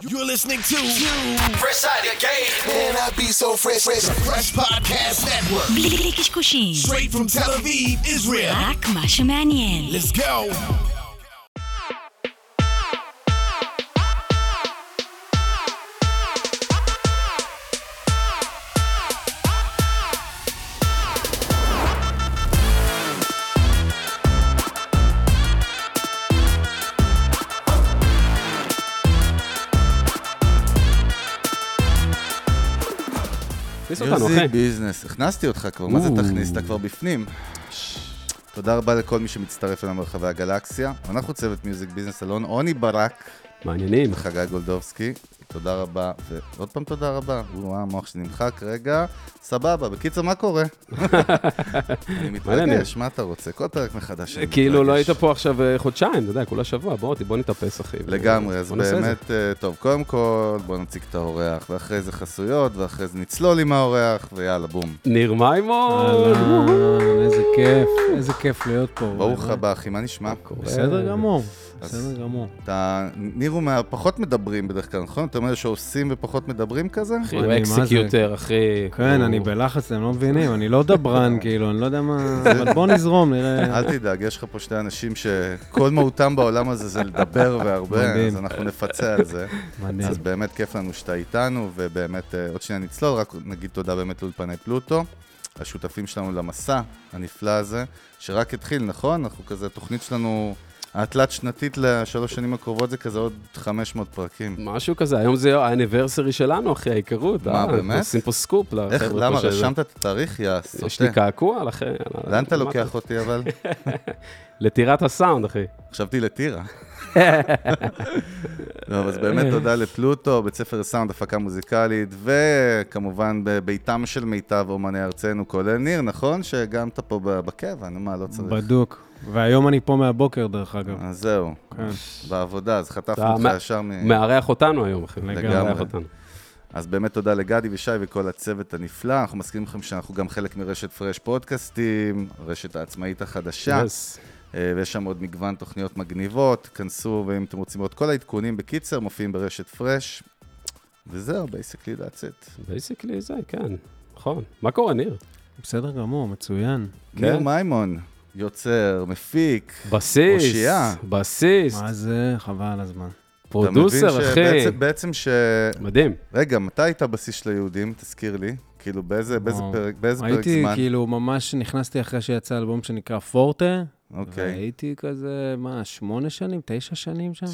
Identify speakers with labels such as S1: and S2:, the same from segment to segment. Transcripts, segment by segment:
S1: You're listening to Fresh Out the Gate.
S2: Man, I be so fresh, fresh,
S1: Fresh Podcast Network.
S3: בלי בלי קשקושים,
S1: Straight from Tel Aviv, Israel.
S3: רק מה שמעניין.
S1: Let's go.
S4: תכניס אותנו,
S5: יוסי
S4: אחי.
S5: ביזנס, הכנסתי אותך כבר, מה זה
S4: או.
S5: תכניס? אתה כבר בפנים. תודה רבה לכל מי שמצטרף אלינו מרחבי הגלקסיה. אנחנו צוות מיוזיק ביזנס אלון, עוני ברק
S4: מעניינים.
S5: וחגי גולדובסקי. תודה רבה, ועוד פעם תודה רבה. הוא המוח שנמחק רגע, סבבה. בקיצר, מה קורה? אני מתרגש, מה אתה רוצה? כל פרק מחדש אני
S4: כאילו לא היית
S5: מתרגש.
S4: פה עכשיו אה, חודשיים, אתה יודע, כולה שבוע, בוא בוא נתאפס, אחי.
S5: לגמרי, אז
S4: בוא נעשה את זה.
S5: באמת, אה, טוב, קודם כל, בוא נציג את האורח, ואחרי זה חסויות, ואחרי זה נצלול עם האורח, ויאללה, בום.
S4: ניר מימון!
S6: אהלן, איזה כיף, איזה כיף להיות פה. אה,
S5: ברוך הבא, אחי, מה נשמע?
S6: בסדר גמור,
S5: אז-
S6: בסדר גמור.
S5: אתה, ניר הוא מהפחות מדברים בדרך כלל, נכון? אתה אומר שעושים ופחות מדברים כזה?
S4: אחי, הוא
S6: אני, מה זה?
S4: אקסקיוטר, אחי.
S6: כן,
S4: הוא-
S6: אני בלחץ, אתם לא מבינים, אני לא דברן, כאילו, אני לא יודע מה... אבל בוא נזרום, נראה.
S5: אל תדאג, יש לך פה שני אנשים שכל מהותם בעולם הזה זה לדבר והרבה,
S6: מדהים.
S5: אז אנחנו נפצה על זה.
S6: מדהים.
S5: אז באמת כיף לנו שאתה איתנו, ובאמת, אה, עוד שנייה נצלול, רק נגיד תודה באמת לאולפני פלוטו, השותפים שלנו למסע הנפלא הזה, שרק התחיל, נכון? אנחנו כזה, התוכנית שלנו, התלת-שנתית לשלוש שנים הקרובות זה כזה עוד 500 פרקים.
S4: משהו כזה, היום זה האניברסרי שלנו, אחי, ההיכרות.
S5: מה,
S4: אה,
S5: באמת?
S4: אנחנו עושים פה סקופ לחבר'ה
S5: איך,
S4: פה
S5: למה?
S4: שזה-
S5: רשמת את התאריך? יא
S4: יש לי
S5: סוטה.
S4: קעקוע, אחי. יאללה,
S5: לאן אתה
S4: מה-
S5: לוקח אותי אה. אבל?
S4: לטירת הסאונד, אחי.
S5: חשבתי לטירה. טוב, אז באמת תודה לפלוטו, בית ספר סאונד, הפקה מוזיקלית, וכמובן בביתם של מיטב אומני ארצנו, כולל ניר, נכון? שגם אתה פה ב- בקבע, נו מה, לא צריך.
S6: בדוק. והיום אני פה מהבוקר, דרך אגב.
S5: אז זהו,
S6: כן.
S5: בעבודה, אז חטפנו
S4: אתה
S5: אותך
S4: מה-
S5: ישר מ...
S4: מארח אותנו היום, אחי.
S6: לגמרי.
S4: מארח אותנו.
S5: אז באמת תודה לגדי ושי וכל הצוות הנפלא. אנחנו מזכירים לכם שאנחנו גם חלק מרשת פרש פודקאסטים, רשת העצמאית החדשה.
S4: Yes.
S5: אה, ויש שם עוד מגוון תוכניות מגניבות, כנסו, ואם אתם רוצים לראות כל העדכונים בקיצר, מופיעים ברשת פרש. וזהו, בייסקלי that's it.
S4: בייסיקלי זה, כן. נכון. מה קורה, ניר?
S6: בסדר גמור, מצוין.
S4: כן.
S5: ניר מימון, יוצר, מפיק,
S4: בסיס.
S5: אושייה.
S4: בסיס.
S6: מה זה? חבל על הזמן.
S5: אתה מבין
S4: פרודוסר, אחי.
S5: שבעצם בעצם ש...
S4: מדהים.
S5: רגע, מתי הייתה בסיס של היהודים? תזכיר לי. כאילו, באיזה, באיזה
S6: וואו.
S5: פרק, באיזה פרק
S6: הייתי,
S5: זמן?
S6: כאילו, ממש נכנסתי אחרי שיצא אלבום שנקרא פורטה.
S5: אוקיי.
S6: והייתי כזה, מה, שמונה שנים, תשע שנים שם?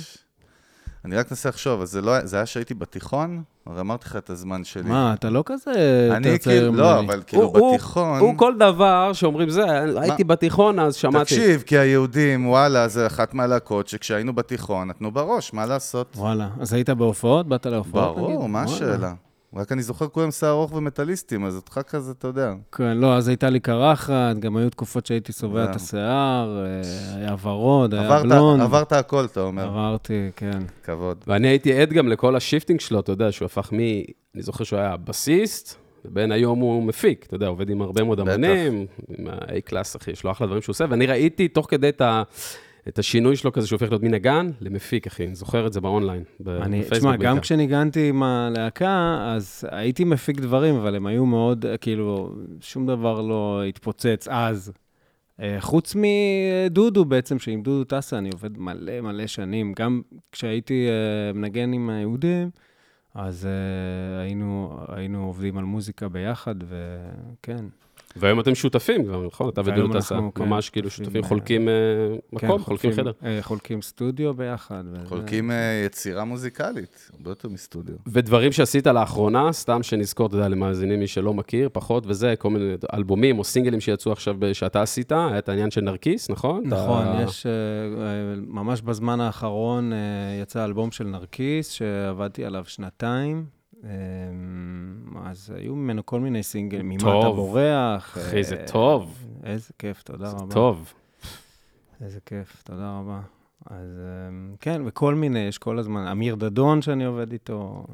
S5: אני רק מנסה לחשוב, אז זה לא היה, זה היה שהייתי בתיכון? הרי אמרתי לך את הזמן שלי.
S6: מה, אתה לא כזה יותר
S5: אני
S6: צעיר
S5: כאילו,
S6: ממני.
S5: לא, אבל כאילו,
S4: הוא- הוא-
S5: בתיכון...
S4: הוא כל דבר שאומרים זה, הייתי בתיכון אז שמעתי.
S5: תקשיב, כי היהודים, וואלה, זה אחת מהלהקות שכשהיינו בתיכון נתנו בראש, מה לעשות?
S6: וואלה, אז היית בהופעות? באת להופעות?
S5: ברור,
S6: נגיד?
S5: מה
S6: וואלה.
S5: השאלה? רק אני זוכר כולם שיער ארוך ומטאליסטים, אז אותך כזה, אתה יודע.
S6: כן, לא, אז הייתה לי קרחת, גם היו תקופות שהייתי צובע
S5: גם.
S6: את השיער, אה, היה ורוד, היה
S5: עברת-
S6: בלונד.
S5: עברת הכל, אתה אומר.
S6: עברתי, כן.
S5: כבוד.
S4: ואני הייתי עד גם לכל השיפטינג שלו, אתה יודע, שהוא הפך מ... אני זוכר שהוא היה בסיסט, ובין היום הוא מפיק, אתה יודע, עובד עם הרבה מאוד
S5: בטח.
S4: אמנים, עם ה-A קלאס, אחי, יש לו אחלה דברים שהוא עושה, ואני ראיתי תוך כדי את ה... את השינוי שלו כזה שהופך להיות מנגן למפיק, אחי, אני זוכר את זה באונליין, ב-
S6: אני,
S4: בפייסבוק
S6: תשמע, גם
S4: בעיקר.
S6: כשניגנתי עם הלהקה, אז הייתי מפיק דברים, אבל הם היו מאוד, אה, כאילו, שום דבר לא התפוצץ אז. אה, חוץ מדודו בעצם, שעם דודו טסה אני עובד מלא מלא שנים. גם כשהייתי אה, מנגן עם היהודים, אז אה, היינו, היינו עובדים על מוזיקה ביחד, וכן. כן,
S4: והיום אתם שותפים כבר, נכון? אתה
S6: והיום
S4: ודודו טסה,
S6: אנחנו, כן,
S4: ממש כאילו
S6: שותפים,
S4: שותפים,
S6: אה,
S4: חולקים אה, מקום,
S6: כן,
S4: חולקים חדר.
S6: אה, חולקים סטודיו ביחד. וזה-
S5: חולקים אה, יצירה מוזיקלית, הרבה יותר מסטודיו.
S4: ודברים שעשית לאחרונה, סתם שנזכור, אתה יודע, למאזינים, מי שלא מכיר, פחות וזה, כל מיני אלבומים או סינגלים שיצאו עכשיו ב- שאתה עשית, היה את העניין של נרקיס, נכון?
S6: נכון,
S4: אתה-
S6: יש, אה, אה, ממש בזמן האחרון אה, יצא אלבום של נרקיס, שעבדתי עליו שנתיים. אה, אז היו ממנו כל מיני סינגלים, ממה אתה
S4: טוב.
S6: בורח.
S4: אחי, זה
S6: אה,
S4: טוב.
S6: איזה כיף, תודה רבה.
S4: טוב.
S6: איזה כיף, תודה רבה. אז אה, כן, וכל מיני, יש כל הזמן, אמיר דדון שאני עובד איתו,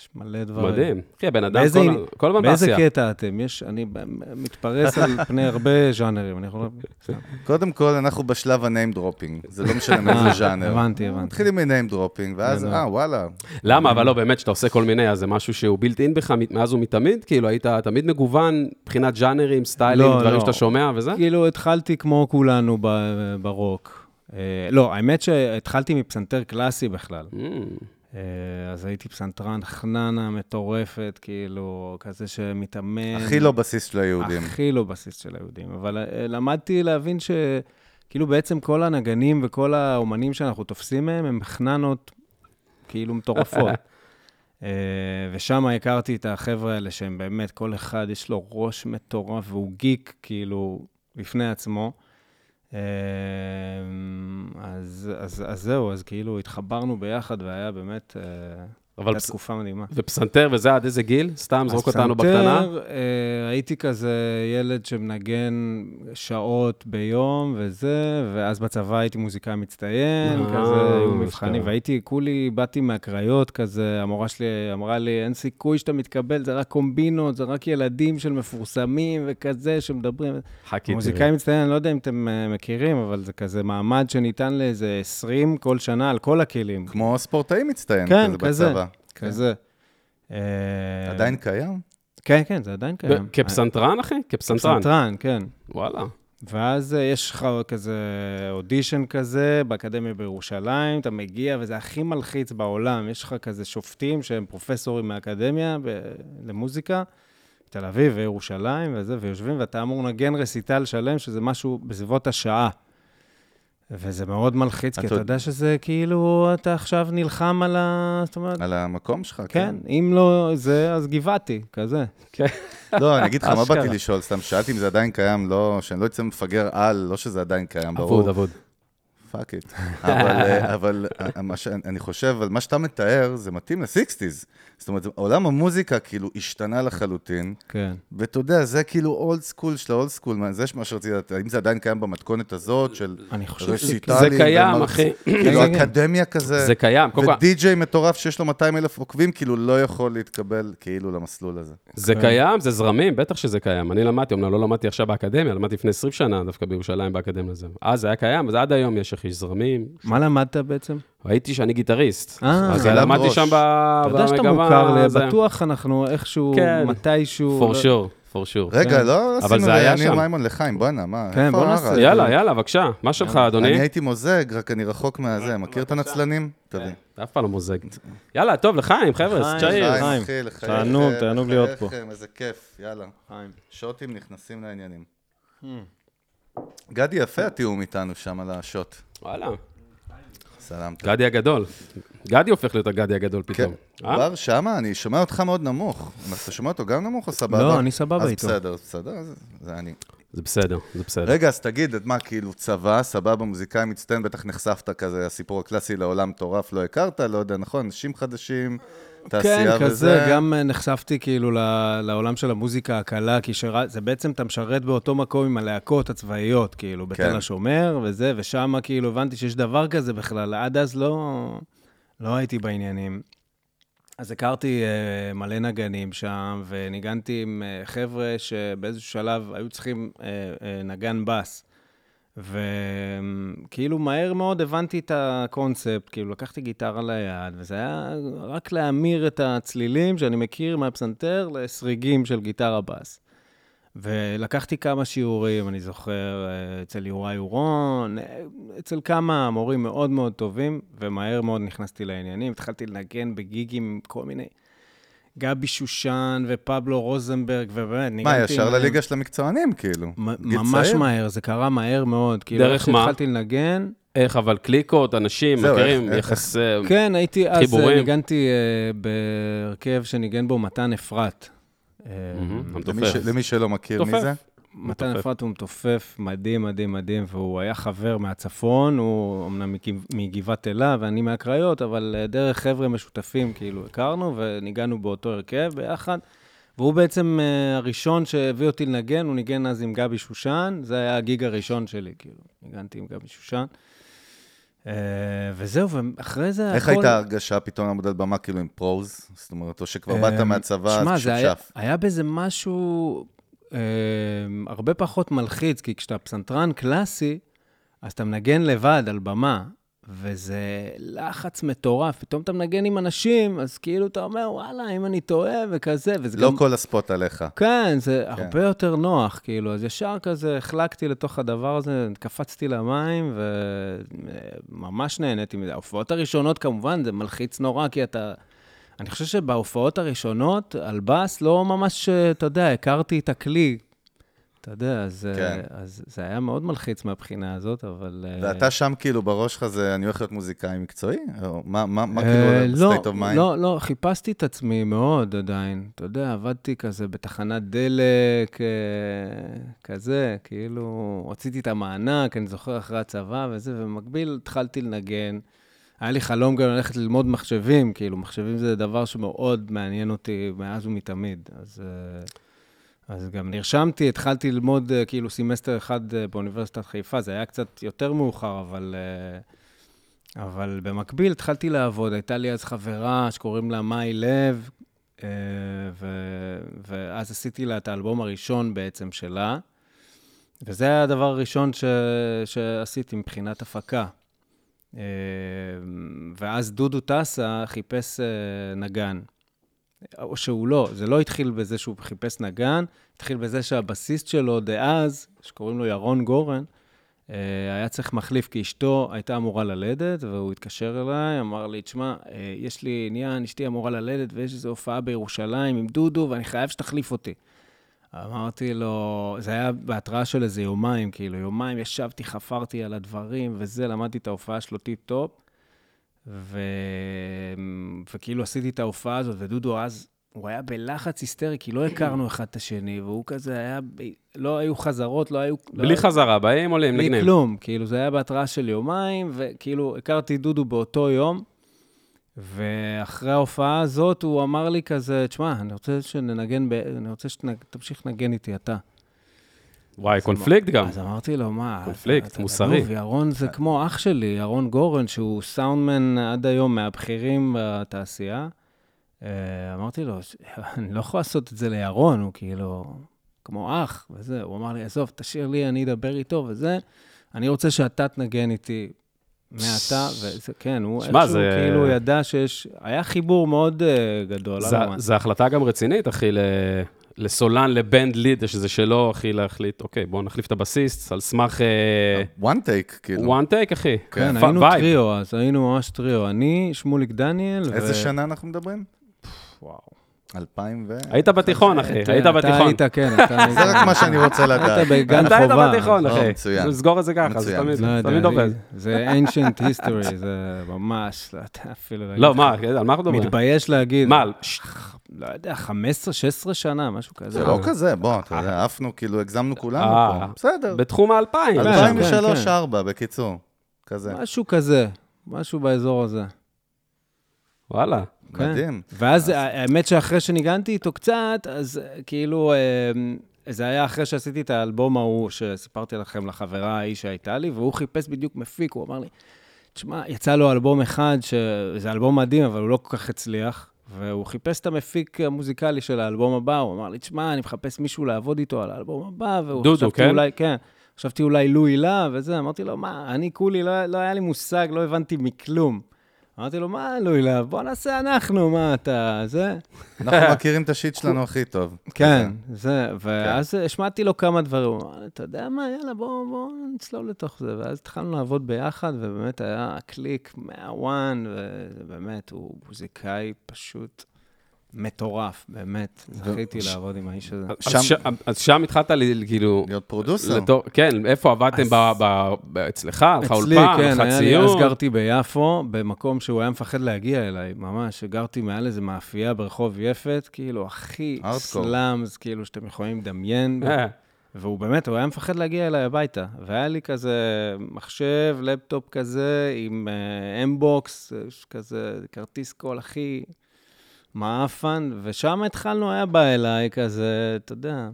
S6: יש מלא דברים.
S4: מדהים. אחי, הבן אדם
S6: באיזה,
S4: כל- כל הזמן
S6: באיזה
S4: בעשייה.
S6: קטע אתם? יש, אני ב- מתפרס על פני הרבה ז'אנרים, אני יכול... סתם.
S5: קודם כל, אנחנו בשלב ה-name dropping, זה לא משנה מאיזה ז'אנר.
S6: אה, הבנתי, הבנתי.
S5: מתחילים מ-name dropping, ואז, אה, וואלה.
S4: למה? אבל לא, באמת, כשאתה עושה כל מיני, אז זה משהו שהוא בילט אין בך מאז ומתמיד, כאילו, היית תמיד מגוון מבחינת ז'אנרים, סטיילים,
S6: לא,
S4: דברים
S6: לא.
S4: שאתה שומע וזה?
S6: כאילו, התחלתי כמו כולנו ב- ברוק. אה, לא, האמת שהתחלתי מפסנתר קלאסי בכלל.
S4: Mm,
S6: אה, אז הייתי פסנתרן חננה מטורפת, כאילו, כזה שמתאמן.
S5: הכי לא בסיס של היהודים.
S6: הכי לא בסיס של היהודים. אבל אה, למדתי להבין ש... כאילו בעצם כל הנגנים וכל האומנים שאנחנו תופסים מהם, הם חננות כאילו מטורפות. אה, ושם הכרתי את החבר'ה האלה, שהם באמת, כל אחד יש לו ראש מטורף, והוא גיק כאילו בפני עצמו. אה, אז, אז, אז זהו, אז כאילו התחברנו ביחד, והיה באמת, אה,
S4: אבל
S6: הייתה
S4: פס-
S6: תקופה מדהימה.
S4: ופסנתר וזה עד איזה גיל? סתם, זרוק אותנו בקטנה.
S6: אז פסנתר, אה, הייתי כזה ילד שמנגן שעות ביום וזה, ואז בצבא הייתי מוזיקאי מצטיין,
S4: אה,
S6: כזה, היו
S4: אשכרה.
S6: מבחנים, והייתי, כולי, באתי מהקריות כזה, המורה שלי אמרה לי, אין סיכוי שאתה מתקבל, זה רק קומבינות, זה רק ילדים של מפורסמים וכזה, שמדברים.
S4: חכי תראי.
S6: מוזיקאי מצטיין, אני לא יודע אם אתם אה, מכירים, אבל זה כזה מעמד שניתן לאיזה 20 כל שנה על כל הכלים.
S5: כמו ספורטאי מצטיין,
S6: כן,
S4: כאילו
S5: כזה
S6: כזה,
S5: בצבא.
S6: כזה.
S4: כן.
S6: אה,
S5: עדיין קיים?
S6: כן, כן, זה עדיין קיים.
S4: ב- כפסנתרן, אחי? כפסנתרן.
S6: פסנתרן, כן.
S4: וואלה.
S6: ואז אה, יש לך כזה אודישן כזה באקדמיה בירושלים, אתה מגיע, וזה הכי מלחיץ בעולם. יש לך כזה שופטים שהם פרופסורים מהאקדמיה ב- למוזיקה, תל אביב וירושלים וזה, ויושבים, ואתה אמור לנגן רסיטל שלם, שזה משהו בסביבות השעה. וזה מאוד מלחיץ, כי
S5: אתה
S6: אתה
S5: עוד-
S6: יודע שזה כאילו, אתה עכשיו נלחם על ה... זאת אומרת,
S5: על המקום שלך,
S6: כן, אם לא זה, אז גבעתי, כזה.
S5: לא, אני אגיד לך, מה
S6: אשכרה.
S5: באתי לשאול? סתם שאלתי אם זה עדיין קיים, לא, שאני לא אצא מפגר על, לא שזה עדיין קיים,
S4: אבוד,
S5: ברור.
S4: אבוד.
S5: פאק איט. אבל, אה, אבל אה, מה שאני- אני חושב, אבל מה שאתה מתאר, זה מתאים לסיקסטיז. זאת אומרת, עולם המוזיקה כאילו השתנה לחלוטין,
S6: כן.
S5: ואתה יודע, זה כאילו אולד סקול של האולד סקול, מה- זה מה שרציתי לדעת, האם זה עדיין קיים במתכונת הזאת של
S6: אני חושב שזה...
S5: רסיטלים?
S4: זה קיים,
S5: ומרצ-
S4: אחי. כן,
S5: כאילו,
S6: זה קיים.
S5: אקדמיה כזה.
S4: זה קיים. קודם כל,
S5: ודי-ג'יי מטורף שיש לו 200 אלף עוקבים, כאילו לא יכול להתקבל כאילו למסלול הזה.
S6: כן.
S4: זה קיים, זה זרמים, בטח שזה קיים. אני למדתי, אמנם לא למדתי עכשיו באקדמיה, למדתי לפני 20 שנה דווקא בירושלים באקדמיה לזה. אז זה היה קיים, אז עד היום יש, אחי, זרמים.
S6: מה למדת בעצם?
S4: הייתי שאני גיטריסט.
S6: אה.
S4: אז
S5: חלם
S4: למדתי
S5: ראש.
S4: שם ב-
S6: אתה
S4: במגמה...
S6: יודע שאתה מוכר, לי,
S4: זה-
S6: בטוח אנחנו איכשהו,
S4: כן.
S6: מתישהו. לא-
S4: for sure, for sure.
S5: רגע, לא
S4: אבל
S5: עשינו
S4: זה היה
S5: ניר
S4: שם.
S5: מימון לחיים, בואנה, מה,
S6: כן,
S5: איפה
S6: בוא
S5: הרעש?
S6: נעשה.
S4: יאללה, יאללה, בבקשה. מה שלך, אדוני?
S5: אני הייתי מוזג, רק אני רחוק מהזה, מכיר את הנצלנים? תביא.
S4: אתה אף פעם לא מוזג. יאללה, טוב, לחיים, חבר'ה,
S6: לחיים.
S4: צ'איר.
S6: חיים,
S5: לחיים, אחי, לחייכם,
S6: תענוג, תענוג להיות פה.
S5: לחייכם, איזה כיף, יאללה.
S6: חיים.
S5: שוטים נכנסים לעניינים. גדי יפה התיאום איתנו שם על השוט.
S4: וואלה,
S5: סלמת.
S4: גדי הגדול. גדי הופך להיות הגדי הגדול
S5: כן.
S4: פתאום. אה?
S5: בר שמה, אני שומע אותך מאוד נמוך. אז אתה שומע אותו גם נמוך או סבבה?
S6: לא, אני סבבה איתו.
S5: אז בסדר, אז בסדר, אז זה אני.
S4: זה בסדר, זה בסדר.
S5: רגע, אז תגיד, את מה, כאילו צבא, סבבה, מוזיקאי מצטיין, בטח נחשפת כזה, הסיפור הקלאסי לעולם מטורף, לא הכרת, לא יודע, נכון, אנשים חדשים,
S6: כן,
S5: תעשייה וזה.
S6: כזה, גם אה, נחשפתי כאילו ל- לעולם של המוזיקה הקלה, כי שרה- זה בעצם, אתה משרת באותו מקום עם הלהקות הצבאיות, כאילו,
S5: כן.
S6: בתל השומר וזה, ושם כאילו הבנתי שיש דבר כזה בכלל, עד אז לא, לא הייתי בעניינים. אז הכרתי אה, מלא נגנים שם, וניגנתי עם אה, חבר'ה שבאיזשהו שלב היו צריכים אה, אה, נגן בס. וכאילו מהר מאוד הבנתי את הקונספט, כאילו לקחתי גיטרה ליד, וזה היה רק להמיר את הצלילים שאני מכיר מהפסנתר לסריגים של גיטרה בס. ולקחתי כמה שיעורים, אני זוכר, אה, אצל יוראי אורון, אה, אצל כמה מורים מאוד מאוד טובים, ומהר מאוד נכנסתי לעניינים, התחלתי לנגן בגיגים עם כל מיני... גבי שושן ופבלו רוזנברג, ובאמת, ניגנתי...
S5: מה,
S6: עם
S5: ישר
S6: מהם.
S5: לליגה של המקצוענים, כאילו.
S6: מ-
S5: גיל
S6: ממש
S5: צעיר.
S6: מהר, זה קרה מהר מאוד. כאילו,
S4: דרך
S6: איך
S4: מה?
S6: שהתחלתי לנגן,
S4: איך, אבל קליקות, אנשים,
S5: זהו,
S4: מכירים,
S5: איך- איך-
S4: יחסי...
S6: כן, הייתי אז,
S4: חיבורים.
S6: חיבורים. ניגנתי אה, בהרכב שניגן בו מתן אפרת. אה,
S4: מהמם,
S5: למי ש-
S4: המתופף.
S5: למי שלא מכיר מי
S4: תופף.
S5: זה.
S6: מתן
S4: מתופף.
S6: אפרת הוא מתופף מדהים, מדהים, מדהים, והוא היה חבר מהצפון, הוא אמנם מגבע- מגבעת אלה ואני מהקריות, אבל אה, דרך חבר'ה משותפים, כאילו, הכרנו וניגענו באותו הרכב ביחד. והוא בעצם אה, הראשון שהביא אותי לנגן, הוא ניגן אז עם גבי שושן, זה היה הגיג הראשון שלי, כאילו, ניגנתי עם גבי שושן. אה, וזהו, ואחרי זה
S5: איך
S6: אה, הכל-
S5: הייתה ההרגשה פתאום לעמוד על במה כאילו עם פרוז? זאת אומרת, או שכבר
S6: אה,
S5: באת מהצבא, אז
S6: שמע, זה היה-
S5: שפשף.
S6: היה בזה משהו אה, הרבה פחות מלחיץ, כי כשאתה פסנתרן קלאסי, אז אתה מנגן לבד על במה, וזה לחץ מטורף. פתאום אתה מנגן עם אנשים, אז כאילו אתה אומר, וואלה, אם אני טועה וכזה, וזה
S5: לא
S6: גם...
S5: כל הספוט עליך.
S6: כן, זה הרבה יותר נוח, כאילו, אז ישר כזה החלקתי לתוך הדבר הזה, קפצתי למים, וממש נהניתי מזה. ההופעות הראשונות, כמובן, זה מלחיץ נורא, כי אתה... אני חושב שבהופעות הראשונות, על בס, לא ממש, אה, אתה יודע, הכרתי את הכלי. אתה יודע, אז, אה,
S5: כן.
S6: אז זה היה מאוד מלחיץ מהבחינה הזאת, אבל... אה,
S5: ואתה שם כאילו בראש שלך זה, אני הולך להיות מוזיקאי מקצועי? או מה- מה מה
S6: אה,
S5: כאילו,
S6: לא,
S5: state of mind?
S6: לא, לא, חיפשתי את עצמי מאוד עדיין. אתה יודע, עבדתי כזה בתחנת דלק, אה, כזה, כאילו, רציתי את המענק, אני זוכר אחרי הצבא וזה, ובמקביל התחלתי לנגן. היה לי חלום גם ללכת ללמוד מחשבים, כאילו, מחשבים זה דבר שמאוד מעניין אותי מאז ומתמיד. אז, אה, אז גם נרשמתי, התחלתי ללמוד אה, כאילו סמסטר אחד אה, באוניברסיטת חיפה, זה היה קצת יותר מאוחר, אבל... אה, אבל במקביל התחלתי לעבוד, הייתה לי אז חברה שקוראים לה מאי לב, אה, ו... ואז עשיתי לה את האלבום הראשון בעצם שלה, וזה היה הדבר הראשון ש... שעשיתי מבחינת הפקה. אה, ואז דודו טסה חיפש אה, נגן. או שהוא לא, זה לא התחיל בזה שהוא חיפש נגן, התחיל בזה שהבסיסט שלו דאז, שקוראים לו ירון גורן, אה, היה צריך מחליף כי אשתו הייתה אמורה ללדת, והוא התקשר אליי, אמר לי, תשמע, אה, יש לי עניין, אשתי אמורה ללדת ויש איזו הופעה בירושלים עם דודו, ואני חייב שתחליף אותי. אמרתי לו, זה היה בהתראה של איזה יומיים, כאילו, יומיים ישבתי, חפרתי על הדברים וזה, למדתי את ההופעה שלו טיפ-טופ, ו... וכאילו עשיתי את ההופעה הזאת, ודודו אז, הוא היה בלחץ היסטרי, כי לא הכרנו אחד את השני, והוא כזה היה, ב... לא היו חזרות, לא היו... לא
S4: בלי
S6: היו...
S4: חזרה, באים עולים,
S6: בלי
S4: נגנים.
S6: כלום, כאילו, זה היה בהתראה של יומיים, וכאילו, הכרתי דודו באותו יום, ואחרי ההופעה הזאת הוא אמר לי כזה, תשמע, אני רוצה שננגן, ב... אני רוצה שתמשיך לנגן איתי אתה.
S4: וואי, קונפליקט גם.
S6: אז אמרתי לו, מה... אתה-
S4: קונפליקט
S6: אתה
S4: מוסרי."
S6: גנוב, ירון זה כמו אח שלי, ירון גורן, שהוא סאונדמן עד היום מהבכירים בתעשייה. אה, אמרתי לו, "ש- אני לא יכול לעשות את זה לירון, הוא כאילו כמו אח וזה. הוא אמר לי, עזוב, תשאיר לי, אני אדבר איתו וזה. אני רוצה שאתה תנגן איתי מעתה, וזה, כן, הוא
S4: שמע,
S6: איכשהו
S4: זה-
S6: כאילו ידע שיש... היה חיבור מאוד אה, גדול.
S4: זה-
S6: לרומן.
S4: זה החלטה גם רצינית, אחי, ל- לסולן, לבנד ליד, שזה שלו, אחי, להחליט, אוקיי, בואו נחליף את הבסיסט, על סמך אה.
S5: one take, כאילו.
S4: וואן טייק, אחי.
S6: כן,
S4: ו-
S6: היינו
S4: וייב.
S6: טריו, אז היינו ממש טריו. אני, שמוליק דניאל, ו-
S5: איזה שנה אנחנו מדברים?
S6: וואו.
S5: אלפיים ו...
S4: היית בתיכון, אחי,
S6: כן,
S4: היית
S6: אתה
S4: בתיכון.
S6: היית, כן, אתה היית.
S5: זה רק מה שאני רוצה לדעת.
S6: היית בגן
S4: אתה
S6: חובה.
S4: היית בתיכון,
S5: לא,
S4: אחי.
S5: מצוין.
S4: נסגור את זה ככה, זה
S5: מצוין.
S4: תמיד-
S6: לא
S4: זה
S6: יודע,
S4: תמיד עובד.
S6: אני- זה ancient history, זה ממש, לא יודע אפילו להגיד.
S4: לא,
S6: לך.
S4: מה, על מה אנחנו מדברים?
S6: מתבייש להגיד.
S4: מה, על- ש-
S6: לא יודע, 15, 16 שנה, משהו כזה.
S5: זה לא כזה, בוא, אתה
S6: אה.
S5: יודע, עפנו, כאילו, הגזמנו כולנו
S4: אה.
S5: פה. בסדר.
S4: בתחום האלפיים.
S6: אלפיים.
S4: שם.
S5: 2003-2004, בקיצור. כזה.
S6: משהו כזה, משהו באזור הזה.
S4: וואלה.
S6: כן.
S5: מדהים.
S6: ואז האמת שאחרי שניגנתי איתו קצת, אז אה, כאילו, אה, זה היה אחרי שעשיתי את האלבום ההוא שסיפרתי לכם לחברה ההיא שהייתה לי, והוא חיפש בדיוק מפיק, הוא אמר לי, תשמע, יצא לו אלבום אחד, שזה אלבום מדהים, אבל הוא לא כל כך הצליח, והוא חיפש את המפיק המוזיקלי של האלבום הבא, הוא אמר לי, תשמע, אני מחפש מישהו לעבוד איתו על האלבום הבא, והוא
S4: דודו,
S6: חשבתי
S4: כן?
S6: אולי, כן. חשבתי אולי לו הילה וזה, אמרתי לו, מה, אני כולי, לא, לא היה לי מושג, לא הבנתי מכלום. אמרתי לו, מה, לו הילה, בוא נעשה אנחנו, מה אתה, זה?
S5: אנחנו מכירים את השיט שלנו הכי טוב.
S6: כן, זה, ואז השמעתי לו כמה דברים. הוא אמר, אתה יודע מה, יאללה, בוא, בוא נצלול לתוך זה. ואז התחלנו לעבוד ביחד, ובאמת היה קליק מהוואן, ובאמת, הוא מוזיקאי פשוט מטורף, באמת. זכיתי לעבוד עם האיש הזה.
S4: אז
S5: שם-
S4: ש- אז שם התחלת ל- כאילו...
S5: להיות פרודוסר.
S4: לתור- כן, איפה עבדתם? ב- ב- ב- אצלך? לך
S6: אצלי,
S4: אולפן?
S6: כן,
S4: לך
S6: היה לי, אז
S4: ציון?
S6: גרתי ביפו, במקום שהוא היה מפחד להגיע אליי, ממש, גרתי מעל איזה מאפייה ברחוב יפת, כאילו, הכי
S5: Hardcore.
S6: סלאמס, כאילו, שאתם יכולים לדמיין.
S4: אה,
S6: והוא באמת, הוא היה מפחד להגיע אליי הביתה. והיה לי כזה מחשב, לפטופ כזה, עם אה, אמבוקס, יש כזה כרטיס קול הכי מעפן, ושם התחלנו, היה בא אליי כזה, אתה יודע,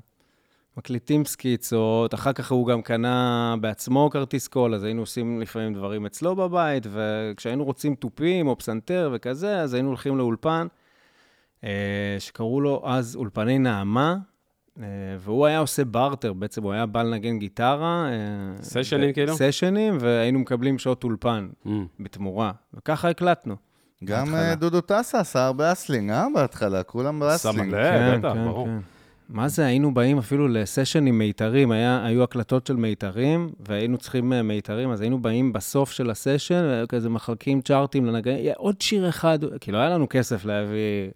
S6: מקליטים סקיצות, אחר כך הוא גם קנה בעצמו כרטיס קול, אז היינו עושים לפעמים דברים אצלו בבית, וכשהיינו רוצים תופים או פסנתר וכזה, אז היינו הולכים לאולפן, אה, שקראו לו אז אולפני נעמה, אה, והוא היה עושה בארטר, בעצם הוא היה בא לנגן גיטרה. אה,
S4: סשנים
S6: ו-
S4: כאילו?
S6: סשנים, והיינו מקבלים שעות אולפן בתמורה, וככה הקלטנו.
S5: גם
S6: בהתחלה.
S5: אה, דודו טסה עשה הרבה אסלינג, אה? בהתחלה, כולם
S4: שם
S5: באסלינג.
S4: לב, כן,
S5: כן,
S4: בטח, ברור.
S6: כן, מה זה, היינו באים אפילו לסשן עם מיתרים, היה, היו הקלטות של מיתרים, והיינו צריכים אה, מיתרים, אז היינו באים בסוף של הסשן, והיו כזה מחלקים צ'ארטים לנגנים, "יא, עוד שיר אחד, כי לא היה לנו כסף להביא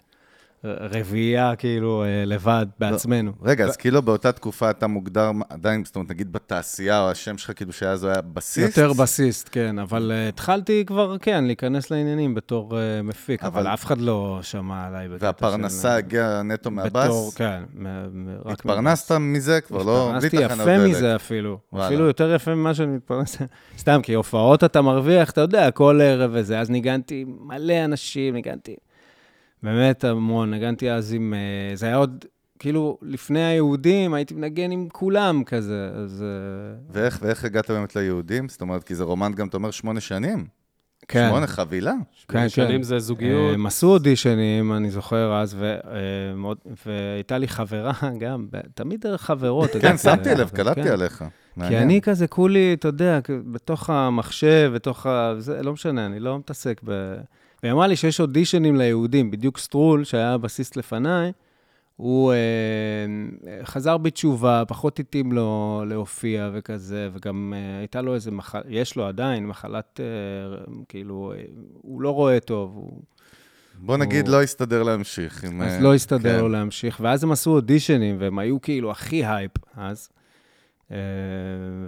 S6: ר- רביעייה, כאילו, אה, לבד, בעצמנו.
S5: לא. רגע, אז כאילו באותה תקופה אתה מוגדר מה- עדיין, זאת אומרת, נגיד בתעשייה, או השם שלך, כאילו שאז הוא היה בסיסט.
S6: יותר בסיסט, כן, אבל אה, התחלתי כבר, כן, להיכנס לעניינים בתור אה, מפיק, אבל
S5: אבל-
S6: אף אחד לא שמע עליי בקטע של... אה,
S5: והפרנסה הגיעה נטו
S6: בתור,
S5: מהבאס?
S6: כן, מה- מה- רק...
S5: התפרנסת מזה כבר, לא... בלי
S6: התפרנסתי
S5: תחנות
S6: יפה
S5: דלק.
S6: מזה אפילו.
S5: וואלה.
S6: אפילו יותר יפה ממה שאני מתפרנס. סתם, כי הופעות אתה מרוויח, אתה יודע, כל ערב וזה. אז ניגנתי מלא אנשים, ניגנתי באמת המון. ניגנתי אז עם... אה, זה היה עוד, כאילו, לפני היהודים, הייתי מנגן עם כולם כזה, אז... אה,
S5: ואיך, ואיך הגעת באמת ליהודים? זאת אומרת, כי זה רומן גם, אתה אומר, שמונה שנים.
S6: כן. אה,
S5: שמונה, חבילה.
S4: שמונה
S5: כן,
S4: שנים זה זוגיות.
S6: הם עשו אודישנים, אני זוכר אז, ו- אה, מאוד- והייתה לי חברה גם, ב- תמיד דרך חברות. אתה
S5: כן,
S6: יודע,
S5: שמתי
S6: זה-
S5: לב,
S6: זה-
S5: קלטתי
S6: כן.
S5: עליך.
S6: כי
S5: מעניין.
S6: אני כזה כולי, אתה יודע, כ- בתוך המחשב, בתוך ה... זה לא משנה, אני לא מתעסק ב... והיא אמרה לי שיש אודישנים ליהודים, בדיוק סטרול, שהיה הבסיסט לפניי, הוא אה, חזר בתשובה, פחות התאים לו להופיע וכזה, וגם אה, הייתה לו איזה מחלה, יש לו עדיין מחלת, אה, כאילו, אה, הוא לא רואה טוב, הוא...
S5: בוא נגיד,
S6: הוא-
S5: לא הסתדר להמשיך. עם, אה,
S6: אז לא הסתדר
S5: כן.
S6: לו להמשיך, ואז הם עשו אודישנים, והם היו כאילו הכי הייפ אז. אה,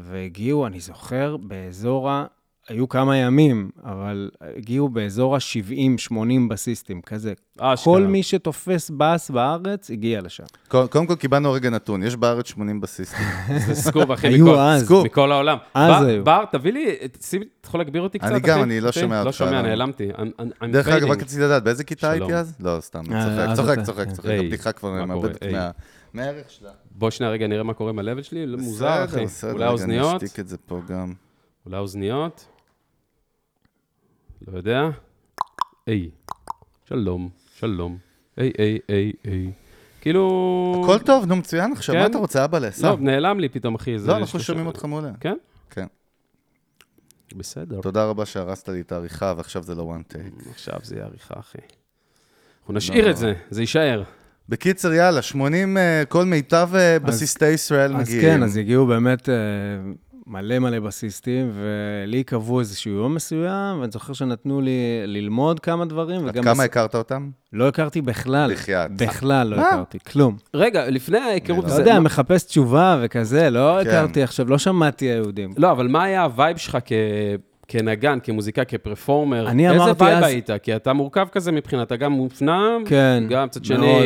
S6: והגיעו, אני זוכר, באזור ה... היו כמה ימים, אבל הגיעו באזור ה-70-80 בסיסטים, כזה.
S5: אה,
S4: אה, אשכרה.
S6: כל מי שתופס בס בארץ, הגיע לשם.
S5: קו- קודם כל, קיבלנו רגע נתון, יש בארץ 80 בסיסטים.
S4: זה סקופ, אחי,
S6: היו
S4: מכל-
S6: אז.
S4: סקופ. אה, מכל העולם.
S6: אז
S4: בר-
S6: היו.
S4: בר, תביא לי, שים, אתה יכול להגביר אותי קצת,
S5: אה, אני
S4: אחי?
S5: גם, אני לא
S4: אותי?
S5: שומע
S4: לא
S5: אותך,
S4: שומע,
S5: לא.
S4: נעלמתי. I'm- I'm- I'm
S5: דרך אגב, רק
S4: fading.
S5: רציתי לדעת, באיזה כיתה
S4: שלום.
S5: הייתי אז? לא, סתם, אני
S6: אה,
S5: צוחק,
S6: אז
S5: צוחק,
S6: אתה-
S5: צוחק, צוחק.
S4: היי,
S5: הבדיחה כבר
S4: מה
S5: מאבדת
S4: קורה?
S5: מה- מהערך שלה.
S4: בוא שניה רגע נראה מה קורה עם ה-level שלי, מוזר, אחי.
S5: בסדר, בסדר,
S4: אולי
S5: רגע,
S4: אוזניות?
S5: נשתיק את זה פה גם.
S4: אולי אוזניות? לא יודע. היי, שלום, שלום. היי, היי, היי, היי. כאילו...
S5: הכל טוב, נו, מצוין עכשיו, מה
S4: כן.
S5: אתה רוצה, אבא לעשה?
S4: לא, נעלם לי פתאום, אחי. זה
S5: לא, אנחנו
S4: שלושה-
S5: שומעים אותך מעולה.
S4: כן?
S5: כן.
S4: בסדר.
S5: תודה רבה שהרסת לי את העריכה, ועכשיו זה לא one take.
S4: עכשיו זה יהיה עריכה, אחי. אנחנו נשאיר את זה, זה יישאר.
S5: בקיצר, יאללה, 80, אה, כל מיטב אה, בסיסטי ישראל
S6: אז
S5: מגיעים.
S6: כן, אז הגיעו באמת אה, מלא מלא בסיסטים, ולי קבעו איזשהו יום מסוים, ואני זוכר שנתנו לי ללמוד כמה דברים,
S5: עד
S6: וגם...
S5: כמה
S6: בס-
S5: הכרת אותם?
S6: לא הכרתי בכלל.
S5: בחייאת. אה.
S6: בכלל לא
S5: מה?
S6: הכרתי, כלום.
S4: רגע, לפני ההיכרות,
S5: לא
S6: לא
S4: זה-
S6: יודע, מחפש תשובה וכזה, לא
S5: כן.
S6: הכרתי עכשיו, לא שמעתי היהודים.
S4: לא, אבל מה היה הווייב שלך כ... כנגן, כמוזיקאי, כפרפורמר?
S6: אני
S4: איזה
S6: אמרתי
S4: וייב
S6: אז-
S4: היית? כי אתה מורכב כזה מבחינת, אתה גם מופנם,
S6: כן,
S4: גם מצד
S6: מאוד.
S4: שני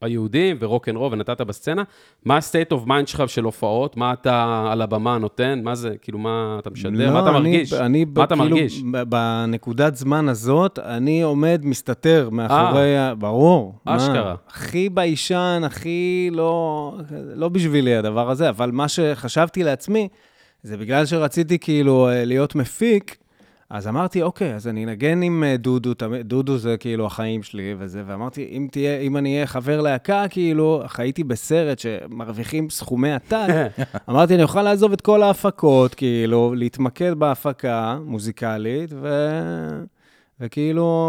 S4: היהודים ורוקנרול ונתת בסצנה. מה ה-state of mind שלך של הופעות? מה אתה על הבמה נותן? מה זה, כאילו, מה אתה משדר?
S6: לא,
S4: מה אתה
S6: אני-
S4: מרגיש?
S6: אני
S4: מה אתה
S6: כאילו,
S4: מרגיש?
S6: ב- בנקודת זמן הזאת, אני עומד, מסתתר מאחורי
S4: אה.
S6: ה... ברור. מה?
S4: אשכרה.
S6: הכי ביישן, הכי לא... לא בשבילי הדבר הזה, אבל מה שחשבתי לעצמי, זה בגלל שרציתי כאילו אה, להיות מפיק, אז אמרתי, אוקיי, אז אני אנגן עם אה, דודו, תמיד- דודו זה כאילו החיים שלי וזה, ואמרתי, אם תהיה, אם אני אהיה חבר להקה, כאילו, אך הייתי בסרט שמרוויחים סכומי עתק, אמרתי, אני אוכל לעזוב את כל ההפקות, כאילו, להתמקד בהפקה מוזיקלית, ו... וכאילו,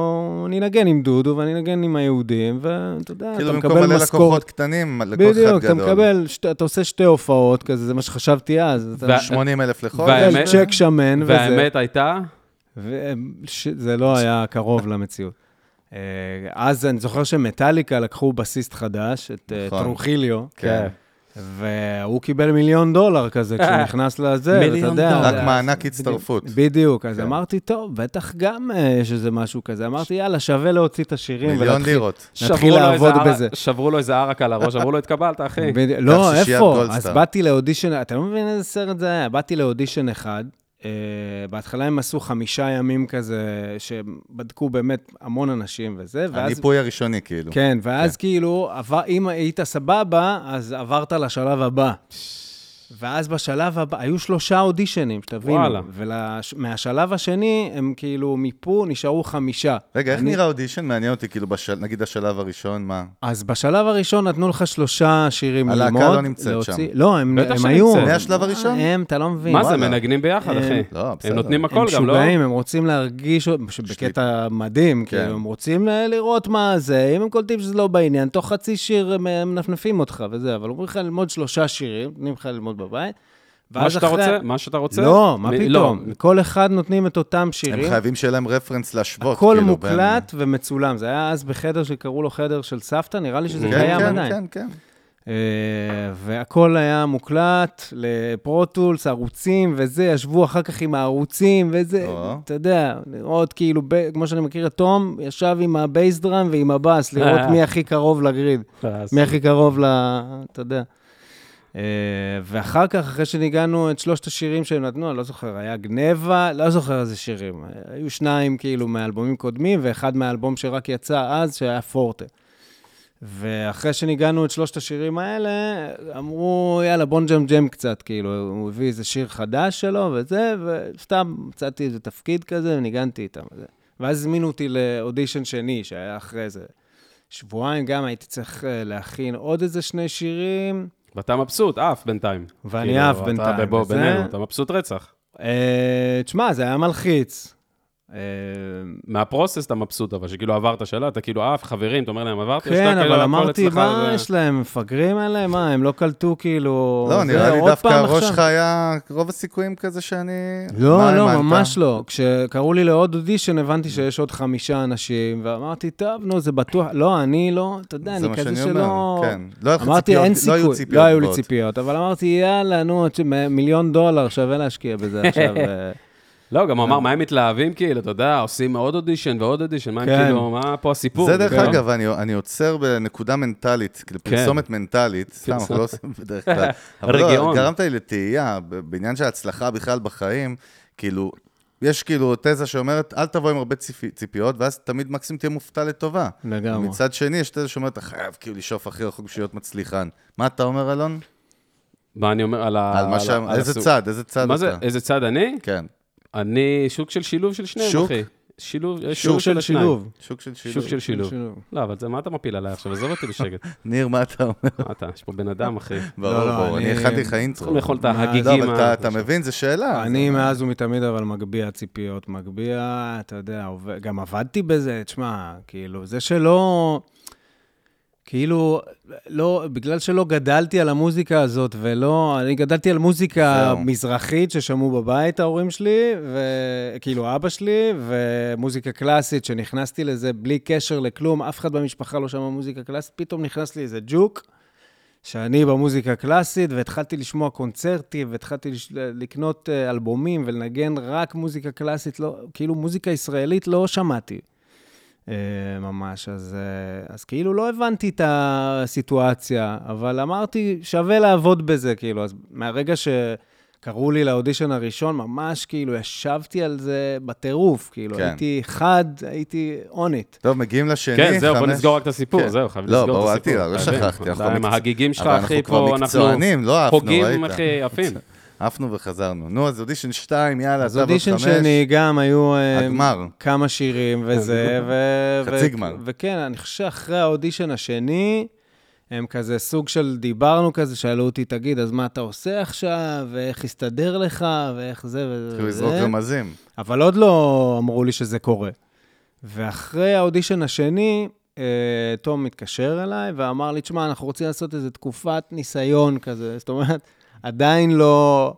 S6: אני אנגן עם דודו ואני אנגן עם היהודים, ואתה יודע,
S5: כאילו
S6: אתה
S5: במקום
S6: מקבל
S5: מלא
S6: משכורת.
S5: לקוחות קטנים, לקוח אחד גדול.
S6: בדיוק, אתה מקבל, שת- אתה עושה שתי הופעות כזה, זה מה שחשבתי אז. אתה-
S4: וה-
S5: 80 אלף לחודש.
S4: והאמת-
S6: צ'ק שמן וזה.
S4: והאמת הייתה,
S6: וזה לא היה קרוב למציאות. אה, אז אני זוכר שמטאליקה לקחו בסיסט חדש, את אה,
S5: נכון.
S6: טרונחיליו,
S5: כן.
S6: והוא קיבל מיליון דולר כזה כשהוא נכנס לזה, ואתה
S4: מיליון
S6: יודע.
S4: דולר.
S5: רק
S4: אז-
S5: מענק הצטרפות.
S6: בדיוק, אז
S5: כן.
S6: אמרתי, טוב, בטח גם אה, יש איזה משהו כזה. אמרתי, יאללה, שווה להוציא את השירים
S5: מיליון
S6: ולהתחיל
S5: לירות.
S6: נתחיל
S4: שברו לו איזה
S6: לעבוד
S4: ערק-
S6: בזה.
S4: שברו לו איזה ערק על הראש, אמרו לו, התקבלת, אחי.
S6: בדי-
S5: כך
S6: לא,
S5: ששיהיה
S6: איפה?
S5: גולדסטאר.
S6: אז באתי לאודישן, אתה לא מבין איזה סרט זה היה? באתי לאודישן אחד, Uh, בהתחלה הם עשו חמישה ימים כזה, שבדקו באמת המון אנשים וזה, ואז...
S5: הניפוי הראשוני, כאילו.
S6: כן, ואז כאילו, עבר, אם היית סבבה, אז עברת לשלב הבא. ואז בשלב הבא, היו שלושה אודישנים, שתבינו.
S4: וואלה.
S6: ומהשלב השני, הם כאילו מיפו, נשארו חמישה.
S5: רגע, איך
S6: אני-
S5: נראה אודישן? מעניין אותי, כאילו, בשל- נגיד השלב הראשון, מה?
S6: אז בשלב הראשון נתנו לך שלושה שירים
S5: הלהקה
S6: ללמוד.
S5: לא נמצאת שם.
S6: לא, הם,
S4: בטח
S6: הם
S4: שנמצאת.
S6: היו...
S5: מהשלב הראשון?
S6: הם, אתה לא מבין.
S4: מה זה,
S5: וואלה.
S4: מנגנים ביחד, אחי.
S5: לא, בסדר.
S4: הם נותנים הכל
S6: הם
S4: גם, לא?
S6: משוגעים, הם רוצים להרגיש, בקטע מדהים,
S5: כן.
S6: כאילו, הם רוצים אה, לראות מה זה, אם הם קולטים שזה לא בעניין, תוך חצי שיר הם אה, מנפנפים אותך וזה, אבל אומרים לך ללמוד שלושה שירים, נותנים לך ללמוד בבית,
S4: מה
S6: ואז
S4: שאתה
S6: אחרי...
S4: רוצה? מה שאתה רוצה?
S6: לא, מה
S4: מ-
S6: פתאום, כל אחד נותנים את אותם
S5: הם
S6: שירים,
S5: חייבים שיהיה להם רפרנס להשוות,
S6: הכל
S5: כאילו, בין-
S6: מוקלט ומצולם, זה היה אז בחדר שקראו לו חדר של סבתא, נראה לי שזה
S5: כן,
S6: קיים
S5: כן,
S6: עדיין.
S5: כן, כן.
S6: אה, והכל היה מוקלט לפרוטולס, ערוצים וזה, ישבו אחר כך עם הערוצים וזה,
S5: או.
S6: אתה יודע, לראות כאילו, ב- כמו שאני מכיר את תום, ישב עם הבייס דראם ועם הבאס, לראות
S4: אה.
S6: מי הכי קרוב לגריד,
S4: אז-
S6: מי הכי קרוב ל... אתה יודע. אה, ואחר כך, אחרי שניגענו את שלושת השירים שהם נתנו, אני לא זוכר, היה גנבה, לא זוכר איזה שירים. היו שניים כאילו מאלבומים קודמים, ואחד מהאלבום שרק יצא אז, שהיה פורטה. ואחרי שניגענו את שלושת השירים האלה, אמרו, יאללה, בוא נג'מג'ם קצת, כאילו, הוא הביא איזה שיר חדש שלו וזה, וסתם מצאתי איזה תפקיד כזה וניגנתי איתם. וזה. ואז הזמינו אותי לאודישן שני, שהיה אחרי זה. שבועיים גם הייתי צריך אה, להכין עוד איזה שני שירים.
S4: ואתה מבסוט, עף בינתיים.
S6: ואני
S4: כאילו,
S6: עף בינתיים,
S4: אתה בבוא
S6: וזה-
S4: בינינו, אתה מבסוט רצח.
S6: אה, תשמע, זה היה מלחיץ. אה,
S4: מהפרוסס אתה מבסוט, אבל שכאילו עברת שאלה, אתה כאילו עף, חברים, אתה אומר להם, עברתי,
S6: כן,
S4: שאתה
S6: אבל
S4: כאילו, הכל
S6: אמרתי,
S4: אצלך
S6: מה
S4: זה-
S6: יש להם, מפגרים עליהם? מה, הם לא קלטו כאילו...
S5: לא,
S6: זה,
S5: נראה לי
S6: עוד
S5: דווקא
S6: פעם
S5: הראש
S6: עכשיו?
S5: שלך היה רוב הסיכויים כזה שאני... מה
S6: לא, לא,
S5: האמנת?
S6: ממש לא. כשקראו לי לעוד אודישן, הבנתי שיש עוד חמישה אנשים, ואמרתי, טוב, נו, זה בטוח. לא, אני לא, אתה יודע,
S5: זה
S6: אני
S5: מה
S6: כזה
S5: שאני
S6: שלא...
S5: אומר, כן. לא היה לך
S6: אמרתי,
S5: ציפיות-
S6: אין
S5: לא
S6: סיכוי.
S5: היו ציפיות
S6: לא היו לי
S5: גבוהות.
S6: ציפיות, אבל אמרתי, יאללה, נו, את ש- מ- מיליון דולר שווה להשקיע בזה עכשיו. אה,
S4: לא, גם הוא אמר, מה הם מתלהבים, כאילו, אתה יודע, עושים עוד אודישן ועוד אודישן, מה הם
S6: כן.
S4: כאילו, מה פה הסיפור?
S5: זה דרך
S4: כאילו?
S5: אגב, אני, אני עוצר בנקודה מנטלית, כאילו
S4: כן.
S5: פרסומת מנטלית, סתם, אנחנו לא עושים בדרך כלל. אבל לא,
S4: רגיעון.
S5: גרמת לי לתהייה, ב- בעניין של הצלחה בכלל בחיים, כאילו, יש כאילו תזה שאומרת, אל תבוא עם הרבה ציפי, ציפיות, ואז תמיד מקסימום תהיה מופתע לטובה.
S6: לגמרי.
S5: מצד שני, יש תזה שאומרת, אתה חייב כאילו לשאוף הכי רחוק בשביל להיות מצליחן. מה אתה אומר, אלון?
S4: מה אני אומר, על ה...
S5: על מה
S4: ה-
S5: ש...
S4: אה, על
S5: איזה
S4: הסוג.
S5: צד, איזה צד
S4: מה זה,
S5: אתה?
S4: איזה צד אני?
S5: כן,
S4: אני שוק של שילוב של שניהם,
S5: שוק?
S4: אחי. שילוב,
S6: שוק
S4: שילוב
S6: של
S4: של השניים.
S6: שילוב.
S5: שוק של שילוב.
S4: שוק של שילוב.
S6: שילוב.
S4: לא, אבל זה, מה אתה מפיל עליי עכשיו? עזוב אותי בשקט.
S5: ניר, מה אתה אומר?
S4: מה אתה, יש פה בן אדם, אחי.
S5: ברור,
S6: לא,
S5: ברור, אני
S6: אני-
S5: הכנתי לך
S4: צריכים
S5: אינטרו.
S4: לאכול את
S5: לא,
S4: ההגיגים.
S5: אבל
S4: ה- אה,
S5: אתה- אתה מבין, זו שאלה.
S6: אה, אני
S5: זה- לא-
S6: מאז ומתמיד אבל מגביה ציפיות, מגביה, אתה יודע, עובד- גם עבדתי בזה, תשמע, כאילו, זה שלא... כאילו, לא, בגלל שלא גדלתי על המוזיקה הזאת, ולא, אני גדלתי על מוזיקה
S5: זהו.
S6: מזרחית ששמעו בבית ההורים שלי, וכאילו אבא שלי, ומוזיקה קלאסית, שנכנסתי לזה בלי קשר לכלום, אף אחד במשפחה לא שמע מוזיקה קלאסית, פתאום נכנס לי איזה ג'וק, שאני במוזיקה קלאסית, והתחלתי לשמוע קונצרטים, והתחלתי לש... לקנות אה, אלבומים ולנגן רק מוזיקה קלאסית, לא, כאילו מוזיקה ישראלית לא שמעתי. אה, ממש, אז, אה, אז כאילו לא הבנתי את הסיטואציה, אבל אמרתי, שווה לעבוד בזה, כאילו, אז מהרגע שקראו לי לאודישן הראשון, ממש כאילו ישבתי על זה בטירוף, כאילו,
S5: כן.
S6: כן. הייתי חד, הייתי on it.
S5: טוב, מגיעים לשני,
S4: כן, זהו, בוא
S5: חמש-
S4: נסגור רק את הסיפור,
S5: כן.
S4: זהו, חייבים
S5: לא,
S4: לסגור את
S5: ברור, אל
S4: הסיפור.
S5: תדאג, לא
S4: חייבים.
S5: שכחתי, אנחנו
S4: די,
S5: במקצוע-
S4: עם ההגיגים שלך,
S5: אבל אנחנו
S4: אחי,
S5: כבר
S4: פה אנחנו
S5: מקצוענים, לא עפנו,
S4: חוגים,
S5: ראית?
S4: אחי, עפים.
S5: עפנו וחזרנו. נו, אז אודישן 2, יאללה,
S6: אז
S5: אתה ועוד
S6: אודישן
S5: חמש.
S6: שני גם היו אה,
S5: הגמר.
S6: כמה שירים וזה, ו... ו-
S5: חצי גמר.
S6: וכן, אני חושב שאחרי האודישן השני, הם כזה סוג של דיברנו כזה, שאלו אותי, תגיד, אז מה אתה עושה עכשיו, ואיך הסתדר לך, ואיך זה וזה.
S5: התחילו כאילו, לזרוק
S6: וזה?"
S5: רמזים.
S6: אבל עוד לא אמרו לי שזה קורה. ואחרי האודישן השני, אה, תום מתקשר אליי ואמר לי, תשמע, אנחנו רוצים לעשות איזו תקופת ניסיון כזה. זאת אומרת, עדיין לא...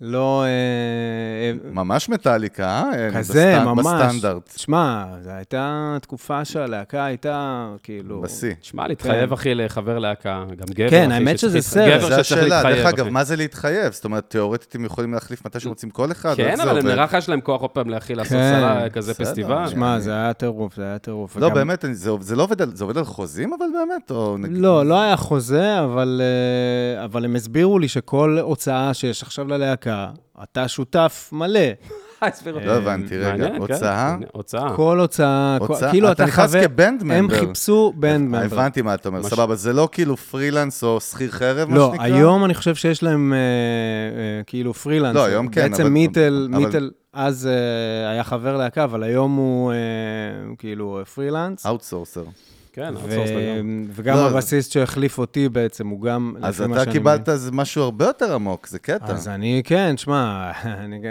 S6: לא... אה,
S5: ממש מטאליקה, אה?
S6: כזה,
S5: בסטנ-
S6: ממש.
S5: בסטנדרט.
S6: תשמע, זו הייתה תקופה שהלהקה הייתה, כאילו...
S5: בשיא.
S4: שמע,
S5: כן.
S4: להתחייב, אחי, לחבר להקה, גם גבר,
S6: כן,
S4: אחי,
S6: האמת שזה
S4: שצריך-
S6: סרט.
S4: גבר
S5: זו
S4: שצריך
S5: השאלה, דרך
S4: להתחייב,
S5: אגב,
S4: אחי.
S5: מה זה להתחייב? זאת אומרת, תיאורטית הם יכולים להחליף מתי שהם רוצים כל אחד?
S4: כן,
S5: איך זה
S4: אבל הם
S5: עובד?
S4: נראה לך יש להם כוח עוד פעם להכיל לעשות
S6: כן,
S4: סלה, כזה
S5: בסדר.
S4: פסטיבל.
S6: תשמע, זה היה טירוף, זה היה טירוף.
S5: לא,
S6: וגם-
S5: באמת, אני- זה זה לא עובד על- זה עובד על חוזים, אבל באמת? או נגיד-
S6: לא, לא היה חוזה, אבל, אה, אבל הם הסבירו לי שכל הוצאה שיש עכשיו ללהקה, הוצאה, אתה שותף מלא.
S5: לא הבנתי, רגע,
S4: מעניין, כן.
S5: הוצאה?
S4: הוצאה.
S6: כל הוצאה, כל-
S5: הוצאה,
S6: כאילו
S5: אתה
S6: אתה
S5: נכנס
S6: חבר...
S5: כבנד
S6: הם
S5: member.
S6: חיפשו בנד
S5: אה,
S6: ממבר.
S5: הבנתי מה אתה אומר, סבבה, זה לא כאילו פרילנס או שכיר חרב, מה
S6: לא,
S5: שנקרא?
S6: היום אני חושב שיש להם אה, אה, כאילו פרילנס.
S5: לא, היום כן, אבל-
S6: בעצם מיטל,
S5: אבל-
S6: מיטל אז אה, היה חבר להקה, אבל היום הוא אה, כאילו אה, פרילנס.
S5: אאוטסורסר.
S4: כן,
S6: ו-
S4: outsource לגמרי.
S6: וגם
S5: לא,
S6: הבסיסט שהחליף אותי בעצם, הוא גם,
S5: אז
S6: לפי מה
S5: אתה
S6: שאני
S5: קיבלת זה משהו הרבה יותר עמוק, זה קטע.
S6: אז אני, כן, שמע, אני, גם-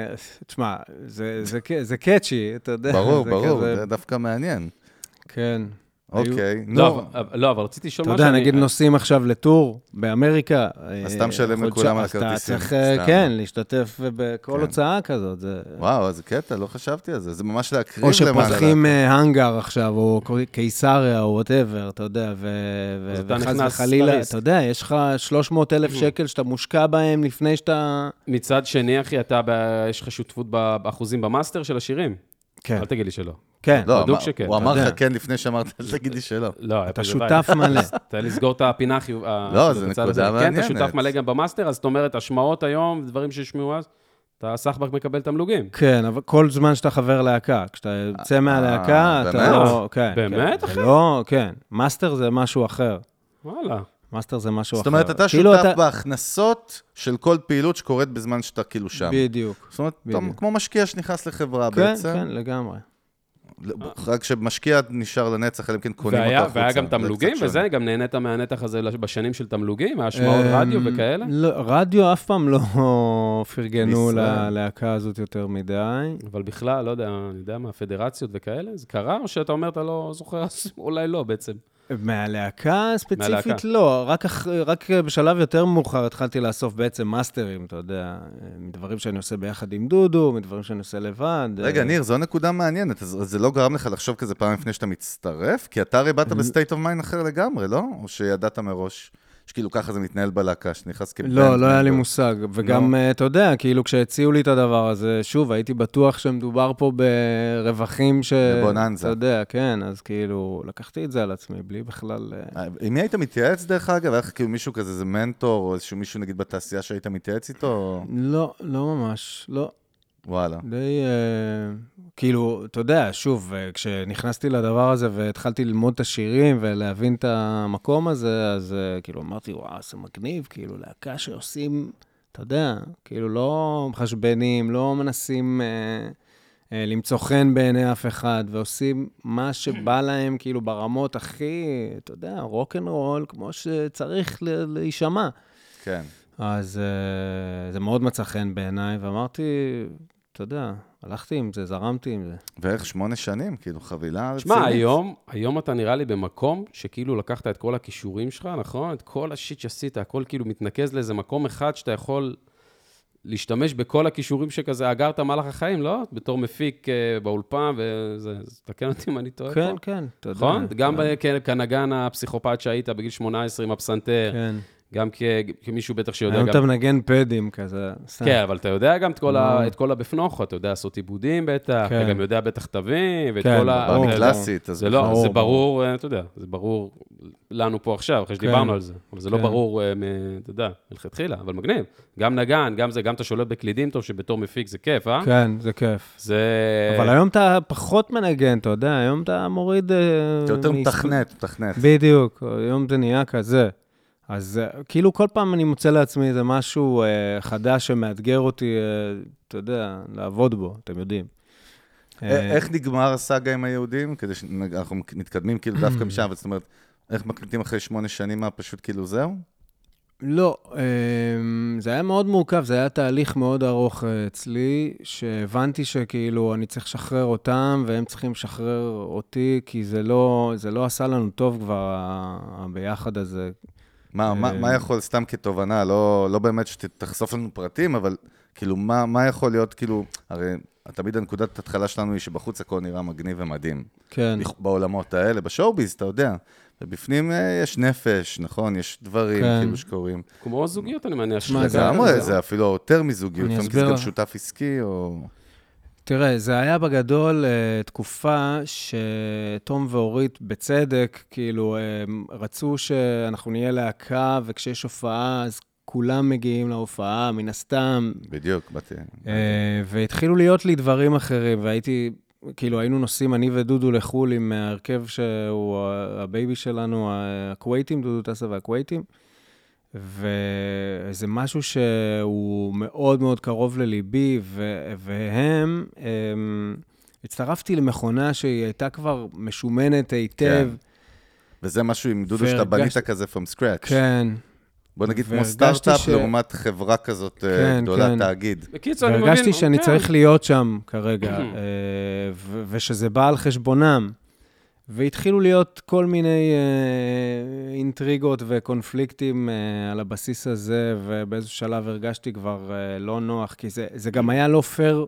S6: תשמע, זה, זה, זה, זה קאצ'י, אתה יודע.
S5: ברור,
S6: זה
S5: ברור,
S6: כזה-
S5: זה דווקא מעניין.
S6: כן.
S5: אוקיי,
S4: לא,
S5: נו,
S4: אבל- אבל- לא, אבל רציתי לשאול
S6: אתה
S4: משהו.
S6: יודע,
S4: אני-
S6: נגיד נוסעים עכשיו לטור באמריקה.
S5: אז
S6: אה,
S5: אתה משלם
S6: חודש-
S5: לכולם על
S6: אז
S5: הכרטיסים,
S6: אתה צריך, אה,
S5: סתם.
S6: כן, להשתתף בכל
S5: כן.
S6: הוצאה כזאת. זה-
S5: וואו, איזה קטע, לא חשבתי על זה, זה ממש להקריב
S6: או
S5: למעלה.
S6: שפותחים אה, האנגר עכשיו, או ק- קיסריה, או וואטאבר, אתה יודע, ו-
S4: אז
S6: ו-
S4: אתה
S6: וחס
S4: נכנס
S6: וחלילה,
S4: לריסק. Mm.
S6: אתה יודע, יש לך 300 אלף שקל שאתה מושקע בהם לפני שאתה...
S4: מצד שני, אחי, אתה, ב- יש לך שותפות ב- באחוזים במאסטר של השירים?
S6: כן,
S4: אל תגיד לי שלא.
S6: כן.
S5: לא,
S4: בדוק
S5: אמר-
S4: שכן,
S5: הוא
S4: אתה
S5: אמר
S6: יודע.
S5: לך כן לפני שאמרת, אל תגיד לי שלא.
S4: לא,
S6: אתה
S4: אפל
S6: שותף
S4: לבד.
S6: מלא.
S4: אתה לסגור את הפינה החיוב... ה-
S5: לא,
S4: של
S5: זו
S4: הצד
S5: נקודה
S4: הזה. כן,
S5: מעניינת.
S4: אתה שותף מלא גם במאסטר, אז זאת אומרת, השמעות היום, דברים שהשמעו אז, אתה סחבק מקבל תמלוגים.
S6: כן, אבל כל זמן שאתה חבר להקה, כשאתה יוצא מהלהקה,
S5: אה, באמת?
S6: אתה לא... כן,
S4: באמת,
S6: כן.
S4: אחי?
S6: זה לא, כן. מאסטר זה משהו אחר.
S4: וואלה.
S6: מאסטר זה משהו אחר.
S5: זאת אומרת, אתה
S6: כאילו
S5: שותף בהכנסות של כל פעילות שקורית בזמן שאתה כאילו שם.
S6: בדיוק.
S5: זאת אומרת, אתה
S6: בדיוק.
S5: כמו משקיע שנכנס לחברה
S6: כן,
S5: בעצם.
S6: כן, לגמרי.
S5: לא, רק שמשקיע נשאר לנצח, אלא אם כן קונים אותו
S4: והיה,
S5: החוצה.
S4: והיה גם
S5: זה קצת
S4: תמלוגים,
S5: שונה.
S4: וזה, גם נהנית מהנתח הזה לש- בשנים של תמלוגים, מהשמעות
S6: אמ,
S4: רדיו וכאלה.
S6: לא, רדיו אף פעם לא פרגנו
S5: בישראל.
S6: ללהקה הזאת יותר מדי.
S4: אבל בכלל, לא יודע, אני יודע מה, פדרציות וכאלה, זה קרה, או שאתה אומר, אתה לא זוכר, אז אולי לא בעצם.
S6: מהלהקה
S4: מהלהקה.
S6: ספציפית לא, רק, אח- רק בשלב יותר מאוחר התחלתי לאסוף בעצם מאסטרים, אתה יודע, אה, מדברים שאני עושה ביחד עם דודו, מדברים שאני עושה לבד. אה,
S5: רגע, ניר, זו נקודה מעניינת. אז אז זה לא גרם לך לחשוב כזה פעם לפני שאתה מצטרף? כי אתה הרי באת בסטייט אוף מיינד אחר לגמרי, לא? או שידעת מראש? שכאילו ככה זה מתנהל בלהקה, שנכנס כבן.
S6: לא, לא היה לי מושג. וגם,
S5: לא.
S6: אה, אתה יודע, כאילו, כשהציעו לי את הדבר הזה, שוב, הייתי בטוח שמדובר פה ברווחים ש...
S5: בבוננזה.
S6: אתה יודע, כן, אז כאילו, לקחתי את זה על עצמי, בלי בכלל... אה,
S5: עם מי היית מתייעץ, דרך אגב? היה לך כאילו מישהו כזה, איזה מנטור, או איזשהו מישהו, נגיד, בתעשייה שהיית מתייעץ איתו? או-
S6: לא, לא ממש, לא.
S5: וואלה.
S6: די... אה, כאילו, אתה יודע, שוב, אה, כשנכנסתי לדבר הזה והתחלתי ללמוד את השירים ולהבין את המקום הזה, אז אה, כאילו אמרתי, וואו, זה מגניב, כאילו, להקה שעושים, אתה יודע, כאילו, לא מחשבנים, לא מנסים אה, אה, למצוא חן בעיני אף אחד, ועושים מה שבא להם, כאילו, ברמות הכי, אתה יודע, רוקנרול, כמו שצריך ל- להישמע.
S5: כן.
S6: אז אה, זה מאוד מצא חן בעיניי, ואמרתי, אתה יודע, הלכתי עם זה, זרמתי עם זה.
S5: ואיך שמונה שנים, כאילו, חבילה רצינית.
S4: שמע, היום, היום אתה נראה לי במקום שכאילו לקחת את כל הכישורים שלך, נכון? את כל השיט שעשית, הכל כאילו מתנקז לאיזה מקום אחד שאתה יכול להשתמש בכל הכישורים שכזה אגרת מהלך החיים, לא? בתור מפיק אה, באולפן, וזה, אז תקן אותי אם אני טועה.
S6: כן,
S4: פה.
S6: כן, אתה יודע.
S4: לא נכון? גם
S6: כן,
S4: ב- כ- כנגן הפסיכופת שהיית בגיל 18 עם הפסנתר,
S6: כן.
S4: גם כ- כמישהו בטח שיודע
S6: היום
S4: גם...
S6: אתה מנגן פדים כזה. סתם.
S4: כן, אבל אתה יודע גם את כל, ה...
S6: נו.
S4: את כל הבפנוכו, אתה יודע לעשות עיבודים בטח, אתה
S6: אה. כן.
S4: גם יודע בטח תווים, ואת
S6: כן,
S4: כל ה...
S6: ברור.
S5: אבל אני
S4: אתה יודע,
S5: קלאסית, אז
S4: זה לא,
S5: בכלל.
S4: זה
S6: ברור,
S4: ברור, אה, אתה יודע, זה ברור לנו פה עכשיו, אחרי שדיברנו על זה. אבל זה לא
S6: כן.
S4: ברור, אה, מ- אתה יודע, מלכתחילה, אבל מגניב. גם נגן, גם זה, גם אתה שולט בקלידים טוב, שבתור מפיק זה כיף, אה?
S6: כן, זה כיף.
S4: זה...
S6: אבל היום אתה פחות מנגן, אתה יודע, היום אתה מוריד... אה,
S5: אתה יותר
S6: מהס-
S5: מתכנת, מתכנת.
S6: בדיוק, היום זה נהיה כזה. אז אה, כאילו כל פעם אני מוצא לעצמי איזה משהו אה, חדש שמאתגר אותי, אה, אתה יודע, לעבוד בו, אתם יודעים.
S5: א-
S6: אה,
S5: איך נגמר הסאגה עם היהודים? כדי שאנחנו מתקדמים כאילו דווקא משם, אבל זאת אומרת, איך מקליטים אחרי שמונה שנים מה פשוט כאילו זהו?
S6: לא, אמ, זה היה מאוד מורכב, זה היה תהליך מאוד ארוך אה, אצלי, שהבנתי שכאילו אני צריך לשחרר אותם והם צריכים לשחרר אותי, כי זה לא, זה לא עשה לנו טוב כבר, ה- הביחד הזה.
S5: מה, מה,
S6: אה.
S5: מה יכול, סתם כתובנה, לא, לא באמת שתחשוף לנו פרטים, אבל כאילו, מה, מה יכול להיות, כאילו, הרי תמיד הנקודת ההתחלה שלנו היא שבחוץ הכל נראה מגניב ומדהים.
S6: כן,
S5: לכ- בעולמות האלה, בשואו-ביז, אתה יודע. ובפנים אה, יש נפש, נכון? יש דברים
S6: כן.
S5: כאילו שקורים.
S4: כמו זוגיות, אני מניח.
S6: שמע,
S4: שזה-
S5: לגמרי, זה אפילו יותר מזוגיות,
S6: אני
S5: לפעמים כי
S6: אסביר
S5: זה גם
S6: לך.
S5: שותף עסקי, או...
S6: תראה, זה היה בגדול אה, תקופה שתום ואורית, בצדק, כאילו, הם רצו שאנחנו נהיה להקה, וכשיש הופעה, אז כולם מגיעים להופעה, מן הסתם,
S5: בדיוק, באתי.
S6: אה, והתחילו להיות לי דברים אחרים, והייתי, כאילו, היינו נוסעים, אני ודודו לחו"ל עם ההרכב שהוא ה- הבייבי שלנו, ה- הכווייתים, דודו טסה והכווייתים, וזה משהו שהוא מאוד מאוד קרוב לליבי, ו- והם, הם, הצטרפתי למכונה שהיא הייתה כבר משומנת היטב.
S5: וזה משהו עם דודו שאתה
S6: והרגשתי-
S5: בנית כזה from scratch.
S6: כן.
S5: בוא נגיד כמו
S6: והרגשתי
S5: סטארט-אפ
S6: ש-
S5: לעומת חברה כזאת אה,
S6: כן,
S5: גדולה,
S6: כן.
S5: תאגיד.
S4: בקיצור, אני מבין...
S6: והרגשתי שאני
S4: כן.
S6: צריך להיות שם כרגע, אה, ו- ושזה בא על חשבונם. והתחילו להיות כל מיני אה, אינטריגות וקונפליקטים אה, על הבסיס הזה, ובאיזשהו שלב הרגשתי כבר אה, לא נוח, כי זה, זה גם היה לא פייר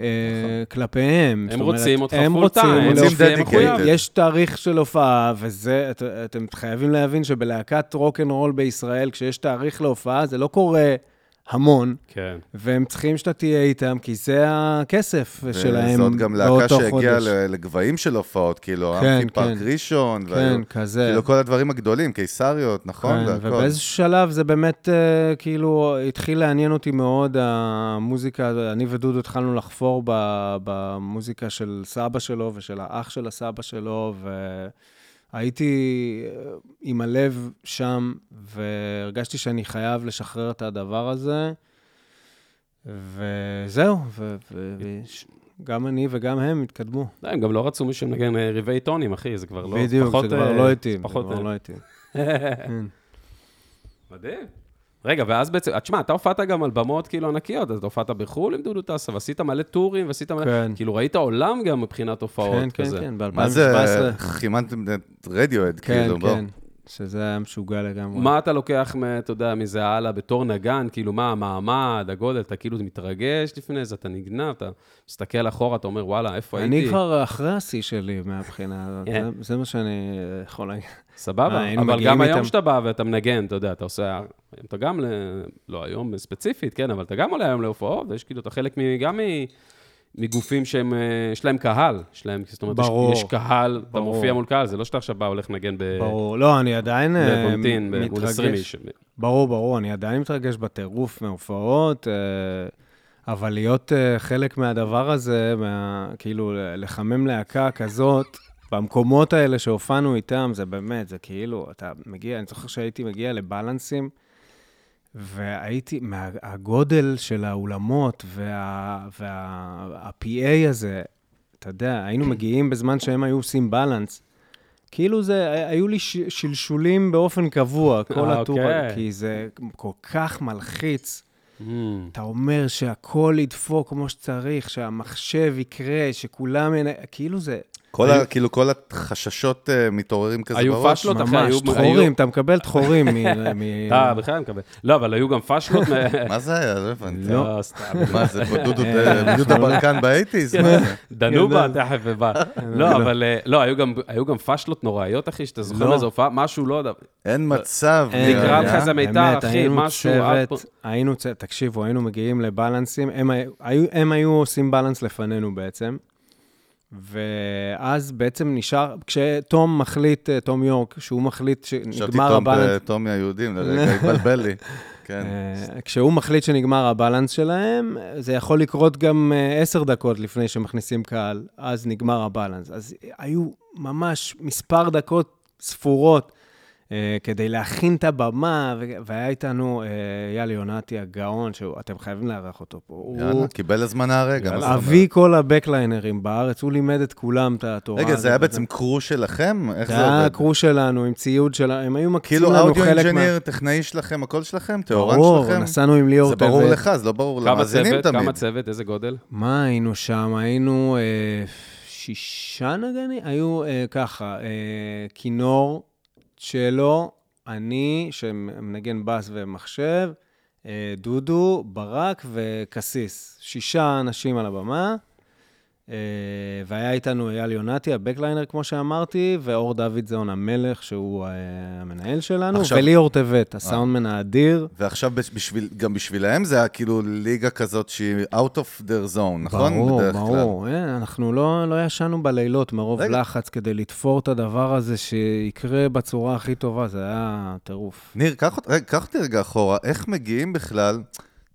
S6: אה, כלפיהם.
S4: נכון. הם
S6: זאת אומרת,
S4: רוצים אותך
S6: הם
S4: פול טיים.
S6: רוצים
S5: הם
S6: להופיע-
S5: רוצים dedicated.
S6: יש תאריך של הופעה, וזה, את, אתם חייבים להבין שבלהקת רוקנרול בישראל, כשיש תאריך להופעה, זה לא קורה המון.
S4: כן.
S6: והם צריכים שאתה תהיה איתם, כי זה הכסף שלהם
S5: זאת גם להקה
S6: באותו
S5: שהגיעה
S6: חודש.
S5: ל- לגבהים של הופעות, כאילו,
S6: כן,
S5: אמפי פארק
S6: כן.
S5: ראשון, והיו-
S6: כן, כזה.
S5: כאילו כל הדברים הגדולים, קיסריות, נכון?
S6: כן,
S5: והכל.
S6: ובאיזשהו שלב זה באמת, אה, כאילו, התחיל לעניין אותי מאוד המוזיקה, אני ודודו התחלנו לחפור ב- במוזיקה של סבא שלו ושל האח של הסבא שלו, והייתי אה, עם הלב שם, והרגשתי שאני חייב לשחרר את הדבר הזה, וזהו, ו- ו- וגם אני וגם הם התקדמו.
S4: לא, הם גם לא רצו מישהו מנגן אה, רבעי טונים, אחי, זה כבר לא...
S6: בדיוק,
S4: פחות,
S6: זה
S4: אה,
S6: כבר לא התאים, זה
S4: פחות,
S6: כבר
S4: אה,
S6: לא התאים.
S4: מדהים. רגע, ואז בעצם, אה, תשמע, אתה הופעת גם על במות כאילו ענקיות, אז אתה הופעת בחו"ל עם דודו טסה, ועשית מלא טורים, ועשית מלא...
S6: כן.
S4: כאילו, ראית עולם גם מבחינת הופעות
S6: כן,
S4: כזה.
S6: כן, כן,
S5: מה זה,
S6: ב-2017.
S5: חימנתם את רדיואד,
S6: כן,
S5: כאילו, בוא.
S6: כן, שזה היה משוגע לגמרי.
S4: מה אתה לוקח, מ- אתה יודע, מזה הלאה בתור נגן? כאילו, מה המעמד, הגודל, אתה כאילו מתרגש לפני זה, אתה נגנב, אתה מסתכל אחורה, אתה אומר, וואלה, איפה הייתי?
S6: אני כבר אחרי השיא שלי מהבחינה הזאת,
S4: כן.
S6: זה- זה מה שאני אה, יכול להגיד. אה,
S4: סבבה,
S6: היינו
S4: אבל
S6: מגיעים
S4: גם היום
S6: איתם.
S4: שאתה בא ואתה מנגן, אתה יודע, אתה עושה... אתה גם, ל... לא היום ספציפית, כן, אבל אתה גם עולה היום להופעות, ויש כאילו, אתה חלק מ- גם מ... מגופים שהם, אה, יש להם קהל, יש להם, זאת אומרת, יש-
S6: ברור.
S4: יש קהל, אתה
S6: ברור.
S4: מופיע מול קהל, זה לא שאתה עכשיו בא, הולך לנגן ב...
S6: ברור, לא, אני עדיין אה,
S4: בקונטין, ב- מול 20
S6: מתרגש.
S4: איש.
S6: ברור, ברור, אני עדיין מתרגש בטירוף מהופעות, אה, אבל להיות אה, חלק מהדבר הזה, מה- כאילו, לחמם להקה כזאת, במקומות האלה שהופענו איתם, זה באמת, זה כאילו, אתה מגיע, אני זוכר שהייתי מגיע לבלנסים, והייתי, מהגודל של האולמות וה-PA וה, וה, הזה, אתה יודע, היינו
S4: כן.
S6: מגיעים בזמן שהם היו עושים בלנס. כאילו זה, היו לי ש, שלשולים באופן קבוע, כל
S4: אה,
S6: הטור,
S4: אוקיי.
S6: כי זה כל כך מלחיץ.
S4: Mm.
S6: אתה אומר שהכל ידפוק כמו שצריך, שהמחשב יקרה, שכולם... ינ- כאילו זה...
S5: כל ה- כאילו, כל החששות אה, מתעוררים כזה
S4: היו
S5: בראש.
S4: פשלות, אחי,
S6: ממש,
S4: היו-
S6: דחורים, אתה מקבל דחורים מ... מ- אה,
S4: אתה בכלל מקבל. לא, אבל היו גם פאשלות. מ-
S5: מה זה היה? לא הבנתי.
S6: לא.
S4: לא, סתם.
S5: מה זה, פה דודו דה- דודו ברקן באייטיז?
S6: כן.
S5: מה זה?
S4: דנובה תכף ובא. לא, אבל אה, לא, היו גם- היו גם פאשלות נוראיות, אחי, שאתה זוכר
S6: לא.
S4: איזו הופעה, משהו לא... יודע,
S5: אין מצב.
S6: אין,
S5: נראה
S4: נקרא
S5: לי,
S4: לך
S5: אה?
S4: זה מיתר,
S6: באמת,
S4: אחי,
S6: היינו
S4: משהו,
S6: צוות,
S4: את-
S6: היינו צוות, תקשיבו, היינו מגיעים לבלנסים, הם היו- היו- הם היו עושים בלנס לפנינו בעצם, ואז בעצם נשאר, כשתום מחליט, אה, תום יורק, שהוא מחליט
S5: חשבתי
S6: שנגמר
S5: תום
S6: הבלנס,
S5: ותום מהיהודים, לרגע התבלבל לי. כן.
S6: אה, כשהוא מחליט שנגמר הבלנס שלהם, זה יכול לקרות גם אה, עשר דקות לפני שמכניסים קהל, אז נגמר הבלנס. אז היו ממש מספר דקות ספורות אה, כדי להכין את הבמה, ו- והיה איתנו אה, יאלי יונתי הגאון, שאתם חייבים לארח אותו פה. הוא
S5: יאללה, קיבל הזמנה הרגע. מה זאת אומרת?
S6: אבי כל הבקליינרים בארץ, הוא לימד את כולם את התורה.
S5: רגע,
S6: הזאת.
S5: זה היה בעצם קרו שלכם? איך
S6: זה
S5: זה
S6: היה
S5: עובד?
S6: הקרו שלנו, עם ציוד שלנו, הם היו מקצים
S5: כאילו
S6: לנו
S5: אודיו
S6: חלק מה...
S5: אינג'יניר, טכנאי שלכם, הכל שלכם, טהורן
S6: ברור,
S5: שלכם?
S6: נסענו עם ליאור
S5: זה ברור
S6: טבת.
S5: לך, זה לא ברור
S4: כמה
S5: למאזינים
S4: צוות,
S5: תמיד.
S4: כמה צוות, איזה גודל?
S6: מה היינו שם? היינו אה, שישה נגנים? היו אה, ככה, אה, כינור, צ'לו, אני, שמנגן בס ומחשב, אה, דודו, ברק וקסיס. שישה אנשים על הבמה. אה, והיה איתנו אייל יונתי, הבקליינר, כמו שאמרתי, ואור דוידזון המלך, שהוא אה, המנהל שלנו,
S5: עכשיו-
S6: וליאור טבת, הסאונדמן האדיר.
S5: ועכשיו בש- בשביל, גם בשבילהם זה היה כאילו ליגה כזאת שהיא out of their zone, נכון?
S6: ברור,
S5: בדרך כלל.
S6: ברור. אה, אנחנו לא, לא ישנו בלילות מרוב
S5: רגע.
S6: רגע. לחץ כדי לתפור את הדבר הזה שיקרה בצורה הכי טובה, זה היה טירוף.
S5: ניר, קח אות- רגע, קח אותי רגע אחורה, איך מגיעים בכלל,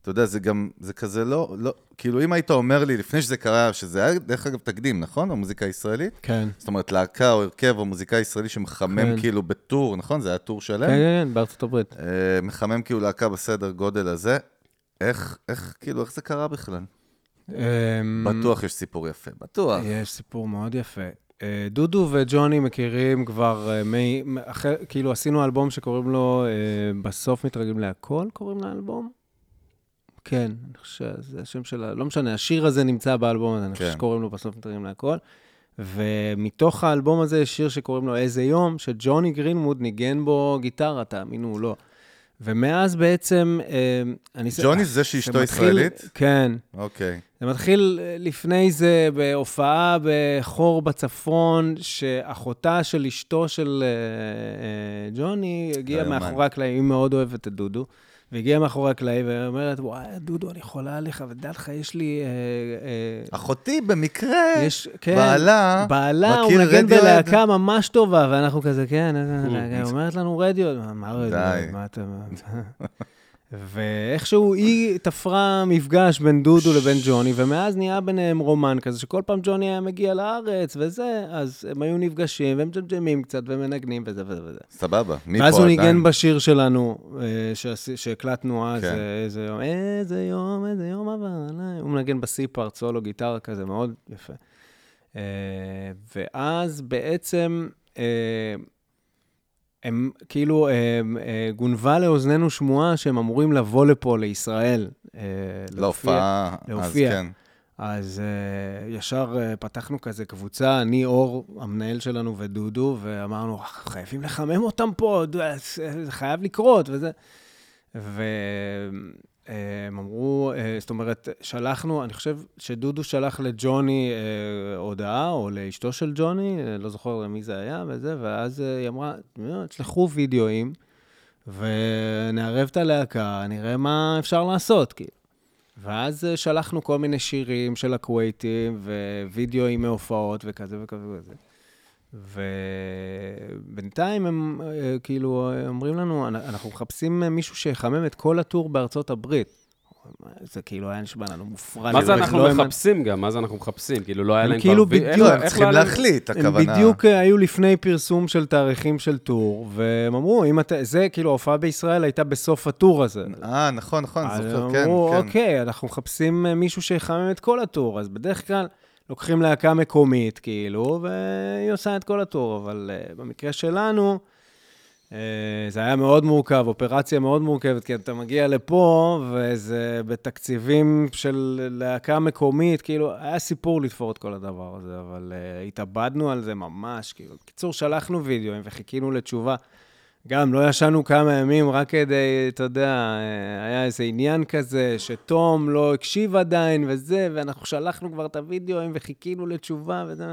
S5: אתה יודע, זה גם, זה כזה לא, לא, כאילו אם היית אומר לי לפני שזה קרה, שזה היה דרך אגב תקדים, נכון? המוזיקה הישראלית?
S6: כן.
S5: זאת אומרת, להקה או הרכב או מוזיקאי ישראלי שמחמם
S6: כן.
S5: כאילו בטור, נכון? זה היה טור
S6: כן,
S5: שלם.
S6: כן, כן, בארצות הברית.
S5: אה, מחמם כאילו להקה בסדר גודל הזה. איך, איך, כאילו, איך זה קרה בכלל?
S6: אמ,
S5: בטוח יש סיפור יפה, בטוח.
S6: יש סיפור מאוד יפה. אה, דודו וג'וני מכירים כבר, אה, מי- מ- אחר- כאילו עשינו אלבום שקוראים לו אה, בסוף מתרגלים להכל, קוראים לאלבום? כן, אני חושב שזה השם של ה... לא משנה, השיר הזה נמצא באלבום הזה, אני חושב
S5: כן.
S6: שקוראים לו בסוף מתרגלים להכל. ומתוך האלבום הזה יש שיר שקוראים לו איזה יום, שג'וני גרינמוד ניגן בו גיטרה, תאמינו או לא. ומאז בעצם, אה, אני...
S5: ג'וני זה שאשתו
S6: מתחיל-
S5: ישראלית?
S6: כן.
S5: אוקיי.
S6: זה מתחיל אה, לפני זה בהופעה בחור בצפון, שאחותה של אשתו של אה, אה, ג'וני הגיעה
S5: לא יאומן.
S6: מאחורי הקלעים, היא מאוד אוהבת את דודו, והגיעה מאחורי הקלעים ואומרת, וואי, דודו, אני חולה עליך, ודע לך, יש לי... אה, אה,
S5: אחותי במקרה,
S6: יש, כן,
S5: בעלה,
S6: בעלה, הוא
S5: מכיר
S6: נגן
S5: רדיואד?
S6: בלהקה ממש טובה, ואנחנו כזה, כן, איזה להקה?" היא אומרת לנו רדיו, מה- מה רדיו,
S5: די.
S6: מה אתה... ואיכשהו היא תפרה מפגש בין דודו לבין ג'וני, ומאז נהיה ביניהם רומן כזה, שכל פעם ג'וני היה מגיע לארץ וזה, אז הם היו נפגשים, והם ג'מג'מים קצת, ומנגנים וזה וזה וזה.
S5: סבבה, מפה
S6: ואז הוא
S5: עדיין.
S6: ניגן בשיר שלנו, אה, שעשי- שהקלטנו אז,
S5: כן.
S6: אה, איזה יום, איזה יום, איזה יום עבר עליי. הוא מנגן בסי-פארט, סולו גיטרה כזה, מאוד יפה. אה, ואז בעצם, אה, הם כאילו, אה, אה, גונבה לאוזנינו שמועה שהם אמורים לבוא לפה, לישראל. אה, להופיע.
S5: להופעה, לא, אז
S6: להופיע.
S5: כן.
S6: אז uh, ישר uh, פתחנו כזה קבוצה, אני, אור, המנהל שלנו ודודו, ואמרנו, "אה, חייבים לחמם אותם פה, דו- אה, זה חייב לקרות, וזה... והם אמרו, אה, זאת אומרת, שלחנו, אני חושב שדודו שלח לג'וני אה, הודעה, או לאשתו של ג'וני, אה, לא זוכר למי זה היה וזה, ואז אה, היא אמרה, "אה, תשלחו וידאוים, ונערב את הלהקה, נראה מה אפשר לעשות, כאילו. ואז אה, שלחנו כל מיני שירים של הכווייטים, ווידאוים מהופעות וכזה וכזה וכזה. ובינתיים הם אה, כאילו אה, אומרים לנו, "אנ- אנחנו מחפשים אה, מישהו שיחמם את כל הטור בארצות הברית. זה כאילו היה נשמע לנו מופרע.
S4: מה זה
S6: לראות,
S4: אנחנו
S6: לא האמנ-
S4: מחפשים גם? מה זה אנחנו מחפשים? כאילו, לא היה
S6: הם
S4: להם כבר...
S6: כאילו
S4: וי- אין-
S6: בדיוק,
S5: לא,
S4: איך
S5: הם צריכים
S4: לא היה להם-
S5: להחליט,
S6: הם
S5: הכוונה.
S6: בדיוק אה, היו לפני פרסום של תאריכים של טור, והם אמרו, אם אתה... זה, כאילו, ההופעה בישראל הייתה בסוף הטור הזה.
S5: אה, נכון, נכון,
S6: אז
S5: זוכר, כן,
S6: אמרו,
S5: כן.
S6: אוקיי, אנחנו מחפשים אה, מישהו שיחמם את כל הטור, אז בדרך כלל לוקחים להקה מקומית, כאילו, והיא עושה את כל הטור, אבל uh, במקרה שלנו, uh, זה היה מאוד מורכב, אופרציה מאוד מורכבת, כי אתה מגיע לפה, וזה בתקציבים של להקה מקומית, כאילו, היה סיפור לתפור את כל הדבר הזה, אבל uh, התאבדנו על זה ממש, כאילו. בקיצור, שלחנו וידאוים וחיכינו לתשובה. גם לא ישנו כמה ימים רק כדי, אתה יודע, אה, היה איזה עניין כזה שתום לא הקשיב עדיין וזה, ואנחנו שלחנו כבר את הוידאוים וחיכינו לתשובה וזה.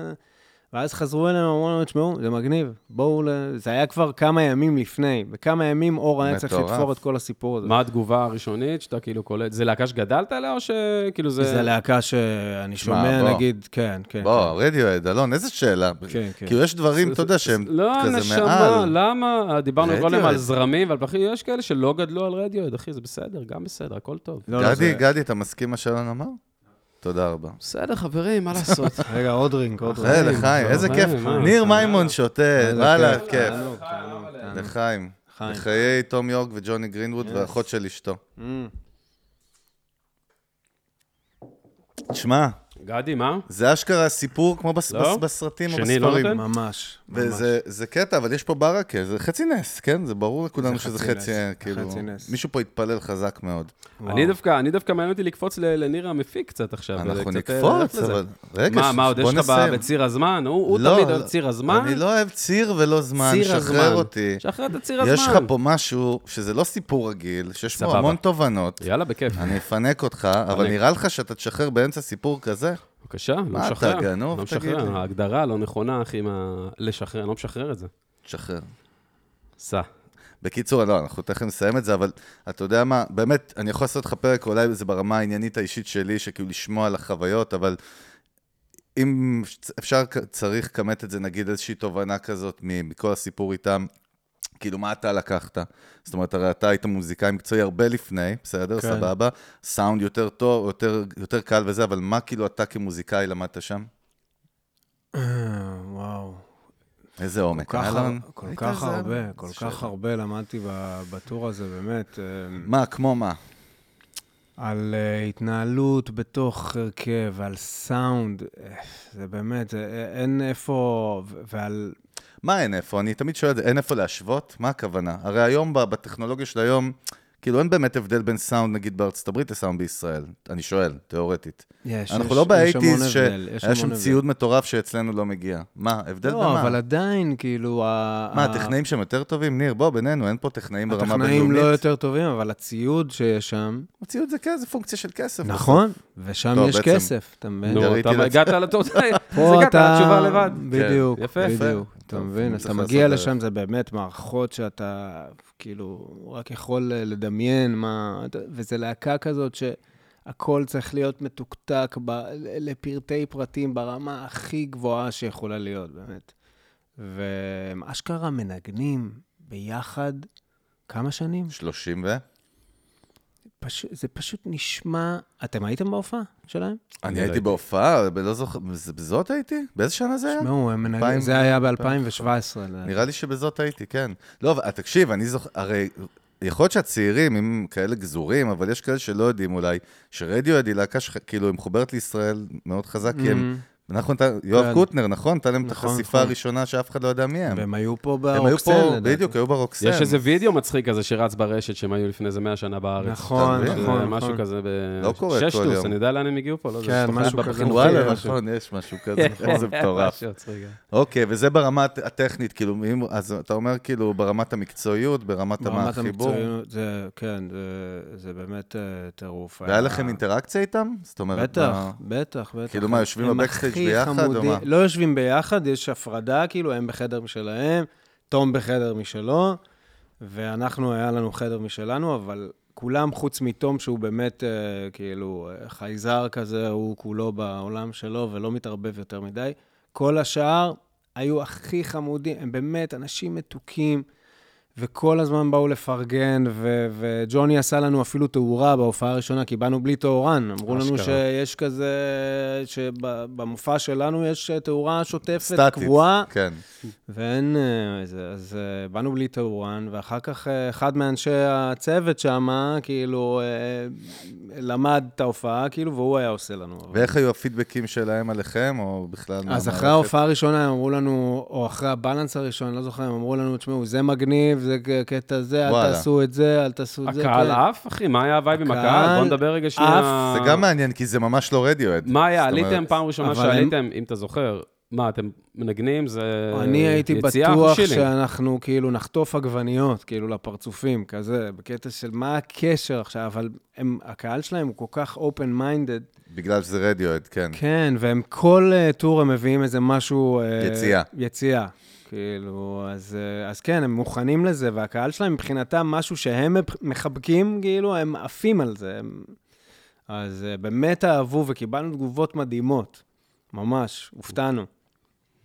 S6: ואז חזרו אלינו, אמרו לנו, תשמעו, זה מגניב, בואו ל... זה היה כבר כמה ימים לפני. בכמה ימים אור היה צריך
S5: מטורף.
S6: לתפור את כל הסיפור הזה.
S4: מה התגובה הראשונית שאתה כאילו קולט? זה להקה שגדלת עליה או שכאילו זה...
S6: זה להקה שאני שומע,
S5: בוא.
S6: נגיד, כן, כן.
S5: בוא, רדיואד, אלון, איזה שאלה.
S6: כן, כן.
S5: כאילו, יש דברים, אתה יודע, שהם
S4: לא,
S5: כזה
S4: נשמה,
S5: מעל.
S4: למה? אה, דיברנו קודם
S5: רדיואד.
S4: על זרמים ועל פלחים, יש כאלה שלא גדלו על רדיואד, אחי, זה בסדר, גם בסדר, הכל טוב.
S6: לא, לא,
S5: גדי,
S6: זה-
S5: גדי, אתה מסכים מה שאלון אמר? תודה רבה.
S4: בסדר, חברים, מה לעשות?
S6: רגע, עוד רינק, עוד רינק.
S5: היי, לחיים, איזה
S4: מה,
S5: כיף.
S4: מה,
S5: ניר מימון שותה, וואלה, כיף.
S6: תענוג, תענוג, תענוג.
S5: לחיים.
S6: חיים.
S5: לחיי תום יורק וג'וני גרינווד והאחות של אשתו. תשמע,
S4: גדי, מה?
S5: זה אשכרה סיפור כמו בס-
S4: לא?
S5: בס- בסרטים או
S4: שני לא
S5: בספרים.
S4: נותן?
S6: ממש. ממש.
S5: וזה זה קטע, אבל יש פה ברכה, זה חצי נס, כן? זה ברור לכולנו
S6: זה
S5: שזה
S6: חצי
S5: חצי,
S6: נס,
S5: אה, כאילו...
S6: חצי נס.
S5: מישהו פה התפלל חזק מאוד.
S4: אני דווקא, אני דווקא מעניין אותי לקפוץ ל- לניר המפיק קצת עכשיו.
S5: אנחנו
S4: וקצת, אה,
S5: נקפוץ,
S4: ללכת לזה.
S5: אבל... רגע,
S4: מה,
S5: ש-
S4: מה, עוד יש
S5: בוא
S4: לך ב-
S5: נסיים.
S4: בציר הזמן? הוא הוא
S5: לא,
S4: תמיד
S5: לא.
S4: אוהב ציר הזמן?
S5: אני לא אוהב ציר ולא זמן,
S4: ציר הזמן.
S5: שחרר אותי.
S4: שחרר את הציר הזמן.
S5: יש לך פה משהו שזה לא סיפור רגיל, שיש בו
S4: סבבה.
S5: המון תובנות.
S4: יאללה, בכיף.
S5: אני אפנק אותך, אבל
S4: פנק.
S5: נראה לך שאתה תשחרר באמצע סיפור כזה, משחרר?
S4: בבקשה, לא
S5: מה אתה,
S4: משחרר.
S5: גנוב?
S4: לא
S5: תגיד לי.
S4: משחרר, ההגדרה לא נכונה, אחי, מה... לשחרר, אני לא משחרר את זה.
S5: תשחרר.
S4: סע.
S5: בקיצור, לא, אנחנו תכף נסיים את זה, אבל אתה יודע מה, באמת, אני יכול לעשות לך פרק, אולי זה ברמה העניינית האישית שלי, שכאילו לשמוע על החוויות, אבל אם אפשר, צריך לכמת את זה, נגיד איזושהי תובנה כזאת מ- מכל הסיפור איתם, כאילו, מה אתה לקחת? זאת אומרת, הרי אתה היית מוזיקאי מקצועי הרבה לפני, בסדר?
S6: כן.
S5: סבבה. סאונד יותר טוב, יותר, יותר קל וזה, אבל מה כאילו אתה כמוזיקאי למדת שם?
S6: אה, וואו.
S5: איזה עומק.
S6: כל כך,
S5: אלון?
S6: הר- כל
S5: היית
S6: כך
S5: איזה-
S6: הרבה, כל
S5: איזה
S6: כך
S5: שאלה.
S6: הרבה למדתי ב- בטור הזה, באמת. אה,
S5: מה, כמו מה?
S6: על אה, התנהלות בתוך הרכב, על סאונד, אה, זה באמת, אה, אין איפה, ו- ועל...
S5: מה אין איפה? אני תמיד שואל את זה, אין איפה להשוות? מה הכוונה? הרי היום, ב- בטכנולוגיה של היום, כאילו אין באמת הבדל בין סאונד, נגיד, בארצות הברית לסאונד בישראל. אני שואל, תיאורטית.
S6: יש,
S5: אנחנו
S6: יש-
S5: לא
S6: יש המון
S5: באייטיז,
S6: הבדל, יש
S5: שהיה
S6: המון
S5: שם
S6: הבדל.
S5: ציוד מטורף שאצלנו לא מגיע. מה, הבדל
S6: לא, אבל
S5: במה?
S6: עדיין, כאילו... ה-
S5: מה,
S6: ה-
S5: הטכנאים שם יותר טובים? ניר, בוא, בינינו, אין פה טכנאים ברמה
S6: הטכנאים לא
S5: בינלאומית.
S6: יותר טובים, אבל הציוד שיש שם,
S5: הציוד זה כסף, פונקציה של כסף.
S6: נכון, ושם
S5: טוב,
S6: יש
S5: בעצם.
S6: כסף, אתה מבין?
S4: נו,
S5: יריתי
S4: אתה
S5: לעצמי.
S4: הגעת לתוצאה, אז
S6: פה
S4: הגעת
S6: אתה...
S4: לתשובה לבד.
S6: בדיוק,
S4: יפה, יפה.
S6: בדיוק. אתה
S5: כן, טוב,
S6: מבין?
S5: אני
S6: אתה
S5: צריך
S6: מגיע
S5: לעשות אה,
S6: לשם, זה באמת מערכות שאתה כאילו רק יכול אה, לדמיין מה... אתה- וזה להקה כזאת שהכל צריך להיות מתוקתק ב... ל- לפרטי פרטים ברמה הכי גבוהה שיכולה להיות, באמת. והם אשכרה מנגנים ביחד כמה שנים?
S5: 30 ו...
S6: פש... זה פשוט נשמע... אתם הייתם בהופעה שלהם?
S5: אני
S4: אני
S5: הייתי
S4: ראיתי.
S5: בהופעה, ב- לא זוכר, בז- בזאת הייתי? באיזה שנה זה היה?
S6: תשמעו, הם מנגנים...
S5: אה. אלפיים-
S6: זה היה ב-2017.
S5: נראה לי שבזאת הייתי, כן. לא, אבל תקשיב, אני זוכר, הרי יכול להיות שהצעירים הם כאלה גזורים, אבל יש כאלה שלא יודעים אולי, שרדיואד היא להקה שכ- כאילו, היא מחוברת לישראל מאוד חזק, כי הם... אנחנו, נתן- יואב
S6: כן.
S5: קוטנר, נכון? נתן להם את
S6: נכון,
S5: החשיפה
S6: נכון.
S5: הראשונה שאף אחד לא יודע מי הם.
S6: והם היו פה
S5: הם היו
S6: ברוקסל,
S5: פה,
S6: לדעתי.
S5: בדיוק, היו ברוקסן.
S4: יש איזה וידאו מצחיק כזה שרץ ברשת, שהם היו לפני איזה 100 שנה בארץ.
S6: נכון,
S5: אתה
S4: זה
S5: מבין?
S6: נכון,
S4: משהו
S6: נכון.
S4: כזה ב...
S5: לא קורה כל
S4: ששטוס,
S5: יום.
S4: אני יודע לאן הם הגיעו פה, לא יודע.
S6: כן,
S4: זה
S6: משהו
S4: בחינוכי,
S6: כזה.
S5: וואלה,
S6: כן.
S4: משהו.
S5: נכון, יש משהו כזה, נכון, זה מטורף.
S4: משהו מצחיק.
S5: אוקיי, וזה ברמה הט- הטכנית, כאילו, אם- אז אתה אומר, כאילו, ברמת המקצועיות, ברמת המה-
S6: ברמת
S5: החיבור.
S6: המקצועיות, זה, כן, זה, זה באמת אה, טירוף.
S5: והיה לכם אינטראקציה איתם? זאת אומרת,
S6: בטח,
S5: מה-
S6: בטח, בטח.
S5: כאילו מה, יושבים
S6: הם
S5: בבקסטייג'
S6: הכי
S5: ביחד, או
S6: חמודים.
S5: מה?
S6: לא יושבים ביחד, יש הפרדה, כאילו, הם בחדר משלהם, תום בחדר משלו, ואנחנו, היה לנו חדר משלנו, אבל כולם חוץ מתום, שהוא באמת, אה, כאילו, אה, חייזר כזה, הוא כולו בעולם שלו ולא מתערבב יותר מדי. כל השאר היו הכי חמודים, הם באמת אנשים מתוקים. וכל הזמן באו לפרגן, ו- וג'וני עשה לנו אפילו תאורה בהופעה הראשונה, כי באנו בלי תאורן. אמרו לנו
S4: אשכרה.
S6: שיש כזה, שבמופע שלנו יש תאורה שוטפת
S5: סטטית.
S6: קבועה,
S5: כן.
S6: ואין אה, איזה, אז אה, באנו בלי תאורן, ואחר כך אה, אחד מאנשי הצוות שם, כאילו, אה, למד את ההופעה, כאילו, והוא היה עושה לנו. אבל-
S5: ואיך היו הפידבקים שלהם עליכם, או בכלל...
S6: אז
S5: מהמערכת?
S6: אחרי ההופעה הראשונה הם אמרו לנו, או אחרי הבלנס הראשון, אני לא זוכר, הם אמרו לנו, תשמעו, זה מגניב, זה ק- קטע זה, אל
S5: וואלה.
S6: תעשו את זה, אל תעשו את זה.
S4: הקהל
S6: כן.
S4: עף, אחי? מה היה הווייב עם
S6: הקהל
S4: הקהל? בוא נדבר רגע שנייה.
S5: זה גם מעניין, כי זה ממש לא רדיואד.
S4: מה היה?
S5: זאת אומרת,
S4: עליתם פעם ראשונה
S6: אבל הם-
S4: שעליתם, אם אתה זוכר, מה, אתם מנגנים? זה
S6: אני הייתי
S4: אה, יציאה או
S6: בטוח
S4: שילינג?
S6: שאנחנו כאילו נחטוף עגבניות, כאילו לפרצופים, כזה, בקטע של מה הקשר עכשיו, אבל הם, הקהל שלהם הוא כל כך open-minded,
S5: בגלל שזה רדיואד, כן.
S6: כן, והם כל אה, טור הם מביאים איזה משהו... אה,
S5: יציאה.
S6: יציאה. כאילו, אז, אה, אז כן, הם מוכנים לזה, והקהל שלהם מבחינתם משהו שהם מפ- מחבקים, כאילו, הם עפים על זה. הם... אז אה, באמת אהבו, וקיבלנו תגובות מדהימות. ממש, הופתענו.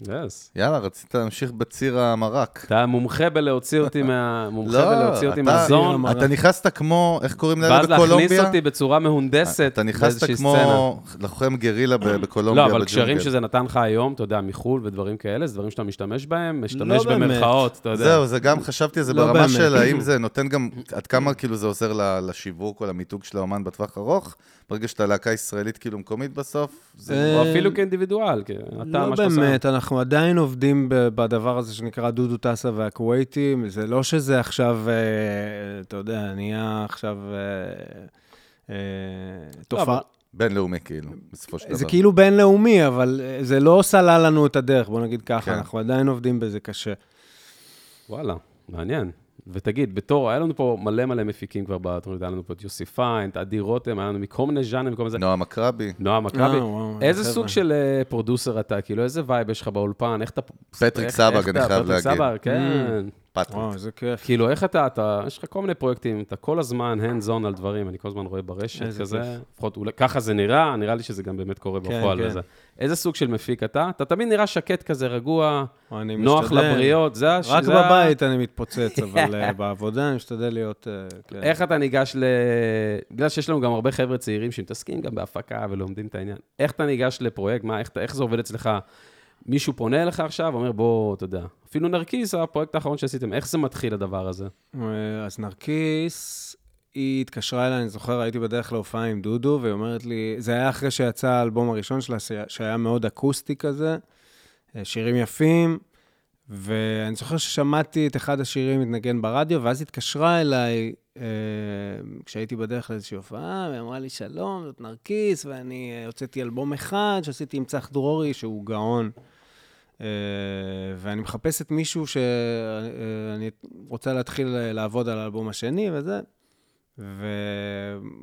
S4: יס.
S5: יאללה, רצית להמשיך בציר המרק.
S4: אתה מומחה בלהוציא אותי מה... מומחה בלהוציא אותי
S5: לא, אתה-
S4: מהזון,
S5: אתה נכנסת כמו, איך קוראים להם
S4: ואז
S5: בקולומביה?
S4: להכניס אותי בצורה מהונדסת
S5: אתה נכנסת
S4: באיזושהי סצנה.
S5: כמו לוחם גרילה ב- בקולומביה,
S4: לא, אבל
S5: בג'ונגל.
S4: קשרים שזה נתן לך היום, אתה יודע, מחו"ל ודברים כאלה, זה דברים שאתה משתמש בהם,
S6: לא
S4: משתמש
S6: באמת.
S4: במרכאות, אתה יודע.
S5: זהו, זה גם, חשבתי על זה
S6: לא
S5: ברמה
S6: באמת.
S5: של האם זה נותן גם, עד כמה כאילו זה עוזר ל- לשיווק או למיתוג של האומן בטווח ארוך, ברגע שאתה להקה ישראלית כאילו מקומית בסוף, זה...
S4: או אפילו כאינדיבידואל, כי אתה,
S6: לא
S4: מה שאתה עושה.
S6: באמת, אנחנו עדיין עובדים ב- בדבר הזה שנקרא דודו טסה והכווייטים. זה לא שזה עכשיו, אה, אתה יודע, נהיה עכשיו אה, אה, תופעה.
S4: לא, אבל-
S5: בינלאומי כאילו, בסופו של דבר.
S6: זה כאילו בינלאומי, אבל אה, זה לא סלל לנו את הדרך, בוא נגיד
S5: כן.
S6: ככה, אנחנו עדיין עובדים בזה קשה.
S4: וואלה, מעניין. ותגיד, בתור, היה לנו פה מלא מלא מפיקים כבר בתוכנית, היה לנו פה את יוסי פיין, את עדי רותם, היה לנו מכל מיני ז'אנרים, מכל מיני זה.
S5: נועם אקרבי,
S4: נועם מכבי.
S6: אה, וואו,
S4: איזה
S6: חבר'ה.
S4: סוג של אה, פרודוסר אתה? כאילו, איזה וייב יש לך באולפן? איך אתה...
S5: פטריק
S4: איך-
S5: סבג,
S4: איך
S5: אני
S4: אתה-
S5: חייב
S4: פטריק
S5: להגיד.
S4: סבג, כן.
S5: פטריק.
S6: וואו, איזה כיף.
S4: כאילו, איך אתה, אתה, יש לך כל מיני פרויקטים, אתה כל הזמן hands on על דברים, אני כל הזמן רואה ברשת
S6: איזה
S4: כזה,
S6: כיף.
S4: לפחות אולי- ככה זה נראה, נראה לי שזה גם באמת קורה
S6: כן,
S4: בפועל
S6: כן.
S4: וזה. איזה סוג של מפיק אתה? אתה תמיד נראה שקט כזה, רגוע,
S6: אני
S4: נוח
S6: משתדל.
S4: לבריות, זה הש...
S6: רק
S4: זה ה-
S6: בבית אני מתפוצץ, אבל אה, בעבודה אני משתדל להיות... אה, כן.
S4: איך אתה ניגש ל... בגלל שיש לנו גם הרבה חבר'ה צעירים שמתעסקים גם בהפקה ולומדים את העניין. איך אתה ניגש לפרויקט? מה, איך, אתה- איך זה עובד אצלך? מישהו פונה אליך עכשיו, אומר, בוא, אתה יודע. אפילו נרקיס, הפרויקט האחרון שעשיתם, איך זה מתחיל הדבר הזה?
S6: אה, אז נרקיס, היא התקשרה אליי, אני זוכר, הייתי בדרך להופעה עם דודו, והיא אומרת לי, זה היה אחרי שיצא האלבום הראשון שלה, שהיה- שהיה מאוד אקוסטי כזה, אה, שירים יפים, ואני זוכר ששמעתי את אחד השירים מתנגן ברדיו, ואז התקשרה אליי, אה, כשהייתי בדרך לאיזושהי הופעה, והיא אמרה לי, שלום, זאת נרקיס, ואני אה, הוצאתי אלבום אחד שעשיתי עם צח דרורי, שהוא גאון. אה, ואני מחפשת מישהו שאני רוצה להתחיל אה, לעבוד על האלבום השני וזה.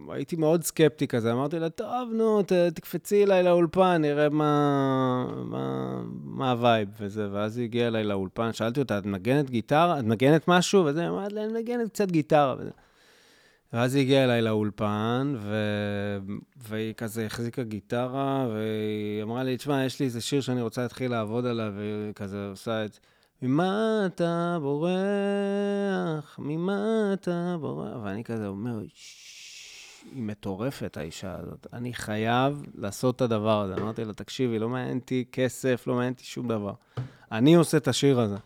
S6: והייתי מאוד סקפטי כזה, אמרתי לה, טוב, נו, ת, תקפצי אליי לאולפן, נראה מה, מה, מה הווייב וזה. ואז היא הגיעה אליי לאולפן, שאלתי אותה, את מנגנת גיטרה? את מנגנת משהו? וזה, היא אמרת לי, אני מנגנת קצת גיטרה. וזה. ואז היא הגיעה אליי לאולפן, ו... והיא כזה החזיקה גיטרה, והיא אמרה לי, תשמע, יש לי איזה שיר שאני רוצה להתחיל לעבוד עליו, והיא כזה עושה את... ממה אתה בורח? ממה אתה בורח? ואני כזה אומר, "ששש, היא מטורפת, האישה הזאת. אני חייב לעשות את הדבר הזה. אמרתי לה, תקשיבי, לא מעניין אותי כסף, לא מעניין אותי שום דבר. אני עושה את השיר הזה.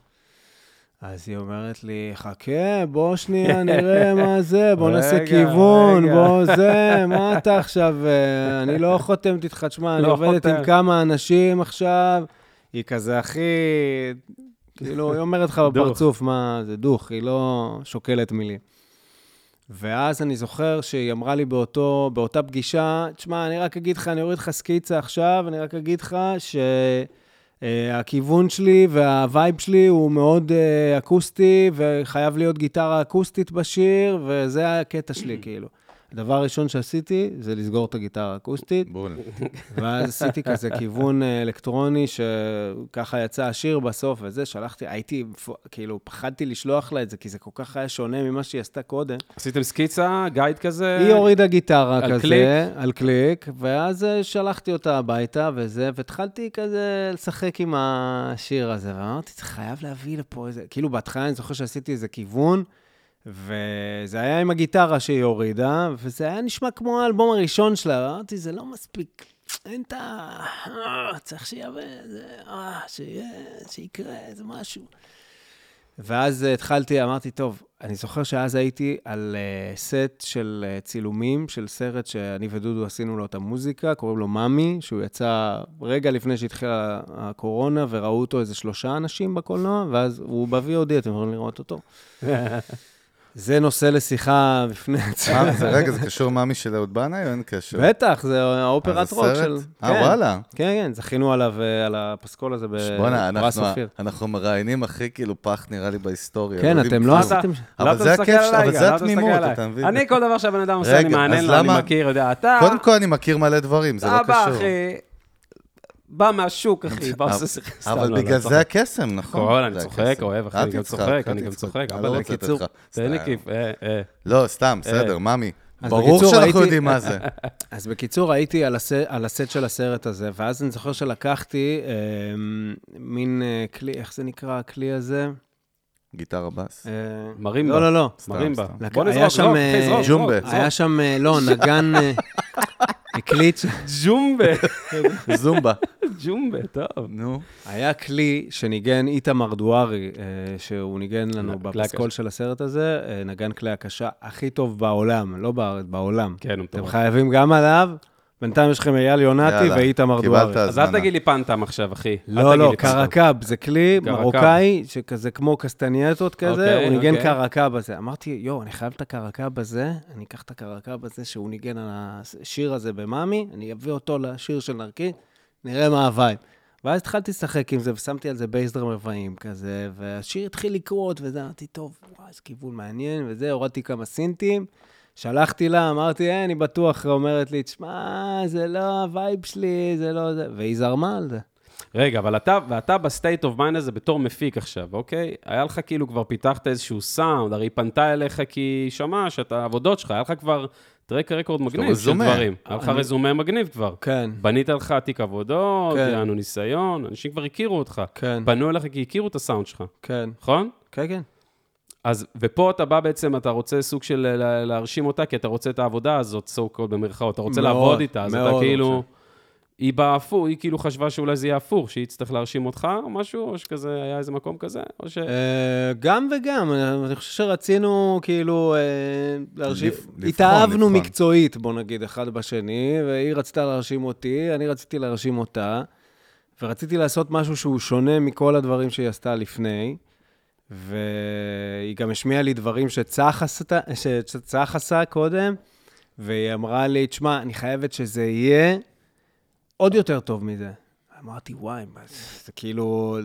S6: אז היא אומרת לי, חכה, בוא שנייה נראה מה זה, בוא נעשה
S4: רגע,
S6: כיוון,
S4: רגע."
S6: בוא זה, מה אתה עכשיו, אה, אני לא חותמת איתך, תשמע, אני
S4: לא
S6: עובדת
S4: חותם.
S6: עם כמה אנשים עכשיו, היא כזה הכי, כאילו, היא אומרת לך בפרצוף, מה, זה דוך, היא לא שוקלת מילים. ואז אני זוכר שהיא אמרה לי באותו, באותה פגישה, תשמע, אני רק אגיד לך, אני אוריד לך סקיצה עכשיו, אני רק אגיד לך ש... אה, הכיוון שלי והווייב שלי הוא מאוד אה, אקוסטי, וחייב להיות גיטרה אקוסטית בשיר, וזה הקטע שלי, כאילו. הדבר הראשון שעשיתי זה לסגור את הגיטרה האקוסטית,
S5: בול.
S6: ואז עשיתי כזה כיוון אה, אלקטרוני, שככה יצא השיר בסוף וזה, שלחתי, הייתי, מפו- כאילו, פחדתי לשלוח לה את זה, כי זה כל כך היה שונה ממה שהיא עשתה קודם.
S4: עשיתם סקיצה, גייד כזה?
S6: היא הורידה גיטרה
S4: על
S6: כזה,
S4: קליק.
S6: על קליק, ואז אה, שלחתי אותה הביתה וזה, והתחלתי כזה לשחק עם השיר הזה, ואמרתי, זה חייב להביא לפה איזה... כאילו, בהתחלה אני זוכר שעשיתי איזה כיוון, וזה היה עם הגיטרה שהיא הורידה, וזה היה נשמע כמו האלבום הראשון שלה, ואמרתי, זה לא מספיק. אין את ה... אה, צריך שיהיה, זה, אה, שיהיה, שיקרה איזה משהו. ואז אה, התחלתי, אמרתי, טוב, אני זוכר שאז הייתי על אה, סט של אה, צילומים, של סרט שאני ודודו עשינו לו את המוזיקה, קוראים לו מאמי, שהוא יצא רגע לפני שהתחילה הקורונה, וראו אותו איזה שלושה אנשים בקולנוע, ואז הוא ב-VOD, אתם יכולים לראות אותו. זה נושא לשיחה בפני עצמה.
S5: מה, אה, זה- רגע, זה קשור מאמי של אהוד בנאי או אין קשר?
S6: בטח, זה האופרת
S5: אז
S6: רוק
S5: הסרט?
S6: של...
S5: אה,
S6: כן.
S5: וואלה.
S6: כן, כן, זכינו עליו, אה, על הפסקול הזה
S4: אה,
S5: בואנה,
S6: בפרס
S5: אנחנו-
S6: אופיר.
S5: אנחנו מראיינים הכי כאילו פח נראה לי בהיסטוריה.
S6: כן,
S5: לא יודעים
S6: אתם לא
S5: כלום.
S6: עשיתם...
S5: אבל
S4: אתה
S5: זה
S4: מסתכל
S5: הכיף, ש-
S4: עליי
S5: אבל
S4: גם,
S5: זה
S4: למה אתה מסתכל
S5: התמימות,
S4: עליי?
S5: אתה מבין?
S4: אני, כל דבר שהבן אדם עושה, אני
S5: רגע,
S4: מעניין
S5: אז
S4: לו, אני
S5: למה-
S4: מכיר, יודע, אתה...
S5: קודם כל אני מכיר מלא דברים, זה לא
S4: אבא,
S5: קשור.
S4: אחי, בא מהשוק, אחי, בא עושה שיחה. סתם, לא,
S5: אבל
S4: לא,
S5: בגלל
S4: צוחק.
S5: זה הקסם, נכון?
S4: קורל, אני
S5: זה
S4: צוחק,
S5: הקסם.
S4: אוהב, אחי,
S5: אל
S4: אני גם
S5: תצחק,
S4: צוחק,
S5: אל
S4: אני גם
S5: תצחק.
S4: צוחק,
S5: אני
S4: אבל
S5: לא רוצה לתת
S4: בקיצור,
S5: לך.
S4: תן לי
S5: סתם.
S4: כיף, אה, אה.
S5: לא, סתם, בסדר, מאמי.
S6: אז
S5: ברור
S6: בקיצור,
S5: שאנחנו
S6: הייתי-
S5: יודעים מה זה.
S6: אז בקיצור, הייתי על, הס... על הסט של הסרט הזה, ואז אני זוכר שלקחתי אה, מין אה, כלי, איך זה נקרא הכלי הזה?
S5: גיטרה בס.
S6: אה,
S4: מרים
S6: לא,
S4: בה.
S6: לא, לא.
S4: מרימבה.
S5: סתם.
S6: לק-
S4: בוא
S6: היה
S4: נזרוק,
S6: שם,
S4: זרוק,
S6: אה,
S4: אחי, זרוק,
S5: ג'ומבה.
S4: זרוק,
S6: היה שם, אה, לא, נגן אה, הקליט, ש-
S4: זרוק. ג'ומבה, אה.
S5: זומבה.
S4: ג'ומבה, טוב.
S5: נו.
S6: היה כלי שניגן איתמר דוארי, אה, שהוא ניגן לנו
S4: נ- כלי
S6: בפסקול
S4: הקשה.
S6: של הסרט הזה, אה, נגן כלי הקשה הכי טוב בעולם, לא בארץ, בעולם.
S4: כן, הוא
S6: אתם
S4: מטורף.
S6: חייבים גם עליו, בינתיים יש לכם אייל יונתי
S5: יאללה,
S6: ואיתמר
S5: קיבלת.
S6: דוארי.
S4: לא, אז אל
S5: הזמנה.
S4: תגיד לי פנטם עכשיו, אחי. אל
S6: לא,
S4: תגיד
S6: לא,
S4: לי פנטם.
S6: קרקב, זה כלי
S4: קרקב.
S6: מרוקאי, שכזה כמו קסטנייטות כזה,
S4: אוקיי,
S6: הוא ניגן
S4: אוקיי.
S6: קרקב הזה. אמרתי, יואו, אני חייב את הקרקב הזה, אני אקח את הקרקב הזה שהוא ניגן על השיר הזה במאמי, אני אביא אותו לשיר של נרקי, נראה מה הווייב. ואז התחלתי לשחק עם זה, ושמתי על זה בייס דרם רבעים כזה, והשיר התחיל לקרות, וזה, אמרתי, טוב, וואי, איזה כיוון מעניין, וזה, הורדתי כמה סינטים, שלחתי לה, אמרתי, אה, אני בטוח, היא אומרת לי, תשמע, זה לא הווייב שלי, זה לא זה, והיא זרמה על זה.
S4: רגע, אבל אתה, ואתה בסטייט אוף מיינד הזה בתור מפיק עכשיו, אוקיי? היה לך כאילו כבר פיתחת איזשהו סאונד, הרי היא פנתה אליך כי היא שמעה שאת העבודות שלך, היה לך כבר טרק רקורד מגניב של
S5: רזומה.
S4: דברים. היה לך רזומה מגניב כבר.
S6: כן.
S4: בנית לך תיק עבודות,
S6: כן.
S4: יענו ניסיון, אנשים כבר הכירו אותך.
S6: כן.
S4: פנו אליך כי הכירו את הסאונד שלך,
S6: כן.
S4: נכון?
S6: כן, כן.
S4: אז, ופה אתה בא בעצם, אתה רוצה סוג של ל- ל- להרשים אותה, כי אתה רוצה את העבודה הזאת, so called במרכאות, אתה רוצה
S6: מאוד,
S4: לעבוד איתה, אז אתה
S6: מאוד
S4: כאילו...
S6: רוצה.
S4: היא באה הפוך, היא כאילו חשבה שאולי זה יהיה הפוך, שהיא תצטרך להרשים אותך או משהו, או שכזה, היה איזה מקום כזה, או ש...
S6: אה, גם וגם, אני- אני חושב שרצינו כאילו אה, להרשים,
S5: לפ- לבחון,
S6: התאהבנו
S5: לבחון.
S6: מקצועית, בוא נגיד, אחד בשני, והיא רצתה להרשים אותי, אני רציתי להרשים אותה, ורציתי לעשות משהו שהוא שונה מכל הדברים שהיא עשתה לפני, והיא גם השמיעה לי דברים שצח עשתה- שצח עשה קודם, והיא אמרה לי, תשמע, אני חייבת שזה יהיה עוד יותר טוב מזה. אמרתי, וואי, מה זה זה כאילו...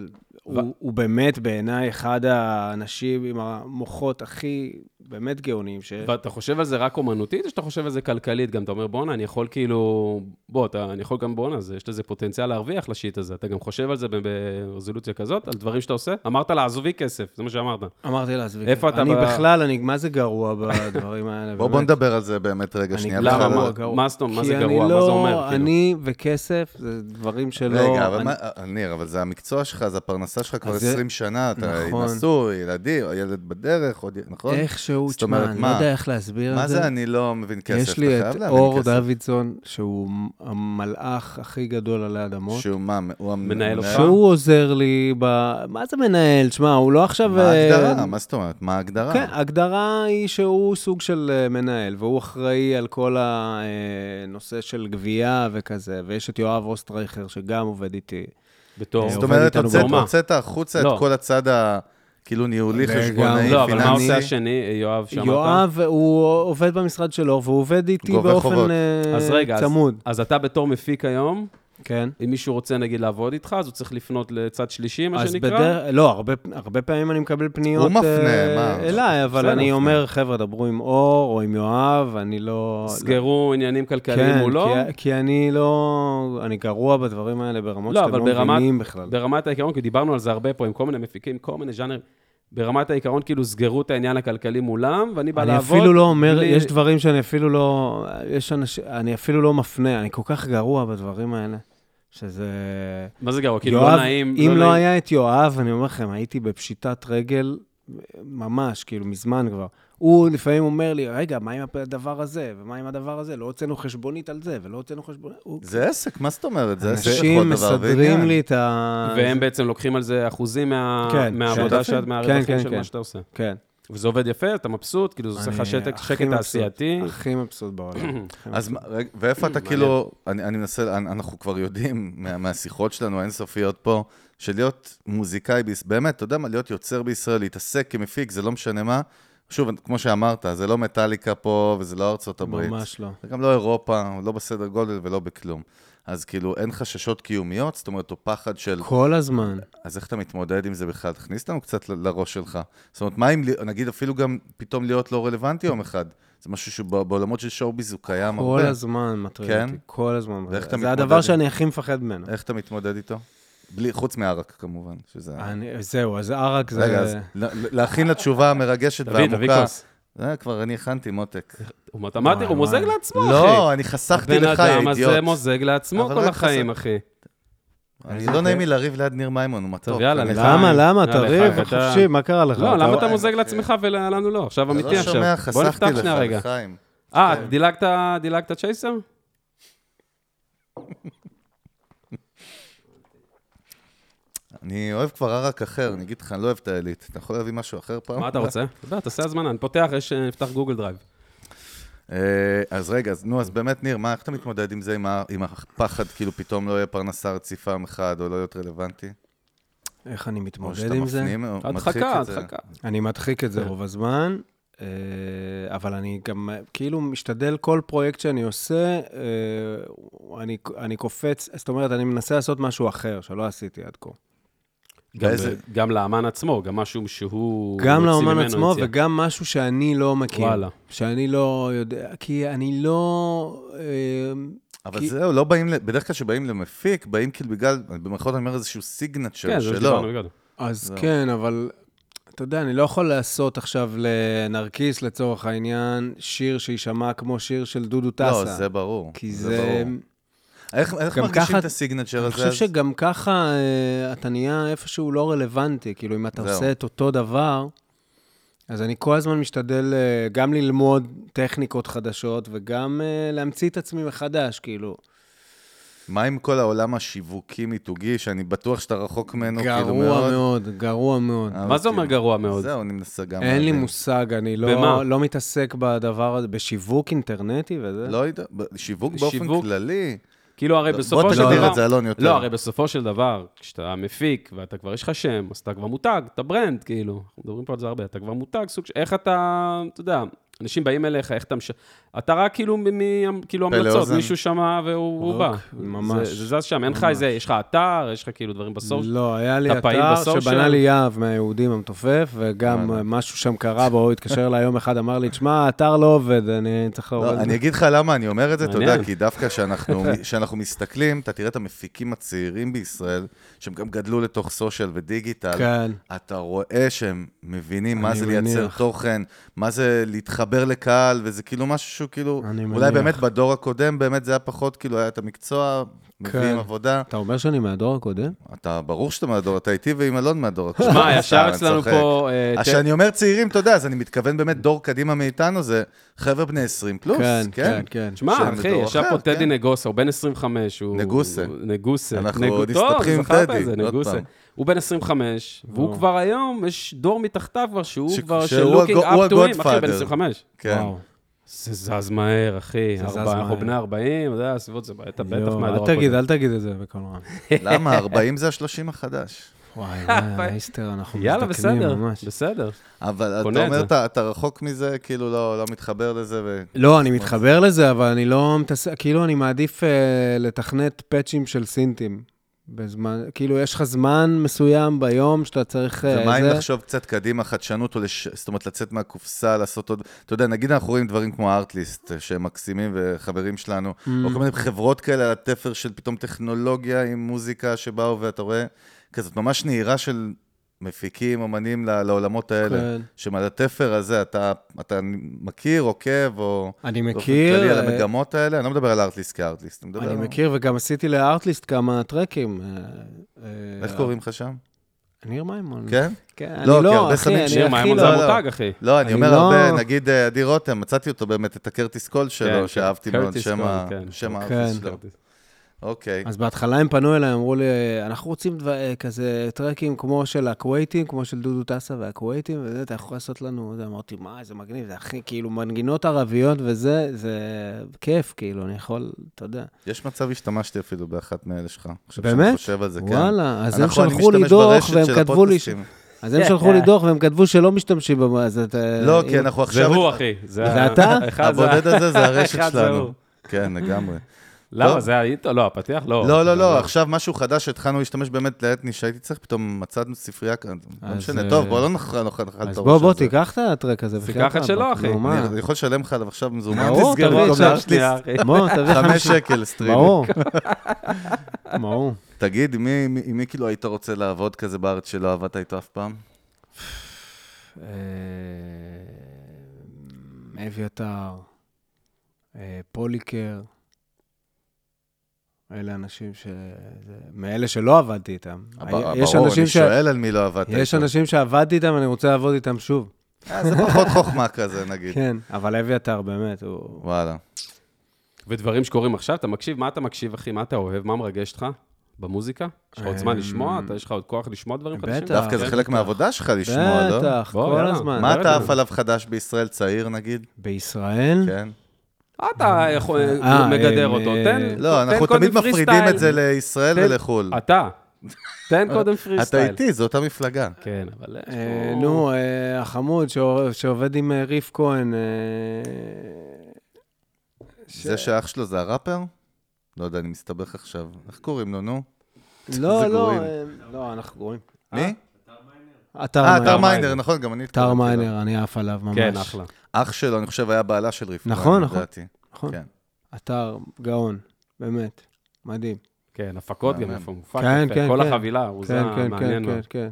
S6: הוא, הוא באמת בעיניי אחד האנשים עם המוחות הכי באמת גאוניים ש...
S4: ואתה חושב על זה רק אומנותית, או שאתה חושב על זה כלכלית? גם אתה אומר, בואנה, אני יכול כאילו... בוא, אתה, אני יכול גם בואנה, זה- יש לזה פוטנציאל להרוויח לשיט הזה. אתה גם חושב על זה ב- ברזולוציה כזאת, על דברים שאתה עושה? אמרת לה, עזובי כסף, זה מה שאמרת.
S6: אמרתי לה, עזבי.
S4: איפה אתה
S6: אני
S4: ב-
S6: בכלל, אני מה זה גרוע בדברים האלה.
S5: כן." בוא, בוא
S6: באמת.
S5: נדבר על זה באמת רגע שנייה.
S6: אני- לא
S4: למה?
S5: בחלל.
S4: מה- מה זאת אומרת? מה זה גרוע? מה זה אומר,
S6: כי
S4: כאילו?
S6: אני לא, אני וכסף, זה דברים שלא...
S5: רגע, אבל
S6: אני-
S5: מה, אה, ניר, אבל זה המקצוע שלך, זה הפרנסה שלך כבר
S6: אז זה-
S5: 20 שנה, אתה
S6: נכון.
S5: נשוי, ילדים, ילד בדרך, עוד, נכון?
S6: איכשהו,
S5: זאת
S6: תשמע,
S5: אומרת,
S6: אני לא
S5: מה?
S6: יודע איך להסביר את זה.
S5: מה זה אני לא מבין כסף?
S6: יש לי
S5: אתה
S6: את
S5: חייב להבין
S6: אור
S5: כסף.
S6: דוידסון, שהוא המלאך הכי גדול עלי אדמות.
S5: שהוא מה, הוא המ-
S4: מנהל אותך?
S6: שהוא עוזר לי ב... מה זה מנהל? שמע, הוא לא עכשיו...
S5: מה
S6: אה,
S5: ההגדרה? מה זאת אומרת? מה ההגדרה?
S6: כן, ההגדרה היא שהוא סוג של אה, מנהל, והוא אחראי על כל הנושא של גבייה וכזה, ויש את יואב אוסטרייכר שגם עובד איתי.
S4: בתור...
S5: זאת
S6: עובד
S5: אומרת,
S6: איתנו
S5: הוצאת-
S4: ברמה.
S5: הוצאת החוצה את
S4: לא.
S5: כל הצד ה... כאילו ניהולי,
S6: לגמרי.
S5: חשבונאי,
S4: לא, אבל מה
S5: פיננסי.
S4: עושה השני, יואב, שאמרת?
S6: יואב, הוא עובד במשרד שלו, והוא עובד איתי
S5: גובה
S6: באופן
S5: חובות.
S6: אה,
S4: אז רגע, אז,
S6: צמוד.
S4: אז אתה בתור מפיק היום,
S6: כן.
S4: אם מישהו רוצה נגיד לעבוד איתך, אז הוא צריך לפנות לצד שלישי, מה
S6: אז
S4: שנקרא?
S6: בדרך, לא, הרבה, הרבה פעמים אני מקבל פניות
S5: הוא מפנה,
S6: אה,
S5: מה?
S6: אליי, אבל
S4: בסדר,
S6: אני
S4: מפנה.
S6: אומר, חבר'ה, דברו עם אור או עם יואב, אני לא...
S4: סגרו עניינים
S6: לא-
S4: כלכליים
S6: כן,
S4: מולו?
S6: כי, כי אני לא... אני גרוע בדברים האלה ברמות
S4: לא,
S6: שאתם
S4: אבל
S6: לא
S4: ברמת-
S6: מבינים בכלל.
S4: ברמת העיקרון, כי דיברנו על זה הרבה פה עם כל מיני מפיקים, כל מיני ז'אנרים. ברמת העיקרון, כאילו, סגרו את העניין הכלכלי מולם, ואני בא
S6: אני
S4: לעבוד.
S6: אפילו לא אומר,
S4: בלי-
S6: יש דברים שאני אפילו לא, יש אנשים, אני אפילו לא מפנה, אני כל כך גרוע בדברים האלה, שזה...
S4: מה זה גרוע? כאילו, לא נעים.
S6: אם לא
S4: נעים.
S6: היה את יואב, אני אומר לכם, הייתי בפשיטת רגל ממש, כאילו, מזמן כבר. הוא לפעמים אומר לי, רגע, מה עם הדבר הזה, ומה עם הדבר הזה? לא הוצאנו חשבונית על זה, ולא הוצאנו חשבונית... הוא-
S5: זה עסק, מה זאת אומרת? זה עסק לכל
S6: אנשים
S5: דבר
S6: מסדרים
S5: ועניין.
S6: לי את ה...
S4: והם בעצם לוקחים על זה אחוזים מה-
S6: כן,
S4: מהעבודה,
S5: שותפים.
S4: שאת- מהרווחים
S6: כן,
S4: של
S6: כן.
S4: מה שאתה עושה.
S6: כן.
S4: וזה עובד יפה, אתה מבסוט, כאילו, זה עושה
S6: אני
S4: לך שתק-
S6: הכי
S4: שקט
S6: מבסוט,
S4: תעשייתי.
S6: הכי מבסוט בעולם. הכי
S5: אז מה- רגע, ואיפה אתה כאילו, אני אני מנסה, אנ- אנחנו כבר יודעים מה- מהשיחות שלנו האינסופיות פה, שלהיות מוזיקאי, ביס- באמת, אתה יודע מה, להיות יוצר בישראל, להתעסק כמפיק, זה לא משנה מה. שוב, כמו שאמרת, זה לא מטאליקה פה, וזה לא ארצות הברית.
S6: ממש לא.
S5: זה גם לא אירופה, לא בסדר גודל ולא בכלום. אז כאילו, אין חששות קיומיות, זאת אומרת, או פחד של...
S6: כל הזמן.
S5: אז איך אתה מתמודד עם זה בכלל? תכניס אותנו קצת ל- לראש שלך. זאת אומרת, מה אם, ל- נגיד, אפילו גם פתאום להיות לא רלוונטי יום אחד? זה משהו שבעולמות של שואו-ביז הוא קיים
S6: כל
S5: הרבה.
S6: הזמן מטריד
S5: כן?
S6: אותי, כל הזמן מטריד
S5: ואיך אתה
S6: אותי. זה
S5: מתמודד
S6: הדבר
S5: עם- אה.
S6: שאני הכי מפחד ממנו.
S5: איך אתה מתמודד איתו? בלי, חוץ מערק, כמובן, שזה...
S4: אה,
S6: אני- זהו, אז ערק זה...
S5: רגע, אז ל- להכין לתשובה המרגשת
S4: תביא, תביא
S5: והעמוקה.
S4: כוס.
S5: זה כבר אני הכנתי, מותק.
S4: הוא מתמטי, הוא מוזג
S6: וואי.
S4: לעצמו, אחי.
S5: לא, אני חסכתי
S4: הבן
S5: לך,
S4: אדם הזה
S5: אידיוט.
S4: מוזג לעצמו
S5: אבל לא
S4: כל
S5: רק
S4: החיים, אחי.
S5: אני לא נעים לי לריב ליד ניר מימון, הוא מתוק.
S4: טוב, יאללה, לא
S5: אני
S4: לך.
S5: חי-
S6: למה, למה?
S4: יאללה,
S6: תריב,
S4: חיים, אתה-
S6: חופשי, מה קרה לך?
S4: לא,
S6: אתה-
S4: למה אתה מוזג לעצמך ולנו לא? עכשיו
S5: אה, אתה
S4: אמיתי
S5: לא
S4: עכשיו.
S5: שומע,
S4: בוא
S5: חסכתי לא.
S4: נפתח
S5: לך,
S4: שנייה רגע.
S5: לחיים.
S4: אה, דילגת, דילגת צ'ייסר?
S5: אני אוהב כבר ערק אחר, אני אגיד לך, אני לא אוהב את העילית. אתה יכול להביא משהו אחר פעם?
S4: מה אתה רוצה? אתה יודע, תעשה הזמנה, אני פותח, יש, אה, נפתח גוגל דרייב.
S5: אה, אז רגע, אז נו, אז באמת, ניר, מה, איך אתה מתמודד עם זה, עם ה- עם הפחד, כאילו פתאום לא יהיה פרנסה רציפה יום אחד, או לא להיות רלוונטי?
S6: איך אני
S5: או
S6: מתמודד
S5: שאתה
S6: עם זה?
S5: מפנים, כן. או מדחיק
S4: הדחקה,
S5: את זה?
S4: הדחקה.
S6: אני מדחיק את זה רוב הזמן, אה, אבל אני גם אה, כאילו משתדל כל פרויקט שאני עושה, אה, אני, אני קופץ, זאת אומרת, אני מנסה לעשות משהו אחר שלא עשיתי עד כה.
S4: גם,
S5: באיזה-
S4: ב- גם לאמן עצמו, גם משהו שהוא...
S6: גם
S4: מוציא
S6: לאומן
S4: ממנו
S6: עצמו
S4: יציאה.
S6: וגם משהו שאני לא מכיר.
S4: וואלה.
S6: שאני לא יודע, כי אני לא... אה,
S5: אבל
S6: כי-
S5: זהו, לא באים, ל- בדרך כלל כשבאים למפיק, באים כאילו בגלל, במירכאות אני אומר איזשהו
S4: כן,
S5: סיגנצ'ר
S4: זה מה
S5: שלו.
S4: שדיברנו קודם.
S6: אז זהו. כן, אבל אתה יודע, אני לא יכול לעשות עכשיו לנרקיס, לצורך העניין, שיר שיישמע כמו שיר של דודו טסה.
S5: לא, זה ברור.
S6: כי
S5: זה
S6: זה...
S5: ברור. איך איך
S6: גם
S5: מרגישים
S6: ככה-
S5: את הסיגנצ'ר
S6: אני
S5: הזה?
S6: חושב
S5: אז?
S6: שגם ככה אה, אתה נהיה איפשהו לא רלוונטי, כאילו, אם אתה
S5: זהו.
S6: עושה את אותו דבר, אז אני כל הזמן משתדל אה, גם ללמוד טכניקות חדשות וגם אה, להמציא את עצמי מחדש, כאילו.
S5: מה עם כל העולם השיווקי-מיתוגי, שאני בטוח שאתה רחוק ממנו, כאילו
S6: גרוע
S5: מאוד?
S6: מאוד, גרוע מאוד.
S5: אבל
S4: מה זה אומר
S5: כאילו-
S4: גרוע מאוד?
S5: זהו, אני מנסה גם...
S6: אין לי
S5: להבין.
S6: מושג, אני
S4: במה?
S6: לא, לא מתעסק בדבר הזה, בשיווק אינטרנטי וזה.
S5: לא יודע, ב- שיווק באופן
S4: שיווק?
S5: כללי,
S4: כאילו, הרי
S5: לא,
S4: בסופו
S5: בוא
S4: של דבר...
S5: תגדיר את זה, אלון, יותר.
S4: לא, הרי בסופו של דבר, כשאתה מפיק, ואתה כבר, יש לך שם, אז אתה כבר מותג, אתה ברנד, כאילו. אנחנו מדברים פה על זה הרבה, אתה כבר מותג, סוג של... איך אתה, אתה יודע, אנשים באים אליך, איך אתה מש... אתה רק כאילו, מ... מ... כאילו
S5: פלא
S4: המלצות,
S5: אוזן.
S4: מישהו שמע והוא הוא
S6: רק,
S4: בא.
S6: ממש.
S4: זה, זה זז שם, אין לך איזה, יש לך אתר, יש לך כאילו דברים בסוף.
S6: לא, היה לי
S4: אתה פעיל
S6: אתר
S4: בסושיאל?
S6: שבנה לי יהב מהיהודים המתופף, וגם אה, משהו שם קרה בו, הוא התקשר אליי יום אחד, אמר לי, תשמע, האתר לא עובד, אני צריך
S5: לא,
S6: להוריד.
S5: אני אגיד לך למה אני אומר את זה, אתה יודע,
S4: מעניין.
S5: כי דווקא כשאנחנו כשאנחנו מסתכלים, אתה תראה את המפיקים הצעירים בישראל, שהם גם גדלו לתוך סושיאל ודיגיטל,
S6: כן.
S5: אתה רואה שהם מבינים מה
S6: אני
S5: זה לייצר
S6: מניח.
S5: תוכן, מה זה להתחבר לקהל, וזה כאילו משהו שהוא כאילו,
S6: אני
S5: אולי
S6: מניח.
S5: באמת בדור הקודם, באמת זה היה פחות, כאילו היה את המקצוע, מביאים
S6: כן.
S5: עבודה.
S6: אתה אומר שאני מהדור הקודם?
S5: אתה, ברור שאתה מהדור, אתה איתי ועם אלון מהדור הקודם.
S4: שמע,
S5: סתם,
S4: ישר
S5: אני
S4: אצלנו
S5: צוחק.
S4: פה... אה,
S5: אז כשאני אומר צעירים, אתה יודע, אז אני מתכוון באמת דור קדימה מאיתנו, זה חבר'ה בני 20 פלוס,
S6: כן,
S5: כן?
S6: כן, כן.
S4: שמע,
S5: שהם
S4: אחי,
S5: מדור
S4: ישב
S5: אחר,
S4: פה
S5: כן.
S4: טדי נגוסה, הוא בן 25, הוא...
S5: נגוסה.
S4: הוא- נגוסה.
S5: אנחנו
S4: נגו-
S5: עוד
S4: טוב,
S5: מסתבכים עם
S4: זכרת
S5: טדי,
S4: את זה,
S5: עוד
S4: נגוסה.
S5: פעם.
S4: הוא בן 25, והוא כבר היום, יש דור מתחתיו כבר שהוא
S5: ש-
S4: כבר, של
S5: שהוא
S4: looking
S5: הגו- הוא
S4: up to him, אחי, בן
S5: הגודפאדר.
S4: 25.
S5: כן.
S6: וואו.
S4: זה זז מהר, אחי.
S6: זה זז
S4: ארבע- אנחנו
S6: מהר.
S4: בני 40, אתה יודע, סביבות זה, אתה בטח
S6: יואו,
S4: מהדור
S6: אל תגיד,
S4: הקודם.
S6: אל תגיד את זה בקול רם.
S5: למה? 40 זה ה-30 החדש.
S6: וואי, וואי, אייסטר, אנחנו
S4: יאללה,
S6: מזדקנים
S4: בסדר,
S6: ממש.
S4: בסדר.
S5: אבל
S4: קונה
S5: אתה
S4: את
S5: אומר,
S4: זה.
S5: אתה, אתה רחוק מזה, כאילו לא, לא מתחבר לזה, ו...
S6: לא, אני מתחבר לזה, אבל אני לא מתעסק, כאילו, אני מעדיף אה, לתכנת פאצ'ים של סינטים. בזמן, כאילו, יש לך זמן מסוים ביום שאתה צריך... אה,
S5: ומה אם
S6: זה.
S5: לחשוב קצת קדימה, חדשנות, או לש... זאת אומרת, לצאת מהקופסה, לעשות עוד... אתה יודע, נגיד אנחנו רואים דברים כמו ארטליסט, שהם מקסימים וחברים שלנו,
S6: Mm.
S5: או כל מיני חברות כאלה על התפר של פתאום טכנולוגיה עם מוזיקה שבאו, ואתה רואה כזאת ממש נהירה של מפיקים, אומנים ל- לעולמות האלה,
S6: כן.
S5: שמעל התפר הזה אתה, אתה מכיר, עוקב, או...
S6: אני
S5: באופן
S6: מכיר,
S5: כללי על
S6: אה,
S5: המגמות האלה, אני לא מדבר על ארטליסט כארטליסט, אני מדבר
S6: אני
S5: על...
S6: מכיר, וגם עשיתי לארטליסט כמה טרקים. אה, אה,
S5: איך קוראים לך שם?
S6: ניר מימון.
S5: כן?
S6: כן,
S5: לא,
S6: אני
S5: כי
S6: לא,
S5: הרבה
S6: אחי,
S5: שמים
S6: אני
S4: שיר
S6: הכי
S4: מימון זה
S6: לא-
S5: המון.
S4: המותג, אחי.
S5: לא, אני
S6: אני
S5: אומר
S6: לא-
S5: הרבה, נגיד אה, עדי רותם, מצאתי אותו באמת, את הקרטיס קול
S4: כן,
S5: שלו, שאהבתי
S4: קרטיס
S5: מאוד, שם
S4: קול,
S5: ה-
S4: כן.
S5: שם
S6: כן.
S5: הארטיסט שלו. אוקיי.
S6: אז בהתחלה הם פנו אליי, אמרו לי, אנחנו רוצים דבר- אה, כזה טרקים כמו של הכווייתים, כמו של דודו טסה והכווייתים, וזה, אתה יכול לעשות לנו... זה, אמרתי, מה, זה מגניב, זה הכי, כאילו, מנגינות ערביות וזה, זה כיף, כאילו, אני יכול, אתה יודע.
S5: יש מצב השתמשתי אפילו באחת מאלה שלך. עכשיו שאני
S6: באמת?
S5: חושב על זה, כן.
S6: וואלה, אז הם
S5: אנחנו- אני
S6: שלחו לי
S5: משתמש
S6: דוח,
S5: ברשת
S6: והם
S5: של
S6: כתבו לי... ש-
S5: הפודקאסטים.
S6: אז הם שלחו לי דוח, והם כתבו שלא משתמשים במה, אז אתה...
S5: כן, לא, כי
S6: אם-
S5: אנחנו
S4: זה
S5: עכשיו...
S4: הוא, אחי.
S6: זה אתה?
S4: אחד זה-
S5: הבודד הזה זה הרשת
S4: אחד זה
S5: שלנו.
S4: הוא.
S5: כן, לגמרי.
S4: למה,
S5: טוב.
S4: זה האינטו? לא, הפתיח? לא.
S5: לא, לא, לא, עכשיו משהו חדש שהתחלנו להשתמש באמת לאתני, שהייתי צריך, פתאום מצאנו ספרייה כאן, לא
S6: אז,
S5: משנה,
S6: אה,
S5: טוב, בוא לא נאכל נאכל את הראש הזה.
S6: אז בוא, בוא, תיקח את הטרק הזה.
S4: תיקח
S6: בחייאת
S4: את שלו,
S6: רבאק.
S4: אחי.
S6: נו, מה?
S5: אני יכול לשלם לך עליו עכשיו מזומן?
S6: ברור,
S5: תסגרו
S6: תביא
S5: אותו
S6: את זה.
S5: בארטליסט.
S4: אחי.
S6: בוא, תביא
S5: חמש שקל סטרימינג.
S6: ברור. ברור.
S5: תגיד, מי- מי- עם מי כאילו היית רוצה לעבוד כזה בארץ שלא עבדת איתו אף פעם?
S6: אה, אביתר, אה, פוליקר, אלה אנשים ש... זה- מאלה שלא עבדתי איתם.
S5: הב-
S6: היה- אה, יש
S5: ברור,
S6: אנשים
S5: אני
S6: ש-
S5: שואל על מי לא עבדת איתו.
S6: יש אנשים שעבדתי איתם, אני רוצה לעבוד איתם שוב.
S5: אה, זה פחות חוכמה כזה, נגיד.
S6: כן, אבל אביתר באמת, הוא...
S5: וואלה.
S4: ודברים שקורים עכשיו, אתה מקשיב, מה אתה מקשיב, אחי? מה אתה אוהב? מה מרגש אותך במוזיקה? יש לך עוד זמן
S6: אמ,
S4: לשמוע? אתה- יש לך עוד כוח לשמוע דברים
S6: בטח.
S4: חדשים?
S5: דווקא זה
S4: כן.
S5: חלק מהעבודה שלך לשמוע, לא?
S6: בטח,
S4: בוא,
S6: כל
S4: יאללה.
S6: הזמן.
S5: מה
S4: לא
S5: אתה עף עליו חדש בישראל, צעיר נגיד?
S6: בישראל?
S5: כן.
S4: אתה יכול-
S6: אה,
S4: מגדר
S6: אה,
S4: אותו.
S6: אה,
S4: תן
S5: לא,
S4: תן
S5: אנחנו
S4: קודם
S5: תמיד
S4: פרי
S5: מפרידים
S4: סטייל.
S5: את זה
S6: כן.
S5: לישראל
S4: תן-
S5: ולחו"ל.
S4: אתה. תן קודם פרי
S5: אתה
S4: סטייל.
S5: איתי, זו אותה מפלגה.
S4: כן, אבל... יש
S6: אה,
S4: פה-
S6: נו, אה, החמוד שעור- שעובד עם אה, ריף כהן. אה, ש-
S5: זה שאח שלו זה הראפר? לא יודע, אני מסתבך עכשיו. איך קוראים לו, נו?
S6: לא, לא,
S5: גרועים.
S6: אה, לא, אנחנו גרועים.
S5: מי?
S6: אתר
S5: אה, טר
S6: מיינר.
S5: מיינר, נכון, גם אני
S6: אתר
S5: התכוונתי לו.
S6: מיינר, אני עף עליו ממש.
S4: כן, אחלה.
S5: אח שלו, אני חושב, היה בעלה של ריף.
S6: נכון,
S5: כהן,
S6: נכון.
S5: לדעתי.
S6: נכון.
S5: כן.
S6: אתר גאון, באמת, מדהים.
S4: כן, הפקות גם
S5: מהמם.
S4: איפה מופק.
S6: כן,
S4: יפה.
S6: כן,
S4: כל
S6: כן.
S4: החבילה, הוא זה
S6: כן, כן,
S4: המעניין
S6: כן, כן,
S4: מאוד.
S6: כן.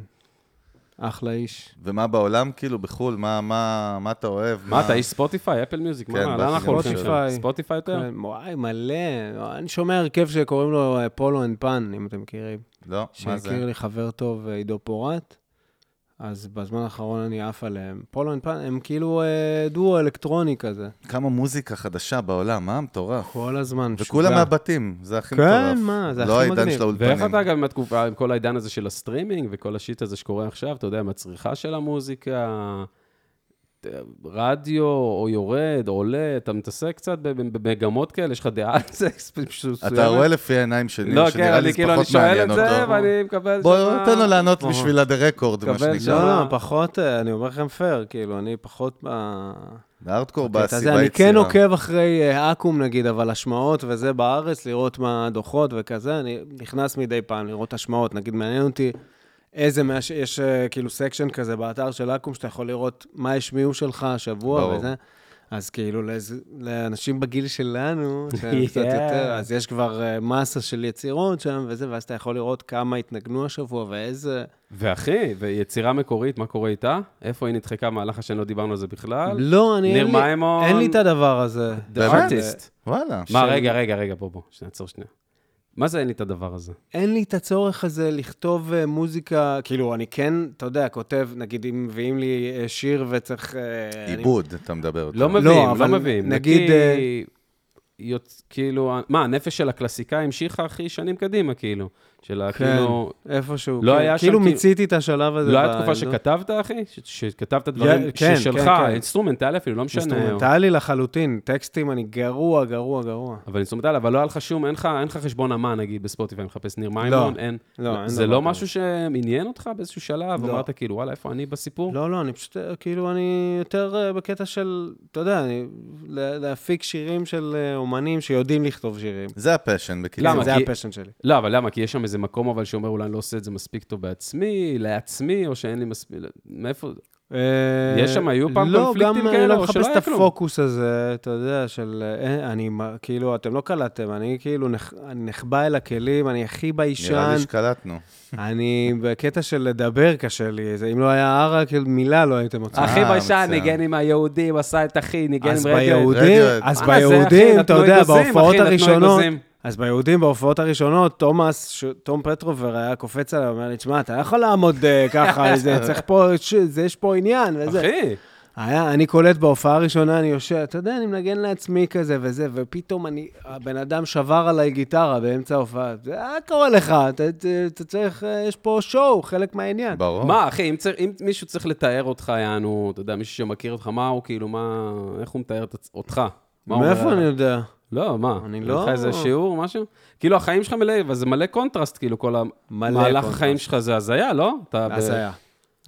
S6: אחלה איש.
S5: ומה בעולם, כאילו, בחו"ל, מה- מה מה אתה אוהב?
S4: מה, אתה איש ספוטיפיי, אפל מיוזיק?
S5: כן,
S4: מה,
S5: באתי
S4: לאן אנחנו
S5: גם
S4: הולכים?
S6: ספוטיפיי.
S4: שם? ספוטיפיי יותר?
S6: כן, וואי, מלא. אני שומע הרכב שקוראים לו אה, פולו אנד פן, אם אתם מכירים.
S5: לא, מה זה?
S6: שהכיר לי חבר טוב, אה, עידו פורט, אז בזמן האחרון אני עף עליהם. פולו אנד פן, הם כאילו אה, דואו אלקטרוני כזה.
S5: כמה מוזיקה חדשה בעולם, מה? מטורף.
S4: נכון.
S6: כל הזמן, משוגע.
S5: וכולם מהבתים, זה הכי
S6: כן,
S5: מטורף.
S6: מה, זה
S5: לא
S6: הכי
S5: העידן
S6: מגניב.
S5: של האולפנים.
S4: ואיך אתה גם עם התקופה, עם כל העידן הזה של הסטרימינג וכל השיט הזה שקורה עכשיו, אתה יודע, עם הצריכה של המוזיקה, רדיו, או יורד, או עולה, אתה מתעסק קצת ב- במגמות כאלה, יש לך דעה על זה מסוימת?
S5: אתה רואה לפי העיניים של ניר,
S4: לא, כן,
S5: שנראה לי
S4: אני
S5: זה
S4: כאילו, אני
S5: פחות
S4: שואל
S5: מעניין
S4: את זה,
S5: אותו.
S4: ואני נכון. מקבל
S5: בוא,
S4: שמה-
S5: תן לו לענות
S4: אוהו.
S5: בשביל ה- the record, מה
S4: קבל
S5: שנקרא.
S4: שם.
S6: לא, לא, פחות, אה, אני אומר לכם פייר, כאילו, אני פחות ב...
S5: הארדקור
S6: הקטע הזה.
S5: בעשיבה
S6: אני כן
S5: יצירה.
S6: עוקב אחרי אה, אקו"ם נגיד, אבל השמעות וזה בארץ, לראות מה הדוחות וכזה, אני נכנס מדי פעם לראות השמעות. נגיד, מעניין אותי איזה, מה... יש אה, כאילו סקשן כזה באתר של אקו"ם, שאתה יכול לראות מה השמיעו שלך השבוע
S5: ברור.
S6: וזה. אז כאילו, לאיזה- לאנשים בגיל שלנו, שהם
S4: Yeah.
S6: קצת יותר, אז יש כבר אה, מסה של יצירות שם וזה, ואז אתה יכול לראות כמה התנגנו השבוע ואיזה...
S4: ואחי, ויצירה מקורית, מה קורה איתה? איפה היא נדחקה במהלך השנה? לא דיברנו על זה בכלל.
S6: לא, אני...
S4: ניר
S6: אין לי-
S4: מימון.
S6: אין לי את הדבר הזה.
S4: The
S5: באמת?
S4: Artist.
S5: וואלה.
S4: מה, רגע, רגע, רגע, בוא, בוא, שנייה, עצור שנייה. מה זה אין לי את הדבר הזה?
S6: אין לי את הצורך הזה לכתוב אה, מוזיקה, כאילו, אני כן, אתה יודע, כותב, נגיד, אם מביאים לי אה, שיר וצריך... אה, אני-
S5: עיבוד, אתה מדבר אותו.
S4: לא מביאים, לא
S6: אבל
S4: מביאים.
S6: נגיד,
S4: נגיד...
S6: אה,
S4: יוצ... כאילו, מה, הנפש של הקלסיקה המשיכה הכי שנים קדימה, כאילו. של ה...
S6: כן,
S4: כאילו...
S6: איפשהו.
S4: לא
S6: כן.
S4: היה שם
S6: כאילו
S4: כאילו-
S6: מיציתי את השלב הזה.
S4: לא
S6: ב-
S4: הייתה תקופה
S6: לא.
S4: שכתבת, אחי? ש- שכתבת דברים
S6: כן,
S4: ששלך,
S6: כן, כן.
S4: אינסטרומנטלי אפילו, לא משנה.
S6: אינסטרומנטלי לחלוטין, טקסטים, אני גרוע, גרוע, גרוע.
S4: אבל אינסטרומנטלי, אבל לא היה לך שום, אין לך, אין לך חשבון אמן, נגיד, בספוטיפיי, מחפש ניר מימון, אין.
S6: לא, אין
S4: זה
S6: דבר
S4: לא
S6: כזה.
S4: משהו שעניין אותך באיזשהו שלב?
S6: לא.
S4: אמרת כאילו, וואלה, איפה אני בסיפור?
S6: לא, לא, אני פשוט, אה, כאילו, אני יותר אה, בקטע של, אתה יודע, אני- לה- להפיק שירים של אה, אומנים שיודעים לכתוב שירים.
S5: זה הפשן, בקיצור.
S4: למה?
S6: זה
S4: כי-
S6: הפשן שלי.
S4: לא, אבל למה? כי יש שם איזה מקום, אבל שאומר, אולי אני לא עושה את זה מספיק טוב בעצמי, לעצמי, או שאין לי מספיק... לא, מאיפה...
S6: אה,
S4: יש שם, היו פעם קונפליקטים
S6: לא, גם אני
S4: כאלה,
S6: לא
S4: או שלא
S6: מחפש
S4: היה
S6: את
S4: כלום?
S6: הפוקוס הזה, אתה יודע, של... אה, אני, מ- כאילו, אתם לא קלטתם, אני כאילו נח- אני נחבא אל הכלים, אני הכי
S5: נראה
S6: ביישן,
S5: לי שקלטנו.
S6: אני בקטע של לדבר קשה לי, זה, אם לא היה ערה, כאילו מילה לא הייתם מוצאים.
S4: הכי
S5: אה,
S4: ביישן, כן,
S5: מצוין.
S4: ניגן עם היהודים, עשה את אחי, ניגן עם
S6: אז
S4: רדיו.
S6: ביהודים,
S5: רדיואט.
S6: אז
S4: מה אה, זה, אחי?
S6: ביהודים, אתה
S4: נתנו
S6: יודע,
S4: אגוזים, אחי,
S6: בהופעות
S4: נתנו
S6: הראשונות,
S4: אגוזים.
S6: אז ביהודים, בהופעות הראשונות, תומאס, ש- תום פטרובר היה קופץ עליו, אומר לי, תשמע, אתה לא יכול לעמוד אה, ככה, זה צריך פה, ש- זה, יש פה עניין, וזה.
S4: אחי,
S6: היה, אני קולט בהופעה הראשונה, אני יושב, אתה יודע, אני מנגן לעצמי כזה וזה, ופתאום אני, הבן אדם שבר עליי גיטרה באמצע ההופעה. זה היה קורה לך, אתה, אתה, אתה צריך, אה, יש פה שואו, חלק מהעניין.
S5: ברור.
S4: מה, אחי, אם צר- אם מישהו צריך לתאר אותך, יענו, אתה יודע, מישהו שמכיר אותך, מה הוא, כאילו, מה... איך הוא מתאר את עצ- אותך? מה הוא
S6: מאיפה
S4: אומר?
S6: אני יודע?
S4: לא, מה?
S6: אני
S4: אין
S6: לא-
S4: לך איזה שיעור, משהו? כאילו, החיים שלך מלא, וזה מלא קונטרסט, כאילו, כל המהלך
S6: קונטרסט.
S4: החיים שלך זה הזיה, לא? אתה ב-
S6: אז היה.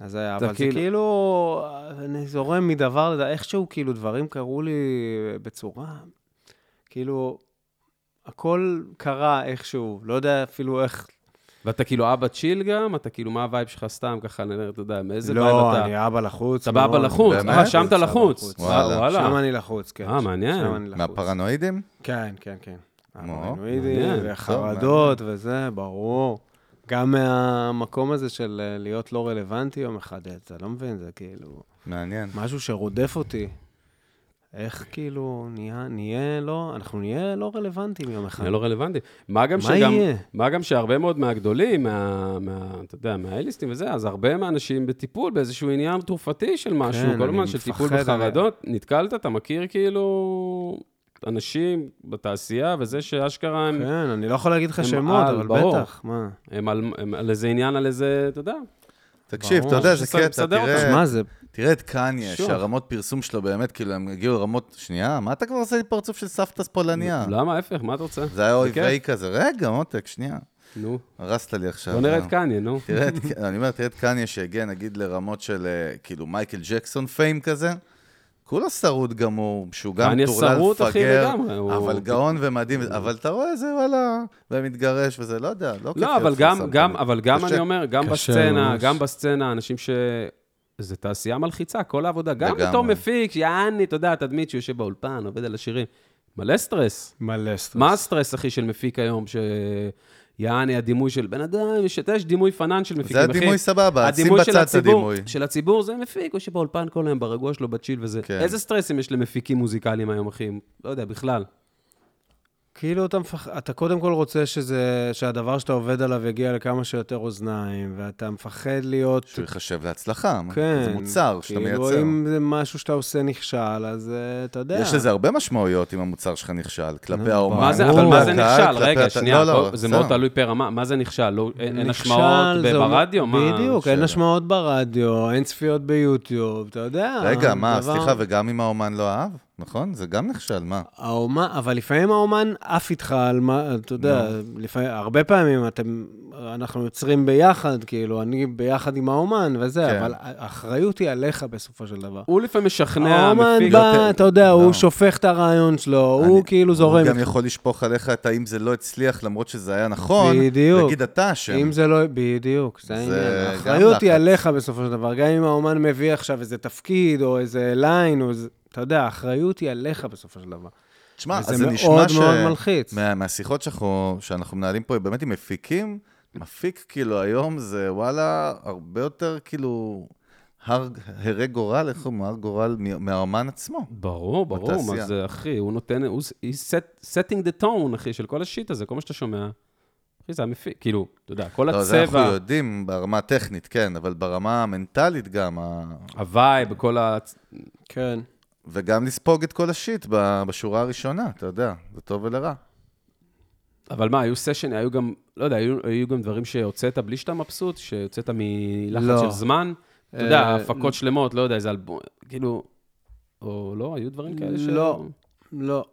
S6: אז היה,
S4: אתה
S6: אבל זה
S4: כאילו-
S6: כאילו, אני זורם מדבר לדבר, איכשהו כאילו דברים קרו לי בצורה, כאילו, הכל קרה איכשהו, לא יודע אפילו איך
S4: ואתה כאילו אבא צ'יל גם? אתה כאילו, מה הווייב שלך סתם ככה, אני- אתה יודע, מאיזה וייב אתה?
S6: לא, אני אבא לחוץ.
S4: אתה באבא
S6: מאוד.
S4: לחוץ.
S5: באמת?
S4: אה, שם אתה
S6: אבא
S4: לחוץ.
S6: לחוץ.
S5: וואלה.
S6: שם
S4: וואלה.
S6: אני לחוץ, כן.
S4: אה, מעניין.
S6: שם אני לחוץ.
S5: מהפרנואידים?
S6: כן, כן, כן.
S5: נו,
S6: הפרנואידים,
S4: מעניין,
S6: וחרדות וזה, ברור. גם מהמקום הזה של אה, להיות לא רלוונטי יום אחד, אתה לא מבין, זה כאילו
S5: מעניין.
S6: משהו שרודף אותי. איך כאילו נהיה, נהיה לא, אנחנו נהיה לא רלוונטיים יום אחד.
S4: זה לא רלוונטי. מה גם
S6: מה
S4: שגם,
S6: יהיה?
S4: מה גם שהרבה מאוד מהגדולים, מה, מה, אתה יודע, מהאליסטים וזה, אז הרבה מהאנשים בטיפול באיזשהו עניין תרופתי של משהו,
S6: כן,
S4: כל
S6: אני
S4: הזמן של טיפול
S6: מפחד, אני-
S4: בחרדות. נתקלת, אתה מכיר כאילו אנשים בתעשייה וזה שאשכרה הם,
S6: כן, אני לא יכול להגיד לך
S4: הם
S6: שמות,
S4: על,
S6: אבל
S4: ברור.
S6: בטח, מה?
S4: הם, על, הם על איזה עניין, על איזה, אתה יודע,
S5: תקשיב,
S4: ברור.
S5: אתה יודע, זה
S4: שסדר-
S5: קטע,
S4: מסדר אותם.
S5: תראה,
S6: שמע, זה
S5: תראה את קניה,
S4: שוב.
S5: שהרמות פרסום שלו באמת, כאילו, הם הגיעו לרמות... שנייה, מה אתה כבר עושה לי פרצוף של סבתא פולניה?
S6: אה.
S4: למה, ההפך, מה אתה רוצה?
S5: זה היה
S4: בכיף.
S5: אויבי כזה, רגע, עותק, שנייה.
S4: נו,
S5: הרסת לי
S6: לא
S5: עכשיו.
S4: בוא נראה
S5: אה.
S4: את קניה, נו.
S6: כן.
S5: תראה, את- אני אומר, תראה את קניה שהגיע נגיד לרמות של אה, כאילו מייקל ג'קסון פיים כזה. כולו שרוד גמור, שהוא גם
S4: קניה
S5: טורלל
S4: שרוד, אחי,
S5: מפגר,
S4: לגמרי, הוא-
S5: אבל גאון ומדהים, אבל אתה רואה, זה וואלה, ומתגרש וזה, לא יודע, לא כיף
S4: לא,
S5: להיות
S4: אבל גם,
S5: חסר
S4: גם,
S5: פנים.
S4: אבל גם
S5: קשה.
S4: אני אומר, גם
S6: קשה
S4: בסצנה,
S6: ממש.
S4: גם בסצנה, אנשים ש... זה תעשייה מלחיצה, כל העבודה. גם
S5: לגמרי.
S4: אותו מפיק, יעני, אתה יודע, התדמית שיושב באולפן, עובד על השירים. מלא סטרס.
S6: מלא סטרס.
S4: מה הסטרס, אחי, של מפיק היום, ש... יעני, הדימוי של בן אדם, יש, אתה יודע, יש דימוי פנן של מפיקים, אחי.
S5: הדימוי סבבה, שים
S4: הדימוי של
S5: בצד את
S4: הציבור-
S5: הדימוי.
S4: של הציבור זה מפיק, הוא שבאולפן כל היום ברגוע שלו, בצ'יל וזה.
S5: כן.
S4: איזה סטרסים יש למפיקים מוזיקליים היום, אחי? לא יודע, בכלל.
S6: כאילו אתה מפחד, אתה קודם כל רוצה שזה, שהדבר שאתה עובד עליו יגיע לכמה שיותר אוזניים, ואתה מפחד להיות...
S5: שהוא ייחשב להצלחה, מה-
S6: כן.
S5: זה מוצר שאתה
S6: כאילו,
S5: מייצר.
S6: אם זה משהו שאתה עושה נכשל, אז אה, אתה יודע.
S5: יש לזה הרבה משמעויות אם המוצר שלך נכשל, כלפי
S6: נו,
S5: האומן.
S4: מה זה,
S6: ברור.
S4: אבל מה זה
S5: כלפי הקהל,
S4: נכשל?
S5: כלפי
S4: רגע,
S5: הת-
S4: שנייה,
S5: לא, לא,
S4: פה- זה
S5: בסדר.
S4: מאוד תלוי פר רמה. מה זה נכשל? לא- אין אין
S6: נכשל,
S4: השמעות
S6: זה אומר-
S4: ברדיו? מה-
S6: בדיוק, אין
S4: השאלה?
S6: השמעות ברדיו, אין צפיות ביוטיוב, אתה יודע.
S5: רגע, מה,
S6: דבר-
S5: סליחה, וגם אם האומן לא אהב, נכון? זה גם נכשל, מה?
S6: האומן, אבל לפעמים האומן עף איתך על מה, אתה יודע, לפעמים, הרבה פעמים אתם, אנחנו יוצרים ביחד, כאילו, אני ביחד עם האומן וזה,
S5: כן.
S6: אבל האחריות היא עליך בסופו של דבר.
S4: הוא לפעמים משכנע,
S6: האומן
S4: המפיק.
S6: בא, אתה יודע,
S5: לא.
S6: הוא שופך את הרעיון שלו,
S5: אני-
S6: הוא כאילו זורם.
S5: הוא גם יכול לשפוך עליך את האם זה לא הצליח, למרות שזה היה נכון.
S6: בדיוק.
S5: תגיד, אתה אשם.
S6: אם זה לא... בדיוק, זה
S5: זה
S6: העניין.
S5: גם
S6: האחריות היא
S5: לחץ.
S6: עליך בסופו של דבר. גם אם האומן מביא עכשיו איזה תפקיד, או איזה ליין, או איזה... אתה יודע, האחריות היא עליך בסופו של דבר.
S5: תשמע,
S6: וזה
S5: אז זה
S6: מאוד
S5: נשמע ש...
S6: מאוד מלחיץ.
S5: מה- מהשיחות שאנחנו, שאנחנו מנהלים פה, באמת עם מפיקים, מפיק כאילו היום זה וואלה, הרבה יותר כאילו הר, הרג גורל, איך אומרים? הר גורל מ- מהאומן עצמו.
S4: ברור, ברור,
S5: בתעשייה.
S4: מה זה, אחי, הוא נותן, הוא ס- he's set- setting the tone, אחי, של כל השיט הזה, כל מה שאתה שומע. אחי, זה המפיק, כאילו, אתה יודע, כל
S5: לא, זה אנחנו
S4: הצבע,
S5: יודעים ברמה הטכנית, כן, אבל ברמה המנטלית גם, ה...
S4: הווייב, כל ה...
S6: כן.
S5: וגם לספוג את כל השיט ב- בשורה הראשונה, אתה יודע, זה טוב ולרע.
S4: אבל מה, היו סשן, היו גם, לא יודע, היו, היו גם דברים שהוצאת בלי שאתה מבסוט, שהוצאת מלחץ
S6: לא.
S4: של זמן. אתה יודע,
S6: אה,
S4: הפקות שלמות, לא יודע, איזה אלבום, כאילו, או לא, היו דברים כאלה ש...
S6: לא. לא.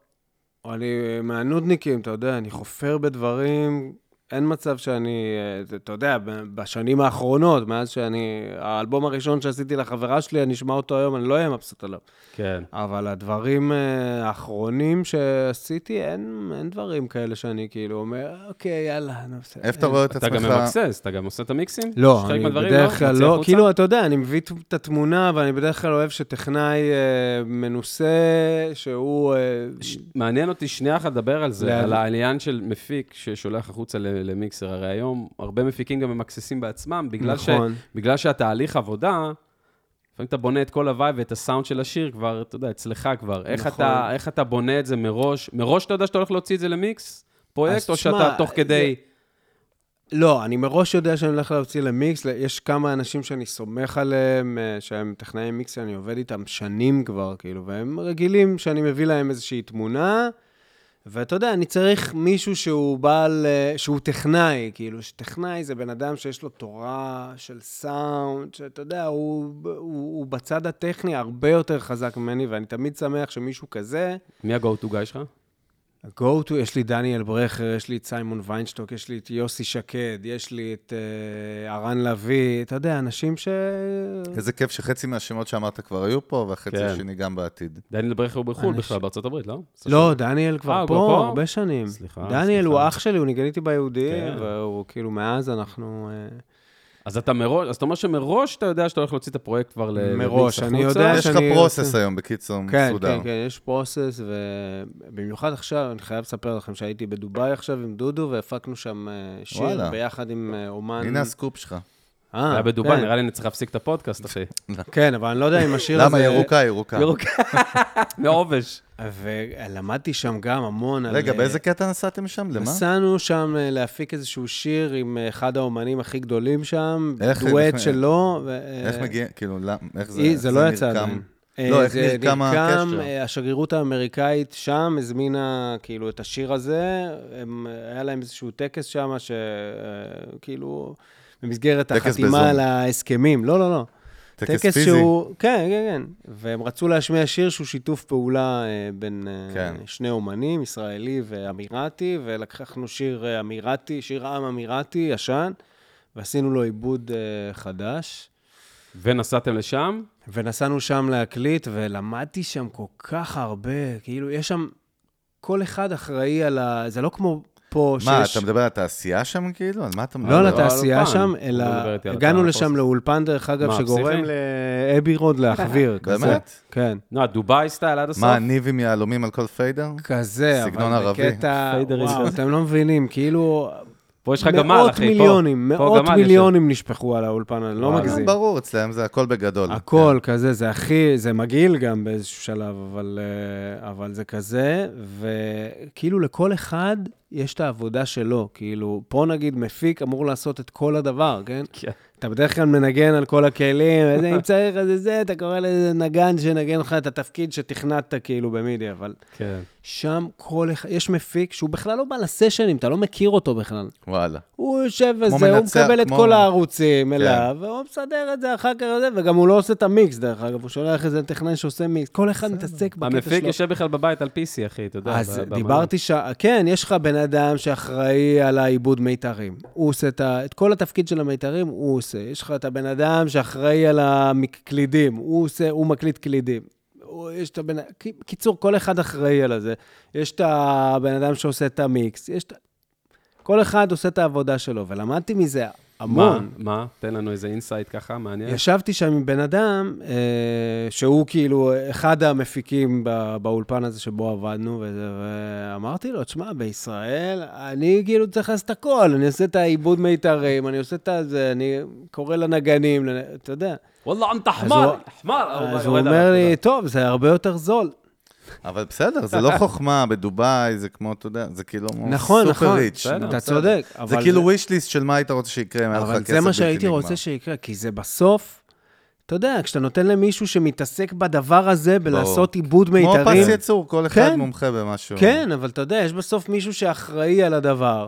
S6: אני אה, מהנודניקים, אתה יודע, אני חופר בדברים. אין מצב שאני, אה, אתה יודע, ב- בשנים האחרונות, מאז שאני, האלבום הראשון שעשיתי לחברה שלי, אני אשמע אותו היום, אני לא אהיה מבסוט עליו.
S4: כן.
S6: אבל הדברים אה, האחרונים שעשיתי, אין, אין דברים כאלה שאני כאילו אומר, אוקיי, יאללה, נו, בסדר.
S5: איפה אתה רואה את
S4: אתה
S5: עצמך?
S4: גם ממקסס, אתה גם עושה את המיקסים? יש
S6: לא,
S4: חלק
S6: אני
S4: מהדברים,
S6: בדרך כלל
S4: מוציא
S6: לא,
S4: החוצה?
S6: כאילו, אתה יודע, אני מביא את התמונה, ואני בדרך כלל אוהב שטכנאי אה, מנוסה, שהוא... אה,
S4: ש- מעניין אותי שנייה אחת לדבר על זה,
S6: לאן?
S4: על העניין של מפיק ששולח החוצה ל- למיקסר. הרי היום הרבה מפיקים גם ממקססים בעצמם, בגלל, ש...
S6: נכון.
S4: בגלל שהתהליך עבודה, לפעמים אתה בונה את כל הווייב ואת הסאונד של השיר כבר, אתה יודע, אצלך כבר. איך,
S6: נכון.
S4: אתה, איך אתה בונה את זה מראש? מראש אתה יודע שאתה הולך להוציא את זה למיקס?
S6: אז
S4: פרויקט, או
S6: תשמע,
S4: שאתה תוך כדי...
S6: לא, אני מראש יודע שאני הולך להוציא למיקס, יש כמה אנשים שאני סומך עליהם, אה, שהם טכנאי מיקס, אני עובד איתם שנים כבר, כאילו, והם רגילים שאני מביא להם איזושהי תמונה, ואתה יודע, אני צריך מישהו שהוא בעל, אה, שהוא טכנאי, כאילו, שטכנאי זה בן אדם שיש לו תורה של סאונד, שאתה יודע, הוא, הוא, הוא בצד הטכני הרבה יותר חזק ממני, ואני תמיד שמח שמישהו כזה...
S4: מי ה-go to guy שלך?
S6: go to, יש לי דניאל ברכר, יש לי את סיימון ויינשטוק, יש לי את יוסי שקד, יש לי את אה, הרן לביא, אתה יודע, אנשים ש...
S5: איזה כיף שחצי מהשמות שאמרת כבר היו פה, והחצי
S4: כן.
S5: השני גם בעתיד.
S4: דניאל ברכר הוא בחו"ל
S6: אנש-
S4: בכלל, בארצות הברית, לא?
S6: לא, דניאל
S4: אה,
S6: כבר
S4: הוא
S6: פה,
S4: כבר פה?
S6: הרבה שנים.
S4: סליחה,
S6: דניאל הוא
S4: סליחה.
S6: אח שלי, הוא ניגן איתי ביהודי,
S4: כן.
S6: והוא כאילו, מאז אנחנו... אה,
S4: אז אתה מראש, אז אתה אומר שמראש אתה יודע שאתה הולך להוציא את הפרויקט כבר ל- למיקס החוצה?
S6: מראש, אני יודע
S5: יש לך
S6: שאני
S5: פרוסס
S6: רוצה-
S5: היום, בקיצור,
S6: כן,
S5: מסודר.
S6: כן, כן, יש פרוסס, ובמיוחד עכשיו, אני חייב לספר לכם שהייתי בדובאי עכשיו עם דודו, והפקנו שם אה, שיר
S5: וואלה.
S6: ביחד עם אה, אומן...
S5: הנה הסקופ שלך.
S6: אה,
S4: היה בדובאי,
S6: כן.
S4: נראה לי אני צריך להפסיק את הפודקאסט, אחי.
S6: כן, אבל אני לא יודע אם השיר הזה...
S5: למה? ירוקה, ירוקה.
S4: ירוקה. מעובש.
S6: ולמדתי שם גם המון על...
S5: רגע, באיזה קטע נסעתם שם? למה?
S6: אה, נסענו שם אה, להפיק איזשהו שיר עם אה, אחד האומנים הכי גדולים שם,
S5: איך-
S6: דואט
S5: איך-
S6: שלו. ו- אה,
S5: איך מגיע, כאילו, למ- איך זה
S6: אי, זה לא יצא
S5: נרקם?
S6: עדיין. אה,
S5: לא, איך
S6: זה
S5: נרקם הקשר?
S6: אה, השגרירות האמריקאית שם הזמינה כאילו את השיר הזה, הם, אה, היה להם איזשהו טקס שם, שכאילו, במסגרת
S5: טקס
S6: החתימה
S5: בזום.
S6: על ההסכמים, לא, לא, לא.
S5: טקס
S6: טקס
S5: פיזי.
S6: שהוא... כן, כן, כן. והם רצו להשמיע שיר שהוא שיתוף פעולה אה, בין אה,
S5: כן.
S6: שני אומנים, ישראלי ואמירתי, ולקחנו שיר אה, אמירתי, שיר עם אמירתי ישן, ועשינו לו עיבוד אה, חדש.
S4: ונסעתם לשם?
S6: ונסענו שם להקליט, ולמדתי שם כל כך הרבה, כאילו, יש שם... כל אחד אחראי על ה... זה לא כמו פה שיש...
S5: מה, אתה מדבר על התעשייה שם כאילו? על מה אתה מדבר?
S6: לא על
S4: לא,
S6: התעשייה
S4: האולפן.
S6: שם,
S4: לא
S6: אלא
S4: מדבר איתי על
S6: הגענו
S4: הקהל,
S6: לשם
S4: הפוסט.
S6: לאולפן, דרך אגב,
S4: מה,
S6: שגורם
S4: פסיכי?
S6: לאבי רוד להחוויר. כזה.
S5: באמת?
S6: כן.
S4: נו, לא, דובאי סטייל עד הסוף?
S5: מה, ניב עם יהלומים על כל פיידר?
S6: כזה, אבל
S5: סגנון ערבי.
S6: בקטע...
S4: פיידרים
S6: וואו,
S4: כזה.
S6: אתם לא מבינים, כאילו...
S4: פה יש לך גמל, אחי, פה.
S6: מאות מיליונים,
S4: פה
S6: מאות
S4: גמל יש לך.
S6: מיליונים נשפכו על האולפן, אני לא
S4: וואלה.
S6: מגזים.
S5: אה, ברור, אצלם זה הכל בגדול.
S6: הכל כזה, זה הכי, זה מגעיל גם באיזשהו שלב, אבל, אה, אבל זה כזה, וכאילו לכל אחד יש את העבודה שלו. כאילו, פה נגיד מפיק אמור לעשות את כל הדבר, כן?
S4: כן.
S6: אתה בדרך כלל מנגן על כל הכלים, איזה, אם צריך איזה זה, אתה קורא לזה נגן שנגן לך את התפקיד שתכננת כאילו במידי, אבל
S4: כן.
S6: שם כל אחד, יש מפיק שהוא בכלל לא בא לסשנים, אתה לא מכיר אותו בכלל.
S5: כן. וואלה.
S6: הוא יושב
S5: כמו
S6: וזה, הוא
S5: מנצח,
S6: מקבל את
S5: כמו- כן.
S6: כל הערוצים אליו, והוא מסדר את זה אחר כך, וזה, וגם הוא לא עושה את המיקס, דרך אגב, הוא שולח איזה טכנאי שעושה מיקס, כל אחד מתעסק בקטע שלו.
S4: המפיק יושב בכלל בבית על PC, אחי, אתה יודע.
S6: אז
S4: ב- במה.
S6: דיברתי ש... כן, יש לך בן אדם שאחראי על העיבוד מיתרים. הוא עושה את, ה... את כל התפקיד של המיתרים, הוא עושה. יש לך את הבן אדם שאחראי על הקלידים, הוא עושה, הוא מקליד קלידים. הוא- יש את הבן... כי- קיצור, כל אחד אחראי על זה. יש את הבן אדם שעושה את המיקס, יש את... כל אחד עושה את העבודה שלו, ולמדתי מזה
S4: מה?
S6: המון.
S4: מה? תן לנו איזה אינסייט ככה,
S5: כן.
S4: מעניין.
S6: ישבתי שם עם בן אדם, אה, שהוא כאילו אחד המפיקים ב- באולפן הזה שבו עבדנו, וזה, ואמרתי לו, תשמע, בישראל, אני כאילו צריך לעשות הכל, אני עושה את העיבוד מיתרים, אני עושה את הזה, אני קורא לנגנים, לנ- אתה יודע.
S4: וואלה, אתה
S6: אז הוא- אז הוא אומר לי, טוב, זה הרבה יותר זול.
S5: אבל בסדר, זה לא חוכמה בדובאי, זה כמו, אתה יודע, זה כאילו
S6: נכון,
S5: סופר
S6: נכון,
S5: ריץ'.
S4: בסדר,
S6: אתה צודק.
S5: זה
S6: אבל
S5: כאילו wish list של מה היית רוצה שיקרה, אם היה לך כסף
S6: אבל
S5: בלתי
S6: זה
S5: נגמר.
S6: מה שהייתי רוצה שיקרה, כי זה בסוף, אתה יודע, כשאתה נותן למישהו שמתעסק בדבר הזה, בלעשות עיבוד
S5: כמו
S6: מיתרים...
S5: פס יצור, כל אחד
S6: כן.
S5: מומחה במשהו.
S4: כאילו.
S6: כן, אבל אתה יודע, יש בסוף מישהו שאחראי על הדבר.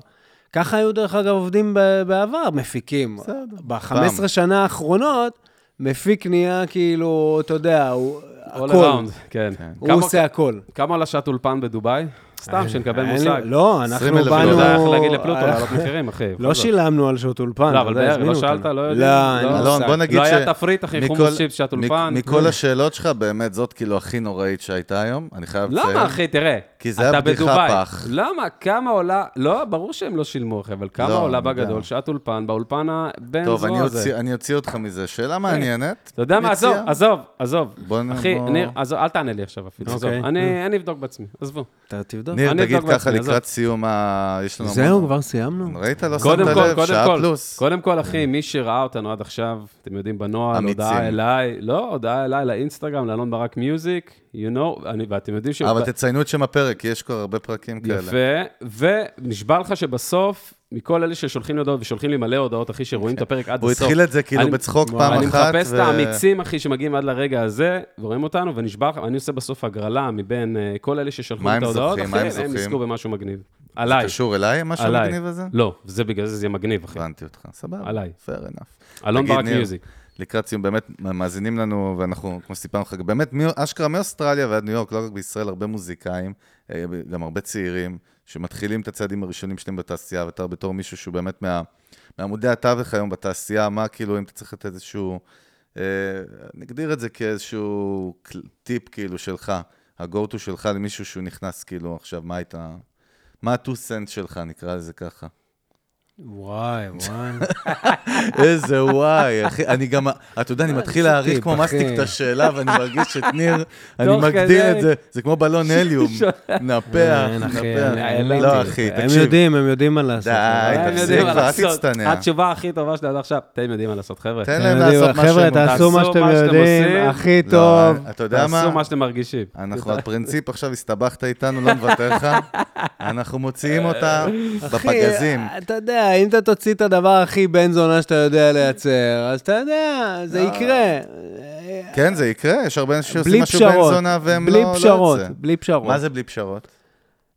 S6: ככה היו, דרך אגב, עובדים ב- בעבר, מפיקים.
S5: בסדר. פעם.
S6: ב-15 שנה האחרונות, מפיק נהיה כאילו, אתה יודע, הוא...
S4: All
S6: הכל.
S4: around, כן.
S6: הוא
S4: כמה-
S6: עושה הכל.
S4: כמה עולה שעת אולפן בדובאי? סתם, שנקבל
S6: אין לי-
S4: מושג.
S6: לא, אנחנו
S5: 20,000
S6: באנו... אה,
S4: לא, היה איך להגיד לפלוטו לעלות מחירים, אחי. בכל
S6: לא
S4: זאת.
S6: שילמנו על שעות אולפן.
S4: לא, אבל
S6: אתה יודע,
S4: בערב, לא
S6: הזמינו
S4: שאלת,
S6: אותנו.
S4: לא יודע.
S6: לא, אין לי
S4: לא,
S5: אלון,
S6: מושג.
S5: בוא נגיד
S4: לא
S5: ש...
S4: היה תפריט, אחי,
S5: מכל-
S4: חומוס צ'יפס, שעת
S5: מ-
S4: אולפן.
S5: מכל השאלות שלך, באמת, זאת כאילו הכי נוראית שהייתה היום, אני חייב לציין.
S4: למה, אחי? תראה.
S5: כי זה היה
S4: אתה
S5: בדיחה
S4: בדובאי.
S5: פח.
S4: למה? כמה עולה... לא, ברור שהם לא שילמו, אחי, אבל כמה
S5: לא,
S4: עולה
S5: אני יודע.
S4: בגדול שעת אולפן, באולפן הבן
S5: טוב, אני
S4: זו הזה?
S5: אוציא- אני אוציא אותך מזה. שאלה מעניינת.
S4: אה, אתה יודע מה?
S5: מציע?
S4: עזוב, עזוב, עזוב.
S5: בוא נ-
S4: אחי,
S5: בוא-
S4: ניר, עזוב, אל תענה לי עכשיו אפילו. עזוב,
S6: אוקיי.
S4: אני אני אבדוק בעצמי, עזבו.
S6: אתה תבדוק.
S5: ניר,
S4: אני
S5: תגיד
S4: אבדוק
S5: ככה
S4: בעצמי, עזוב.
S5: לקראת סיום ה... יש לנו...
S6: זהו,
S5: המון-
S6: כבר סיימנו.
S5: ראית? לא שמת
S4: קודם כל,
S5: לב,
S4: קודם
S5: שעה
S4: כל,
S5: פלוס.
S4: קודם כל, אחי, מי שראה אותנו עד עכשיו, אתם יודעים, בנוהל,
S5: אמיצים.
S4: הודעה אליי, לא, הודעה אליי לאינסטגרם, לאלון ברק מיוזיק, you know, אני- ואתם יודעים ש...
S5: אבל תציינו את שם הפרק, כי יש כבר הרבה פרקים כאלה.
S4: יפה, ונשבע לך שבסוף, מכל אלה ששולחים לי הודעות, ושולחים לי מלא הודעות, אחי, שרואים את הפרק עד
S5: כן. הוא
S4: הסוף.
S5: התחיל את זה כאילו
S4: אני-
S5: בצחוק
S4: וואו,
S5: פעם
S4: אני
S5: אחת,
S4: מחפש
S5: ו-
S4: את האמיצים, אחי, שמגיעים עד לרגע הזה, ורואים אותנו, ונשבע לך, אני עושה בסוף הגרלה מבין אה, כל אלה ששלחו
S5: מה
S4: לי
S5: הם
S4: את ההודעות,
S5: זוכים? מה הם
S4: אחי, הם
S5: זוכים?
S4: יזכו במשהו מגניב. עליי,
S5: קשור אליי, משהו
S4: עליי.
S5: המגניב הזה?
S4: לא, זה בגלל זה זה יהיה מגניב, אחי.
S5: הבנתי אותך, סבבה.
S4: עליי.
S5: fair enough.
S4: אלון
S5: תגיד,
S4: ברק
S5: ניר,
S4: מיוזיק.
S5: לקראת סיום, באמת מאזינים לנו, ואנחנו, כמו שסיפרנו לך, באמת, מי- אשכרה מאוסטרליה ועד ניו יורק, לא רק בישראל, הרבה מוזיקאים, אה, גם הרבה צעירים, שמתחילים את הצעדים הראשונים שלהם בתעשייה, ואתה בתור מישהו שהוא באמת מה, מעמודי התווך היום בתעשייה, מה כאילו, אם אתה צריך לתת איזשהו, אה, נגדיר את זה כאיזשהו קל- טיפ כאילו שלך, ה-go to שלך למישהו שהוא נכנס כאילו עכשיו, מה היית, מה ה-two cents שלך, נקרא לזה ככה.
S6: וואי, וואי.
S5: איזה וואי, אחי, אני גם, אתה יודע, אני מתחיל להעריך
S6: אה, טיפ,
S5: כמו מסטיק
S6: אחי.
S5: את השאלה, ואני מרגיש שאת ניר, אני
S4: תוך
S5: מגדיל
S4: כדי.
S5: את זה, זה כמו בלון הליום, נפח,
S6: אין, אחי, אני-
S5: נפח.
S6: האמנתי.
S5: לא, אחי,
S6: הם
S5: תקשיב,
S6: יודעים, הם יודעים מה לעשות.
S5: די,
S4: הם
S5: תפסיק
S4: יודעים מה
S5: כבר, אל
S4: לעשות.
S5: תצטנע.
S4: התשובה הכי טובה שלי עד עכשיו, אתם יודעים מה לעשות, חבר'ה.
S5: תן
S6: אתם
S5: להם
S6: יודעים,
S5: לעשות מה
S6: חבר'ה,
S5: שהם
S6: תעשו מה שאתם
S4: עושים.
S6: יודעים, הכי
S5: לא,
S6: טוב.
S5: אתה יודע
S4: תעשו
S5: מה?
S4: מה שאתם מרגישים.
S5: אנחנו על פרינציפ, עכשיו הסתבכת איתנו, לא נוותר לך. אנחנו מוציאים אותה בפגזים.
S6: אה, אחי, אתה יודע, אם אתה תוציא את הדבר הכי בן זונה שאתה יודע לייצר, אז אתה יודע, זה יקרה. אה,
S5: כן, זה יקרה, יש הרבה אנשים לא. שעושים
S6: בלי
S5: משהו בן
S6: פשרות,
S5: זונה והם לא
S6: בלי
S5: לא יוצא.
S6: פשרות, בלי פשרות.
S5: מה זה בלי פשרות?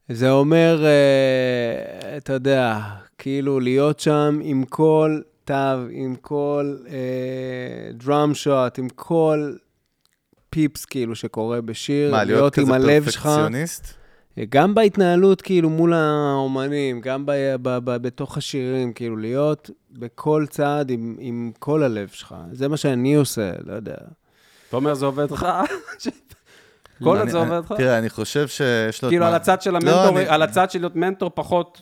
S6: זה אומר, אה, אתה יודע, כאילו להיות שם עם כל מיטב, עם כל דראם שוט, עם כל פיפס כאילו שקורה בשיר,
S5: מה, להיות כזה
S6: עם הלב שלך.
S5: פרפקציוניסט?
S6: גם בהתנהלות, כאילו, מול האומנים, גם ב, ב, ב, בתוך השירים, כאילו, להיות בכל צעד עם, עם כל הלב שלך. זה מה שאני עושה, לא יודע.
S4: אתה אומר, זה עובד לך? כל עוד
S5: לא, אני-
S4: זה עובד לך?
S5: תראה, אני חושב שיש לו... את
S4: כאילו,
S5: מה-
S4: על הצד של
S5: לא,
S4: המנטור,
S5: אני-
S4: על הצד של להיות מנטור פחות...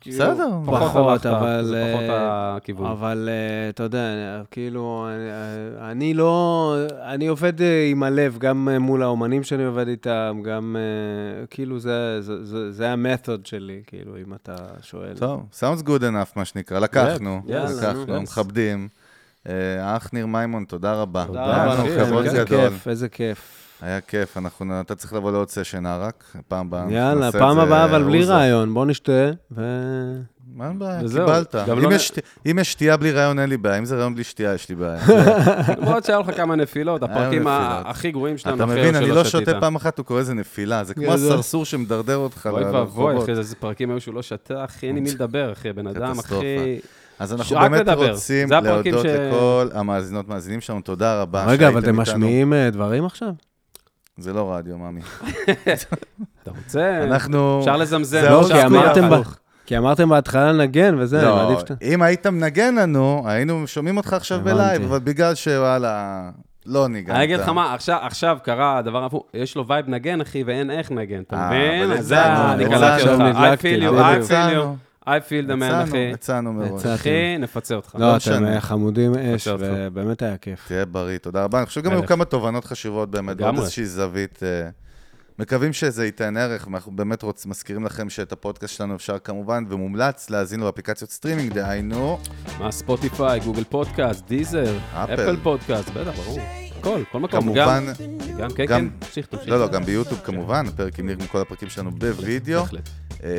S4: כאילו,
S5: בסדר,
S4: פחות הלכת,
S6: פחות, אבל...
S4: זה פחות
S6: אה,
S4: הכיוון.
S6: אבל אה, אתה יודע, כאילו, אה, אני לא... אני עובד אה, עם הלב, גם אה, מול האומנים שאני עובד איתם, גם... אה, כאילו, זה, זה, זה, זה המתוד שלי, כאילו, אם אתה שואל.
S5: טוב, sounds good enough, מה שנקרא, לקחנו,
S4: יאללה, נו,
S5: לקחנו,
S4: yes.
S5: מכבדים. אה, האח ניר מימון, תודה רבה.
S4: תודה
S5: היה לנו
S4: אחי,
S5: כבוד
S4: איזה
S6: אה, איזה
S5: גדול.
S6: כיף, איזה כיף.
S5: היה כיף, אנחנו, אתה צריך לבוא לעוד סשנה רק, פעם הבאה. אנחנו
S6: יאללה,
S5: נעשה את
S6: פעם
S5: זה,
S6: הבאה, אבל בלי
S5: אוזה.
S6: רעיון, בוא נשתה, ו...
S5: מה הבעיה?
S4: וזהו,
S5: קיבלת.
S4: גם
S5: אם
S4: לא נ-
S5: יש שתי- אם יש שתייה בלי רעיון, אין לי בעיה. אם זה רעיון בלי שתייה, יש לי בעיה.
S4: למרות שהיה לך כמה נפילות,
S5: היה
S4: הפרקים ה-
S5: נפילות.
S4: הכי גרועים שלנו,
S5: אתה
S4: אחרי
S5: מבין, אני
S4: שלא
S5: לא
S4: שתית. כן,
S5: שותה פעם אחת, הוא קורא לזה נפילה. זה כמו
S6: גדול.
S5: הסרסור שמדרדר אותך
S4: אוי ואבוי,
S5: לרחובות.
S4: אחי, איזה פרקים היו שהוא לא שתה, אחי, אין עם מי לדבר, אחי, בן אדם,
S5: קטסטרופה.
S4: אחי...
S5: אז אנחנו
S4: רק
S5: באמת
S4: לדבר.
S5: רוצים
S4: זה הפרקים
S5: להודות
S4: ש-
S5: לכל המאזינות, מאזינים שלנו. תודה רבה
S6: רגע, אבל
S5: שהייתם
S6: אתם
S5: איתנו.
S6: משמיעים אה, דברים עכשיו?
S5: זה לא רדיו, מאמי.
S4: אתה רוצה?
S5: אנחנו...
S4: כן. אפשר לזמזם.
S5: זה
S6: לא,
S5: האור
S4: אפשר-
S6: כי
S5: שאנחנו
S6: אמרתם
S5: יחד.
S6: ב- כי אמרתם בהתחלה לנגן וזה, אני
S5: לא,
S6: מעדיף שאתה...
S5: אם היית מנגן לנו, היינו שומעים אותך עכשיו
S6: הבנתי.
S5: בלייב, אבל בגלל שוואלה, לא ניגנת.
S4: אני אגיד לך מה, עכשיו- עכשיו קרה הדבר ההפוך, יש לו וייב נגן, אחי, ואין איך נגן, אתה
S5: אה,
S4: מבין?
S5: אבל
S4: אז זה,
S5: הצענו,
S4: אני
S5: הצענו,
S4: קלטתי אותך.
S6: עכשיו
S4: I
S6: נדלקתי,
S4: feel you,
S5: אבל
S4: I feel
S5: הצענו,
S4: you, I feel the man,
S5: הצענו,
S4: אחי.
S5: הצענו מראש.
S6: הצענו.
S4: אחי, נפצה אותך.
S5: לא
S6: לא, אתם
S5: משנה.
S6: אה, חמודים אש,
S4: אותך.
S6: ובאמת היה כיף.
S5: תהיה בריא, תודה רבה. אני חושב גם היו
S4: מלך.
S5: כמה תובנות חשובות באמת, ועוד
S4: לגמרי.
S5: איזושהי זווית. אה, מקווים שזה ייתן ערך, ואנחנו באמת רוצ, מזכירים לכם שאת הפודקאסט שלנו אפשר כמובן, ומומלץ להאזין לו באפליקציות סטרימינג, דהיינו,
S4: מה, ספוטיפיי, גוגל פודקאסט, דיזר,
S5: אפל.
S4: אפל פודקאסט, בטח, ברור. הכל, כל מקום.
S5: כמובן,
S4: גם, גם, כן, כן,
S5: גם-
S4: תמשיך, תמשיך.
S5: לא, לא, גם ביוטיוב כמובן, הפרק עם ניר מכל הפרקים שלנו בווידאו,
S4: בהחלט.
S5: אה,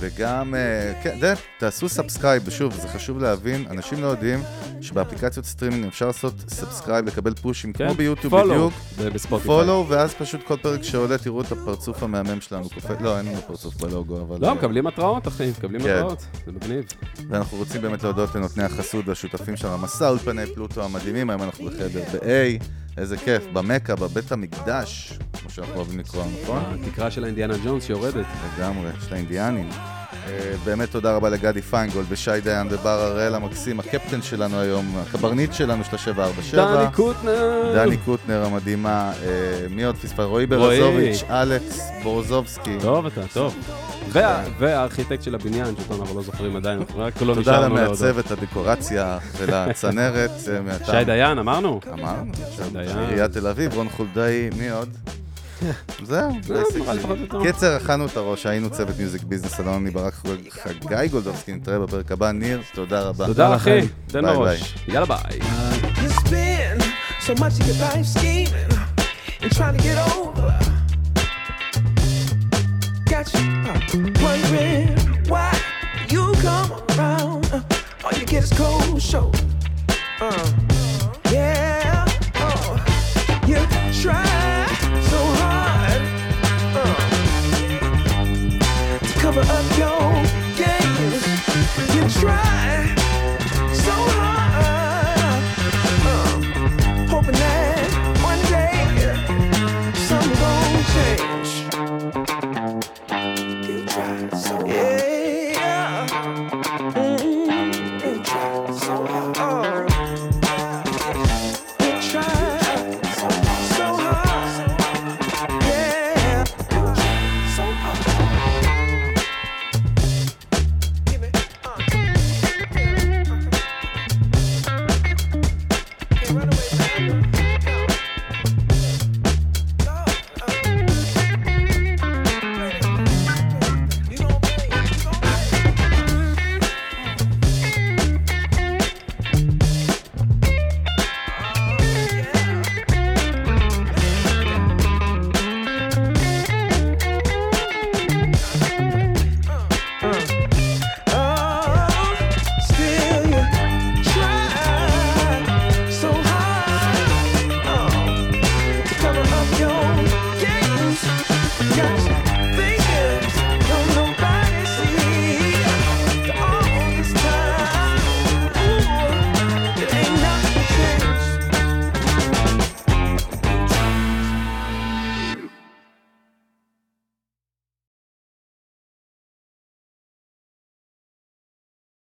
S5: וגם, אה, כן, די, תעשו סאבסקרייב, שוב, זה חשוב להבין, אנשים לא יודעים שבאפליקציות סטרימינג אפשר לעשות סאבסקרייב, לקבל פושים,
S4: כן,
S5: כמו ביוטיוב
S4: follow
S5: בדיוק.
S4: ב- בספוטיפיי.
S5: פולו, ואז פשוט כל פרק שעולה תראו את הפרצוף המהמם שלנו. קופא- לא, אין לנו פרצוף בלוגו, אבל... אה,
S4: לא, מקבלים התראות, אחי, מקבלים
S5: כן.
S4: התראות, זה מגניב.
S5: ואנחנו רוצים באמת להודות לנותני החסות והשותפים שלנו, המסע אולפני פלוטו המדהימים, היום אנחנו בחדר ב-A, איזה כיף, במכה, בבית המקדש, כמו שאנחנו אוהבים לקרוא, נכון?
S4: התקרה של האינדיאנה ג'ונס שיורדת.
S5: לגמרי, של האינדיאנים. אה, באמת תודה רבה לגדי פיינגולד ושי דיין ובר הראל המקסים, הקפטן שלנו היום, הקברניט שלנו של ה-747.
S4: דני קוטנר!
S5: דני קוטנר המדהימה, אה, מי עוד פספס? רועי
S4: רועי.
S5: ברזוביץ', אלכס בורזובסקי.
S4: טוב אתה, טוב.
S5: כן.
S4: וה- והארכיטקט של הבניין, שאותו אנחנו לא זוכרים עדיין, אנחנו רק לא
S5: תודה
S4: נשארנו להודות.
S5: למעצבת הדקורציה ולצנרת. אה, מהטעם.
S4: שי דיין, אמרנו?
S5: אמרנו, עכשיו
S4: דיין.
S5: עיריית תל אביב, רון חולדאי, מי עוד? זהו, זה ההישג
S4: נראה לי פחות או יותר.
S5: שלי. קיצר, אכלנו את הראש, היינו צוות מיוזיק ביזנס, אלון ברק חגי גולדובסקי, נתראה בפרק הבא. ניר, תודה רבה.
S4: תודה אחי,
S6: לכם.
S4: תן
S5: ביי,
S4: בראש. יאללה ביי.
S2: You spend so much of your life scheming and trying to get over. Got you uh, wondering why you come around. Uh, all you get is cold shoulder. Uh, yeah, oh, you try so hard uh, to cover up your Uh, Mm-hmm. uh.